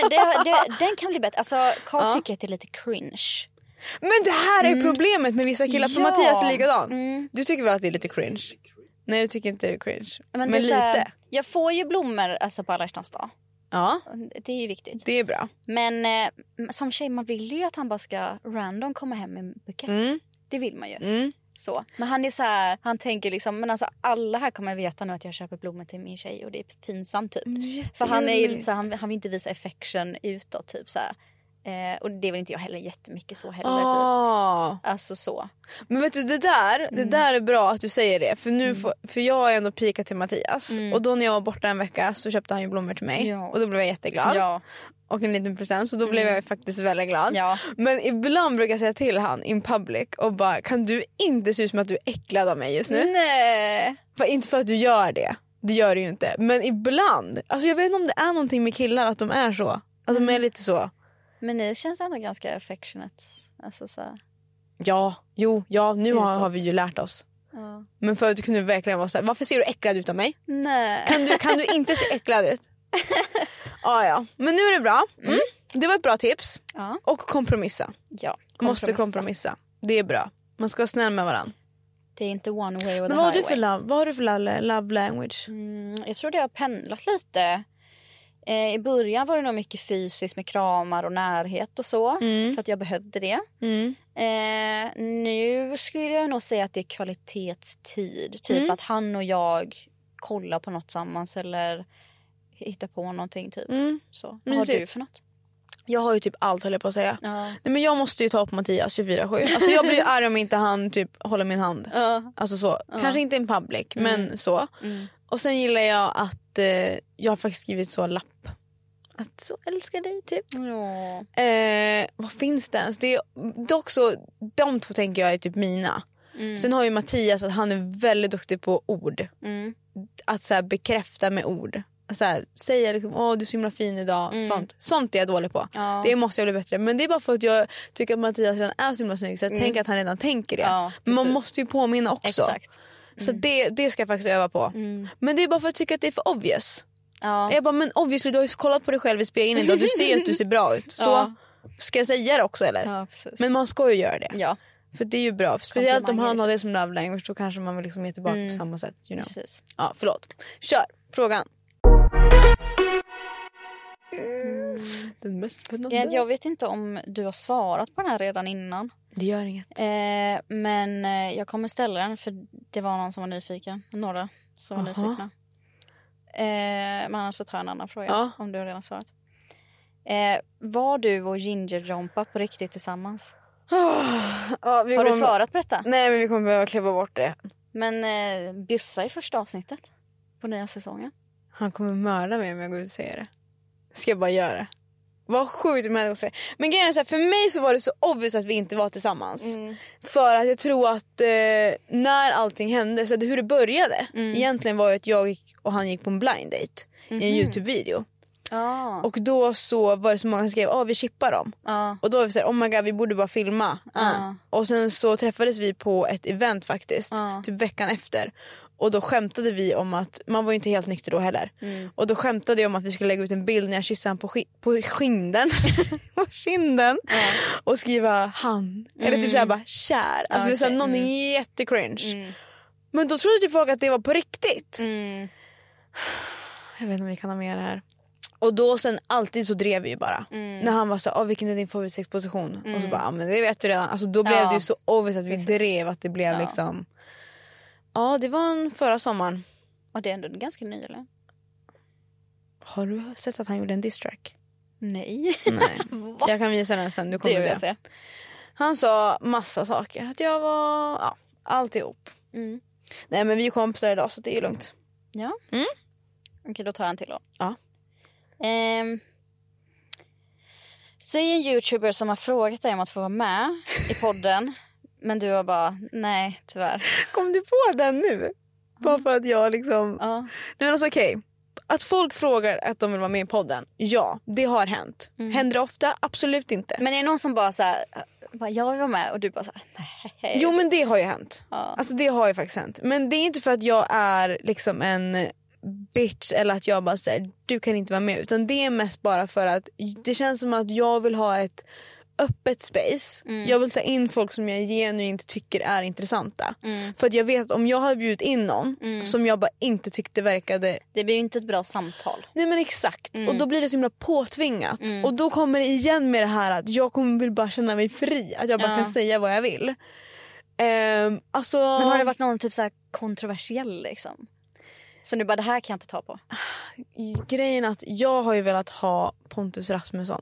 [SPEAKER 4] eh, det, det, den kan bli bättre. Alltså Carl tycker att det är lite cringe.
[SPEAKER 3] Men det här är ju problemet med vissa killar för
[SPEAKER 4] Mm. Ja.
[SPEAKER 3] Mattias är likadan.
[SPEAKER 4] Mm.
[SPEAKER 3] Du tycker väl att det är lite cringe? Nej du tycker inte det är cringe. Men,
[SPEAKER 4] det är så
[SPEAKER 3] lite.
[SPEAKER 4] här, jag får ju blommor alltså, på alla hjärtans dag.
[SPEAKER 3] Ja
[SPEAKER 4] Det är ju viktigt.
[SPEAKER 3] det är bra.
[SPEAKER 4] Men eh, som tjej man vill ju att han bara ska random komma hem med en bukett. Det vill man ju.
[SPEAKER 3] Mm.
[SPEAKER 4] Så. Men han är så här, han tänker liksom, men alltså alla här kommer veta nu att jag köper blommor till min tjej och det är pinsamt typ.
[SPEAKER 3] Mm,
[SPEAKER 4] För han är ju lite så här, han, han vill inte visa affection utåt typ så här. Eh, och det vill inte jag heller jättemycket så heller typ.
[SPEAKER 3] Ah.
[SPEAKER 4] Alltså så.
[SPEAKER 3] Men vet du det där, det
[SPEAKER 4] Mm.
[SPEAKER 3] där är bra att du säger det för, nu får, för jag har ändå pikat till Mattias och då när jag var borta en vecka så köpte han ju blommor till mig
[SPEAKER 4] Mm. Ja.
[SPEAKER 3] och då blev jag jätteglad
[SPEAKER 4] Ja.
[SPEAKER 3] och en liten present så då blev jag faktiskt väldigt glad.
[SPEAKER 4] Mm. Ja.
[SPEAKER 3] Men ibland brukar jag säga till han in public och bara kan du inte se ut som att du är äcklad av mig just
[SPEAKER 4] Mm.
[SPEAKER 3] nu?
[SPEAKER 4] Nej.
[SPEAKER 3] För, inte för att du gör det, det gör du ju inte. Men ibland, alltså jag vet inte om det är någonting med killar att de är så. Att
[SPEAKER 4] Mm.
[SPEAKER 3] de är lite så.
[SPEAKER 4] Men ni känns ändå ganska affectionate. Alltså så här.
[SPEAKER 3] Ja, jo, ja nu har,
[SPEAKER 4] Utåt.
[SPEAKER 3] har vi ju lärt oss.
[SPEAKER 4] Ja.
[SPEAKER 3] Men förut kunde vi verkligen vara såhär, varför ser du äcklad ut av mig?
[SPEAKER 4] Nej.
[SPEAKER 3] Kan du, kan du inte se äcklad ut? ja, ja. Men nu är det bra. Mm. Det var ett bra tips.
[SPEAKER 4] Ja.
[SPEAKER 3] Och kompromissa.
[SPEAKER 4] ja.
[SPEAKER 3] Måste kompromissa. Det är bra. Man ska vara snäll med varandra.
[SPEAKER 4] Det är inte one way or the
[SPEAKER 3] Men vad har, du
[SPEAKER 4] highway.
[SPEAKER 3] för love, vad har du för love, love language?
[SPEAKER 4] Mm, jag tror det har pendlat lite. Eh, I början var det nog mycket fysiskt med kramar och närhet och så.
[SPEAKER 3] Mm.
[SPEAKER 4] För att jag behövde det. Eh, nu skulle jag nog säga att det är kvalitetstid. Typ
[SPEAKER 3] Mm.
[SPEAKER 4] att han och jag kollar på något tillsammans eller hittar på någonting. Typ.
[SPEAKER 3] Mm.
[SPEAKER 4] Så. Vad har du
[SPEAKER 3] Mysigt.
[SPEAKER 4] för något?
[SPEAKER 3] Jag har ju typ allt höll jag på att säga.
[SPEAKER 4] Ja.
[SPEAKER 3] Nej, men jag måste ju ta upp Mattias 24-7. Alltså, jag blir ju arg om inte han typ håller min hand.
[SPEAKER 4] Ja.
[SPEAKER 3] Alltså så. Kanske inte en public men så. Och sen gillar jag att eh, jag har faktiskt skrivit så lapp. Att så älskar dig typ.
[SPEAKER 4] Ja.
[SPEAKER 3] Eh, vad finns det ens? Det är, dock så, de två tänker jag är typ mina. Sen har ju Mattias att han är väldigt duktig på ord.
[SPEAKER 4] Mm.
[SPEAKER 3] Att så här, bekräfta med ord. Så här, säga liksom åh du är så himla fin idag. Sånt. Sånt är jag dålig på.
[SPEAKER 4] Mm. Ja.
[SPEAKER 3] Det måste jag bli bättre Men det är bara för att jag tycker att Mattias redan är så himla snygg så jag tänker att han redan tänker det.
[SPEAKER 4] Mm. Ja,
[SPEAKER 3] Men man
[SPEAKER 4] precis.
[SPEAKER 3] måste ju påminna också.
[SPEAKER 4] Exakt. Mm.
[SPEAKER 3] Så det, det ska jag faktiskt öva på. Men det är bara för att jag tycker att det är för obvious.
[SPEAKER 4] Ja.
[SPEAKER 3] Jag bara men obviously du har ju kollat på dig själv i spegeln idag. Du ser ju att du ser bra ut. Så
[SPEAKER 4] Ja.
[SPEAKER 3] ska jag säga det också eller?
[SPEAKER 4] ja, precis.
[SPEAKER 3] Men man ska ju göra det.
[SPEAKER 4] ja,
[SPEAKER 3] För det är ju bra. Speciellt om
[SPEAKER 4] Komplimanger, Mm.
[SPEAKER 3] han har det
[SPEAKER 4] liksom.
[SPEAKER 3] som love language då kanske man vill liksom ge tillbaka på samma sätt. You know.
[SPEAKER 4] precis.
[SPEAKER 3] Ja förlåt. Kör frågan. Den mest spännande.
[SPEAKER 4] Eh, Jag, jag vet inte om du har svarat på den här redan innan.
[SPEAKER 3] Det gör inget.
[SPEAKER 4] Eh, men eh, jag kommer ställa den för det var någon som var nyfiken. Några som var
[SPEAKER 3] Jaha.
[SPEAKER 4] nyfikna. Eh, men annars så tar jag en annan fråga
[SPEAKER 3] Ja.
[SPEAKER 4] om du har redan svarat. Eh, var du och Ginger Jompa på riktigt tillsammans?
[SPEAKER 3] Ah, Ja, vi
[SPEAKER 4] Har
[SPEAKER 3] kommer-
[SPEAKER 4] du svarat på detta?
[SPEAKER 3] Nej men vi kommer behöva klippa bort det.
[SPEAKER 4] Men eh, Byssa i första avsnittet på nya säsongen.
[SPEAKER 3] Han kommer mörda mig om jag går ut och säger det. Ska jag bara göra det? Vad sjukt med att säga. Men grejen är så här, för mig så var det så obvious att vi inte var tillsammans.
[SPEAKER 4] Mm.
[SPEAKER 3] För att jag tror att eh, när allting hände, så här, hur det började
[SPEAKER 4] Mm.
[SPEAKER 3] egentligen var ju att jag gick- och han gick på en blind date
[SPEAKER 4] Mhm.
[SPEAKER 3] i en Youtube-video.
[SPEAKER 4] Ah.
[SPEAKER 3] Och då så var det så många som skrev att vi chippar dem.
[SPEAKER 4] Ja.
[SPEAKER 3] Och då var vi såhär, oh my god vi borde bara filma. Ah. Och sen så träffades vi på ett event faktiskt,
[SPEAKER 4] Ja.
[SPEAKER 3] typ veckan efter. Och då skämtade vi om att, man var ju inte helt nykter då heller.
[SPEAKER 4] Mm.
[SPEAKER 3] Och då skämtade jag om att vi skulle lägga ut en bild när jag kysste han på, sk- på skinden. på kinden. Och skriva han. Eller typ såhär bara kär. Alltså okay.
[SPEAKER 4] Mm. Okej, Mm.
[SPEAKER 3] såhär, någonting jättecringe. Men då trodde typ folk att det var på riktigt.
[SPEAKER 4] Mm.
[SPEAKER 3] Jag vet inte om vi kan ha med det här. Och då sen alltid så drev vi ju bara.
[SPEAKER 4] Mm.
[SPEAKER 3] När han var så ah, vilken är din favoritsexposition? Och så bara, ah, men det vet du redan. Alltså då blev
[SPEAKER 4] Ja.
[SPEAKER 3] det ju så obvious att vi drev att det blev
[SPEAKER 4] Ja.
[SPEAKER 3] liksom. Ja det var en förra sommaren.
[SPEAKER 4] Och det är ändå ganska ny eller?
[SPEAKER 3] Har du sett att han gjorde en diss-track?
[SPEAKER 4] Nej.
[SPEAKER 3] Nej. jag kan visa den sen, du
[SPEAKER 4] Det
[SPEAKER 3] kommer
[SPEAKER 4] vill
[SPEAKER 3] det.
[SPEAKER 4] jag säga.
[SPEAKER 3] Han sa massa saker. Att jag var, ja alltihop.
[SPEAKER 4] Mm.
[SPEAKER 3] Nej men vi är ju kompisar idag så det är ju lugnt.
[SPEAKER 4] Ja.
[SPEAKER 3] Mm.
[SPEAKER 4] Okej, då tar jag en till då.
[SPEAKER 3] Ja.
[SPEAKER 4] Ehm, säg en youtuber som har frågat dig om att få vara med i podden. men du har bara, nej tyvärr.
[SPEAKER 3] Kom du på den nu? Bara för att jag liksom
[SPEAKER 4] Ja.
[SPEAKER 3] Nej men alltså okej. Att folk frågar att de vill vara med i podden. Ja, det har hänt.
[SPEAKER 4] Mm.
[SPEAKER 3] Händer det ofta? Absolut inte.
[SPEAKER 4] Men är det någon som bara så här, bara, jag vill vara med och du bara så här, nej.
[SPEAKER 3] jo men det har ju hänt.
[SPEAKER 4] Ja.
[SPEAKER 3] Alltså det har ju faktiskt hänt. Men det är inte för att jag är liksom en bitch eller att jag bara säger du kan inte vara med. Utan det är mest bara för att det känns som att jag vill ha ett öppet space. Jag vill ta in folk som jag genuint tycker är intressanta. För att jag vet att om jag hade bjudit in någon som jag bara inte tyckte verkade
[SPEAKER 4] Det blir ju inte ett bra samtal.
[SPEAKER 3] Nej men exakt
[SPEAKER 4] Mm.
[SPEAKER 3] och då blir det så himla påtvingat och då kommer det igen med det här att jag kommer vill bara känna mig fri att jag bara
[SPEAKER 4] Ja.
[SPEAKER 3] kan säga vad jag vill. Ehm, alltså,
[SPEAKER 4] Men har det varit någon typ så här kontroversiell liksom? Som du bara, det här kan jag inte ta på.
[SPEAKER 3] grejen är att jag har ju velat ha Pontus Rasmusson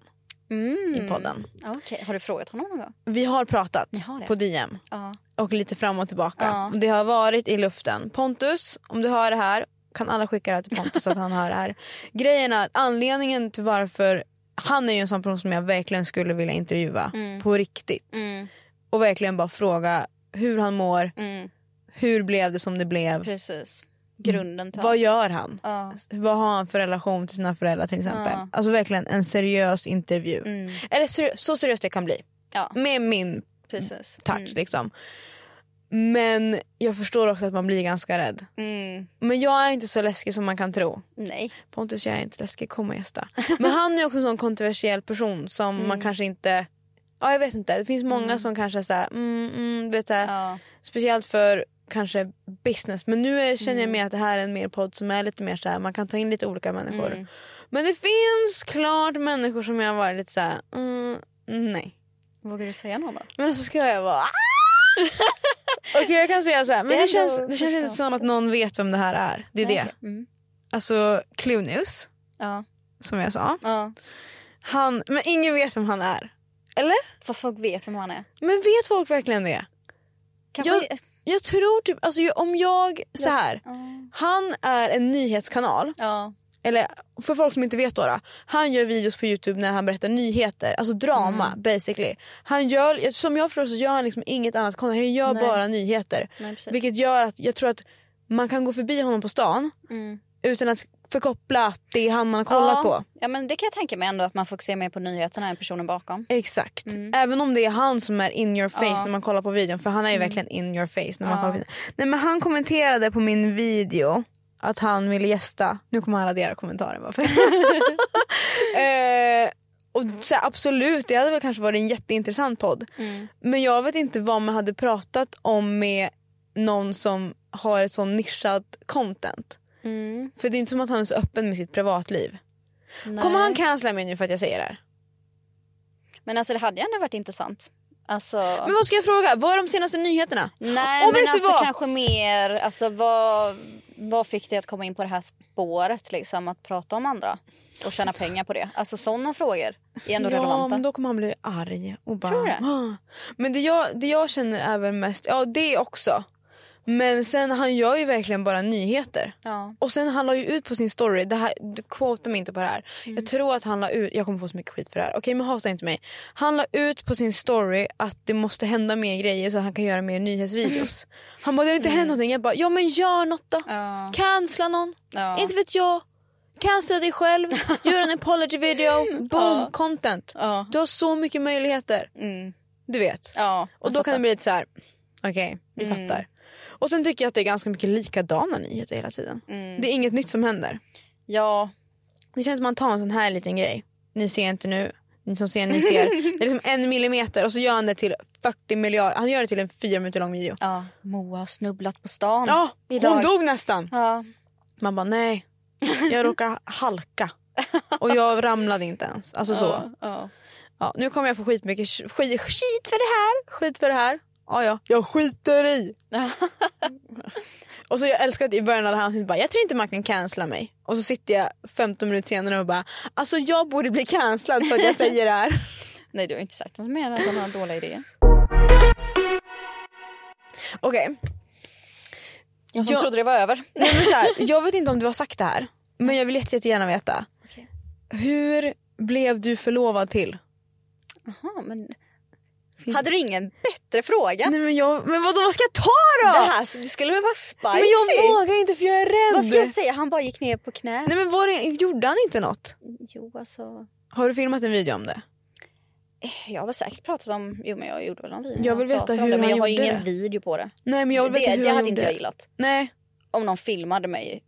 [SPEAKER 4] Mm.
[SPEAKER 3] i podden.
[SPEAKER 4] Okej, har du frågat honom någon gång?
[SPEAKER 3] Vi har pratat
[SPEAKER 4] Ni har det?
[SPEAKER 3] på DM
[SPEAKER 4] Ja.
[SPEAKER 3] och lite fram och tillbaka.
[SPEAKER 4] Ja.
[SPEAKER 3] Det har varit i luften. Pontus, om du hör det här kan alla skicka det här till Pontus så att han hör det här. Grejen är att anledningen till varför han är ju en sån person som jag verkligen skulle vilja intervjua på riktigt.
[SPEAKER 4] Mm.
[SPEAKER 3] och verkligen bara fråga hur han mår,
[SPEAKER 4] Mm.
[SPEAKER 3] hur blev det som det blev,
[SPEAKER 4] Precis. Grunden till
[SPEAKER 3] vad
[SPEAKER 4] allt.
[SPEAKER 3] gör han?
[SPEAKER 4] Ja.
[SPEAKER 3] Vad har han för relation till sina föräldrar till exempel?
[SPEAKER 4] Ja.
[SPEAKER 3] Alltså verkligen en seriös intervju.
[SPEAKER 4] Mm.
[SPEAKER 3] Eller seri- så seriös det kan bli.
[SPEAKER 4] Ja.
[SPEAKER 3] Med min
[SPEAKER 4] Precis.
[SPEAKER 3] touch liksom. Men jag förstår också att man blir ganska rädd.
[SPEAKER 4] Mm.
[SPEAKER 3] Men jag är inte så läskig som man kan tro.
[SPEAKER 4] Nej.
[SPEAKER 3] Pontus jag är inte läskig, kom och gästa. Men han är också en sån kontroversiell person som man kanske inte... Ja jag vet inte, det finns många som kanske är såhär, mm, mm, du vet såhär,
[SPEAKER 4] Ja.
[SPEAKER 3] Speciellt för kanske business. Men nu är- känner jag mer att det här är en mer podd som är lite mer så här, man kan ta in lite olika människor. Men det finns klart människor som jag har varit lite så här, mm, nej.
[SPEAKER 4] Vågar du säga någon då?
[SPEAKER 3] Men alltså ska jag vara Okej jag kan säga så här, men det,
[SPEAKER 4] Det är
[SPEAKER 3] känns,
[SPEAKER 4] ändå
[SPEAKER 3] det känns inte
[SPEAKER 4] förstås.
[SPEAKER 3] som att någon vet vem det här är. Det är
[SPEAKER 4] Nej,
[SPEAKER 3] det.
[SPEAKER 4] okej. Mm.
[SPEAKER 3] Alltså Clue News,
[SPEAKER 4] Ja.
[SPEAKER 3] som jag sa.
[SPEAKER 4] ja.
[SPEAKER 3] Han, men ingen vet vem han är. Eller?
[SPEAKER 4] Fast folk vet vem han är.
[SPEAKER 3] Men vet folk verkligen det?
[SPEAKER 4] Kanske...
[SPEAKER 3] Jag- Jag tror typ, alltså ju- om jag, så här.
[SPEAKER 4] Ja.
[SPEAKER 3] Han är en nyhetskanal.
[SPEAKER 4] Ja.
[SPEAKER 3] eller för folk som inte vet då, då han gör videos på Youtube när han berättar nyheter, alltså drama
[SPEAKER 4] Mm.
[SPEAKER 3] basically. Han gör, som jag förstår så gör han liksom inget annat content, han gör
[SPEAKER 4] Nej.
[SPEAKER 3] bara nyheter.
[SPEAKER 4] Nej, precis.
[SPEAKER 3] Vilket gör att jag tror att man kan gå förbi honom på stan
[SPEAKER 4] Mm.
[SPEAKER 3] utan att förkoppla att det är han man har kollat
[SPEAKER 4] ja.
[SPEAKER 3] på.
[SPEAKER 4] Ja men det kan jag tänka mig ändå att man fokuserar mer på nyheterna än personen bakom.
[SPEAKER 3] Exakt. Även om det är han som är in your face
[SPEAKER 4] Mm. Ja. Mm.
[SPEAKER 3] när man kollar på videon. För han är ju verkligen in your face när man kollar på videon. Nej men han kommenterade på min video att han ville gästa. Nu kommer han radera kommentaren bara för. eh, och så här, absolut, det hade väl kanske varit en jätteintressant podd.
[SPEAKER 4] Mm.
[SPEAKER 3] Men jag vet inte vad man hade pratat om med någon som har ett sån nischat content.
[SPEAKER 4] Mm.
[SPEAKER 3] För det är inte som att han är så öppen med sitt privatliv. Kommer han cancella mig nu för att jag säger det här?
[SPEAKER 4] Men alltså det hade ju ändå varit intressant. Alltså...
[SPEAKER 3] Men vad ska jag fråga? Vad är de senaste nyheterna?
[SPEAKER 4] Nej
[SPEAKER 3] Mm. Och
[SPEAKER 4] men
[SPEAKER 3] vet du
[SPEAKER 4] alltså
[SPEAKER 3] vad?
[SPEAKER 4] kanske mer, alltså vad, vad fick dig att komma in på det här spåret liksom att prata om andra och tjäna pengar på det? Alltså sådana frågor är ändå
[SPEAKER 3] Ja,
[SPEAKER 4] relevanta.
[SPEAKER 3] men då kommer han bli arg. Och bara,
[SPEAKER 4] Tror du det?
[SPEAKER 3] "Ah." Men det jag, det jag känner är väl mest, ja det också. Men sen han gör ju verkligen bara nyheter.
[SPEAKER 4] Ja.
[SPEAKER 3] Och sen han la ju ut på sin story, det här, du quotar mig inte på det här.
[SPEAKER 4] Mm.
[SPEAKER 3] Jag tror att han la ut, jag kommer få så mycket skit för det här. Okej men hata inte mig. Han la ut på sin story att det måste hända mer grejer så att han kan göra mer nyhetsvideos. Han bara det har inte hänt någonting. Jag bara ja men gör något då.
[SPEAKER 4] Mm. Ja.
[SPEAKER 3] Cancella någon.
[SPEAKER 4] Ja.
[SPEAKER 3] Inte vet jag. Cancella dig själv. Gör en apology video. Boom content.
[SPEAKER 4] Ja.
[SPEAKER 3] Du har så mycket möjligheter.
[SPEAKER 4] Mm.
[SPEAKER 3] Du vet.
[SPEAKER 4] Ja,
[SPEAKER 3] Och
[SPEAKER 4] jag
[SPEAKER 3] då kan
[SPEAKER 4] fattar. Mm.
[SPEAKER 3] det bli lite så här. okej vi fattar. Och sen tycker jag att det är ganska mycket likadana nyheter hela tiden.
[SPEAKER 4] Mm.
[SPEAKER 3] Det är inget nytt som händer.
[SPEAKER 4] Ja,
[SPEAKER 3] Det känns som att man tar en sån här liten grej. Ni ser inte nu, ni som ser ni ser. Det är liksom en millimeter och så gör han det till 40 miljarder. Han gör det till en fyra minuter lång video.
[SPEAKER 4] ja. Moa har snubblat på stan
[SPEAKER 3] Ja, hon
[SPEAKER 4] idag.
[SPEAKER 3] dog nästan.
[SPEAKER 4] Ja.
[SPEAKER 3] Man bara nej, jag råkade halka. Och jag ramlade inte ens. Alltså så.
[SPEAKER 4] Ja, ja.
[SPEAKER 3] Ja, nu kommer jag få skitmycket sk- skit, skit för det här, skit för det här. Ja, ja. Jag skiter i. och så jag älskar att i början hade han bara, jag tror inte man kan cancella mig. Och så sitter jag 15 minuter senare och bara, alltså jag borde bli cancellad för att jag säger det här.
[SPEAKER 4] Nej du har inte sagt något mer än att hon har dåliga idéer.
[SPEAKER 3] Okej,
[SPEAKER 4] Jag som
[SPEAKER 3] Ja.
[SPEAKER 4] trodde det var över.
[SPEAKER 3] Nej, men så här, jag vet inte om du har sagt det här, men jag vill jätte, jättegärna veta.
[SPEAKER 4] Okej.
[SPEAKER 3] Hur blev du förlovad till?
[SPEAKER 4] Jaha, men... Hade du ingen bättre fråga?
[SPEAKER 3] Nej, men, jag, men vadå, vad ska jag ta då?
[SPEAKER 4] Det här det skulle väl vara spicy?
[SPEAKER 3] men jag vågar inte för jag är rädd.
[SPEAKER 4] Vad ska jag säga? Han bara gick ner på knä.
[SPEAKER 3] Nej men var det, gjorde han inte något?
[SPEAKER 4] Jo alltså.
[SPEAKER 3] Har du filmat en video om det?
[SPEAKER 4] Jag har väl säkert pratat om, jo men jag gjorde väl någon video.
[SPEAKER 3] Jag vill
[SPEAKER 4] Jag
[SPEAKER 3] veta
[SPEAKER 4] pratar om
[SPEAKER 3] hur
[SPEAKER 4] det, men
[SPEAKER 3] han
[SPEAKER 4] jag har ju
[SPEAKER 3] gjorde
[SPEAKER 4] ingen
[SPEAKER 3] det.
[SPEAKER 4] video på det.
[SPEAKER 3] Nej men jag vill veta
[SPEAKER 4] det
[SPEAKER 3] hur
[SPEAKER 4] det
[SPEAKER 3] han gjorde
[SPEAKER 4] hade inte jag
[SPEAKER 3] det.
[SPEAKER 4] gillat.
[SPEAKER 3] Nej.
[SPEAKER 4] Om någon filmade mig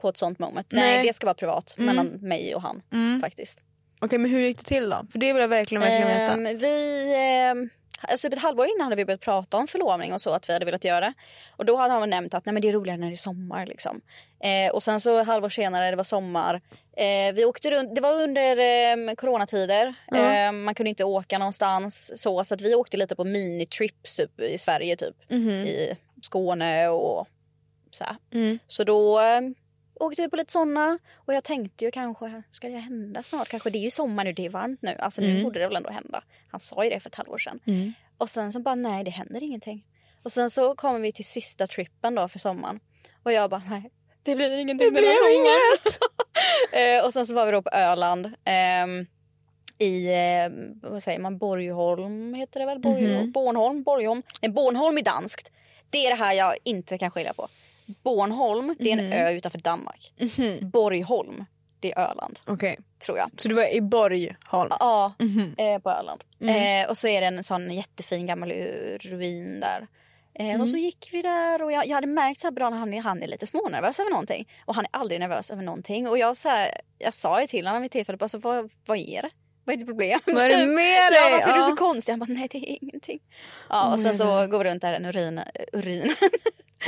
[SPEAKER 4] på ett sånt moment. Nej,
[SPEAKER 3] Nej. Mm.
[SPEAKER 4] det ska vara privat mellan mig och han faktiskt.
[SPEAKER 3] Okej men hur gick det till då? För det vill jag verkligen, verkligen veta.
[SPEAKER 4] Ehm, vi, ehm, alltså typ ett halvår innan hade vi börjat prata om förlovning och så att vi hade velat göra. Och då hade han väl nämnt att Nej, men det är roligare när det är sommar liksom. Eh, och sen så ett halvår senare, det var sommar. Eh, vi åkte runt, det var under ehm, coronatider. Eh, man kunde inte åka någonstans så. Så att vi åkte lite på minitrips typ, i Sverige typ.
[SPEAKER 3] Mhm.
[SPEAKER 4] I Skåne och så här. Så då eh, åkte vi på lite såna och jag tänkte ju kanske, ska det hända snart? Kanske det är ju sommar nu, det är varmt nu. Alltså nu borde det väl ändå hända. Han sa ju det för ett halvår sedan. Och sen så bara, nej det händer ingenting. Och sen så kommer vi till sista trippen då för sommaren. Och jag bara, nej det blir ingenting det den här sommaren. Eh, och sen så var vi då på Öland. ehm, i, eh, vad säger man, Borgholm heter det väl? Borgholm, Bornholm, Borgholm. Nej, Bornholm är danskt. Det är det här jag inte kan skilja på. Bornholm, det är en ö utanför Danmark. Borgholm, det är Öland,
[SPEAKER 3] Okej.
[SPEAKER 4] tror jag.
[SPEAKER 3] Så du var i Mhm. Borgholm?
[SPEAKER 4] Ja,
[SPEAKER 3] Mm.
[SPEAKER 4] eh, på Öland. Eh, och så är det en sån jättefin gammal ru- ruin där. Eh, Och så
[SPEAKER 3] Mm.
[SPEAKER 4] gick vi där och jag, jag hade märkt så här bra när han är, han är lite smånervös över någonting. Och han är aldrig nervös över någonting. Och jag, så här, jag sa ju till honom vid tillfället, bara, alltså, vad, vad är det? Vad är ditt problem? Typ.
[SPEAKER 3] Vad är det med
[SPEAKER 4] Ja,
[SPEAKER 3] dig?
[SPEAKER 4] varför är du
[SPEAKER 3] Ja.
[SPEAKER 4] så konstig? Han bara, nej det är ingenting. Ja, och sen så går vi runt där i en urin, urin.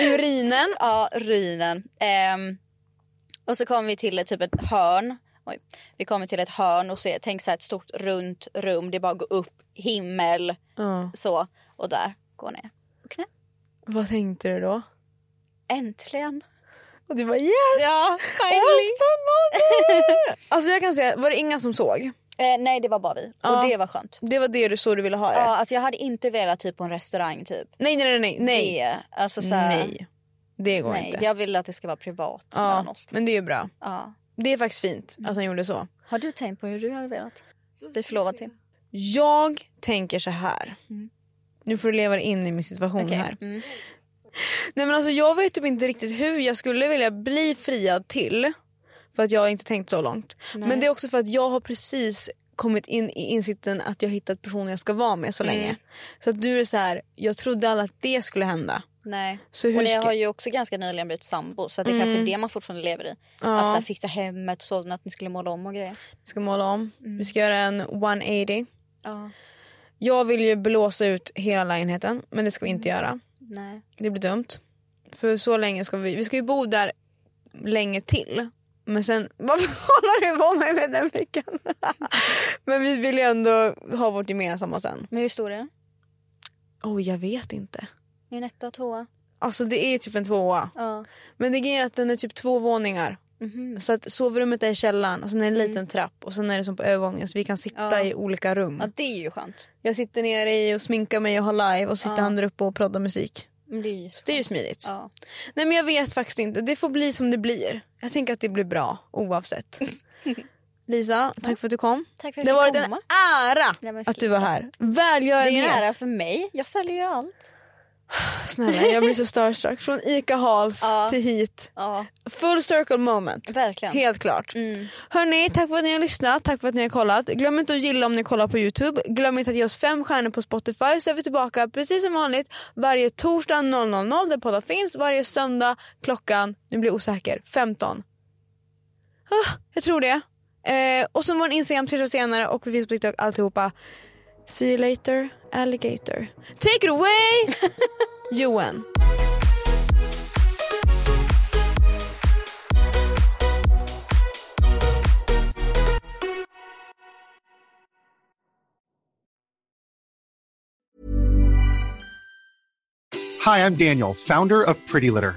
[SPEAKER 3] Urinen?
[SPEAKER 4] Ja, ruinen. Ehm, och så kom vi till ett- typ ett hörn. Oj. Vi kommer till ett hörn och ser, tänk så här ett stort runt rum. Det är bara att gå upp, himmel,
[SPEAKER 3] Ja.
[SPEAKER 4] så. Och där går ner. Och knä.
[SPEAKER 3] Vad tänkte du då?
[SPEAKER 4] Äntligen.
[SPEAKER 3] Och du var yes!
[SPEAKER 4] Ja,
[SPEAKER 3] Åh, vad
[SPEAKER 4] finally.
[SPEAKER 3] spännande! alltså jag kan säga, var det inga som såg?
[SPEAKER 4] Eh, nej, det var bara vi.
[SPEAKER 3] Ja.
[SPEAKER 4] Och det var skönt.
[SPEAKER 3] Det var det du så du ville ha det?
[SPEAKER 4] Ja, alltså jag hade inte velat typ på en restaurang typ.
[SPEAKER 3] Nej nej nej nej.
[SPEAKER 4] Det, alltså, så här,
[SPEAKER 3] Nej. Det går
[SPEAKER 4] nej.
[SPEAKER 3] inte.
[SPEAKER 4] Jag vill att det ska vara privat mellan
[SPEAKER 3] ja.
[SPEAKER 4] oss.
[SPEAKER 3] Men det är ju bra.
[SPEAKER 4] Ja.
[SPEAKER 3] Det är faktiskt fint att han gjorde så.
[SPEAKER 4] Har du tänkt på hur du hade velat bli förlovad till?
[SPEAKER 3] Jag tänker så här. Nu får du leva dig in i min situation
[SPEAKER 4] Mm. Okej.
[SPEAKER 3] här.
[SPEAKER 4] Mm.
[SPEAKER 3] Nej men alltså jag vet typ inte riktigt hur jag skulle vilja bli friad till. För att jag har inte tänkt så långt. Men det är också för att jag har precis kommit in i insikten att jag hittat personen jag ska vara med så
[SPEAKER 4] Mm.
[SPEAKER 3] länge. Så att nu är det så här, jag trodde alla att det skulle hända.
[SPEAKER 4] Nej.
[SPEAKER 3] Så hur
[SPEAKER 4] och ni
[SPEAKER 3] ska- Mm.
[SPEAKER 4] har ju också ganska nyligen blivit sambo så att det kanske är det man fortfarande lever i. Att så här, fixa hemmet så att ni skulle måla om och grejer.
[SPEAKER 3] Vi ska måla om,
[SPEAKER 4] Mm.
[SPEAKER 3] vi ska göra en 180.
[SPEAKER 4] Ja.
[SPEAKER 3] Jag vill ju blåsa ut hela lägenheten men det ska vi inte
[SPEAKER 4] Mm.
[SPEAKER 3] göra.
[SPEAKER 4] Nej.
[SPEAKER 3] Det blir dumt. För så länge ska vi, vi ska ju bo där länge till. Men sen, varför håller du på mig med den blicken? men vi vill ju ändå ha vårt gemensamma sen.
[SPEAKER 4] Men hur stor är den?
[SPEAKER 3] Oj jag vet inte.
[SPEAKER 4] Är den etta, tvåa?
[SPEAKER 3] Alltså det är ju typ en tvåa.
[SPEAKER 4] Ja.
[SPEAKER 3] Men det grejen är att den är typ två våningar. Så att sovrummet är i källaren och sen är det en liten trapp och sen är det som på övervåningen så vi kan sitta
[SPEAKER 4] Ja.
[SPEAKER 3] i olika rum.
[SPEAKER 4] ja det är ju skönt.
[SPEAKER 3] Jag sitter nere i och sminkar mig och har live och sitter han där uppe och proddar musik.
[SPEAKER 4] Men det är ju jätteskönt.
[SPEAKER 3] Det är ju smidigt.
[SPEAKER 4] Ja.
[SPEAKER 3] Nej men jag vet faktiskt inte. Det får bli som det blir. Jag tänker att det blir bra oavsett. Lisa, tack för att du kom.
[SPEAKER 4] Tack för att
[SPEAKER 3] Det
[SPEAKER 4] jag
[SPEAKER 3] har varit
[SPEAKER 4] fick
[SPEAKER 3] en
[SPEAKER 4] komma.
[SPEAKER 3] ära
[SPEAKER 4] Nej, men
[SPEAKER 3] att du var
[SPEAKER 4] sluta.
[SPEAKER 3] här.
[SPEAKER 4] Det är ju en ära
[SPEAKER 3] Välgörenhet.
[SPEAKER 4] för mig. Jag följer ju allt.
[SPEAKER 3] Snälla jag blir så starstruck. Från Ica Halls
[SPEAKER 4] Ja.
[SPEAKER 3] till hit.
[SPEAKER 4] Ja,
[SPEAKER 3] Full circle moment.
[SPEAKER 4] verkligen.
[SPEAKER 3] Helt klart.
[SPEAKER 4] Mm.
[SPEAKER 3] Hörni, tack för att ni har lyssnat, tack för att ni har kollat. Glöm inte att gilla om ni kollar på Youtube. Glöm inte att ge oss fem stjärnor på Spotify så är vi tillbaka precis som vanligt varje torsdag 000 där poddar finns. Varje söndag klockan, nu blir jag osäker, 15. Ah, jag tror det. Eh, och så vår Instagram tre dagar senare och vi finns på TikTok alltihopa. See you later alligator. Take it away Johan.
[SPEAKER 8] Hi, I'm Daniel, founder of Pretty Litter.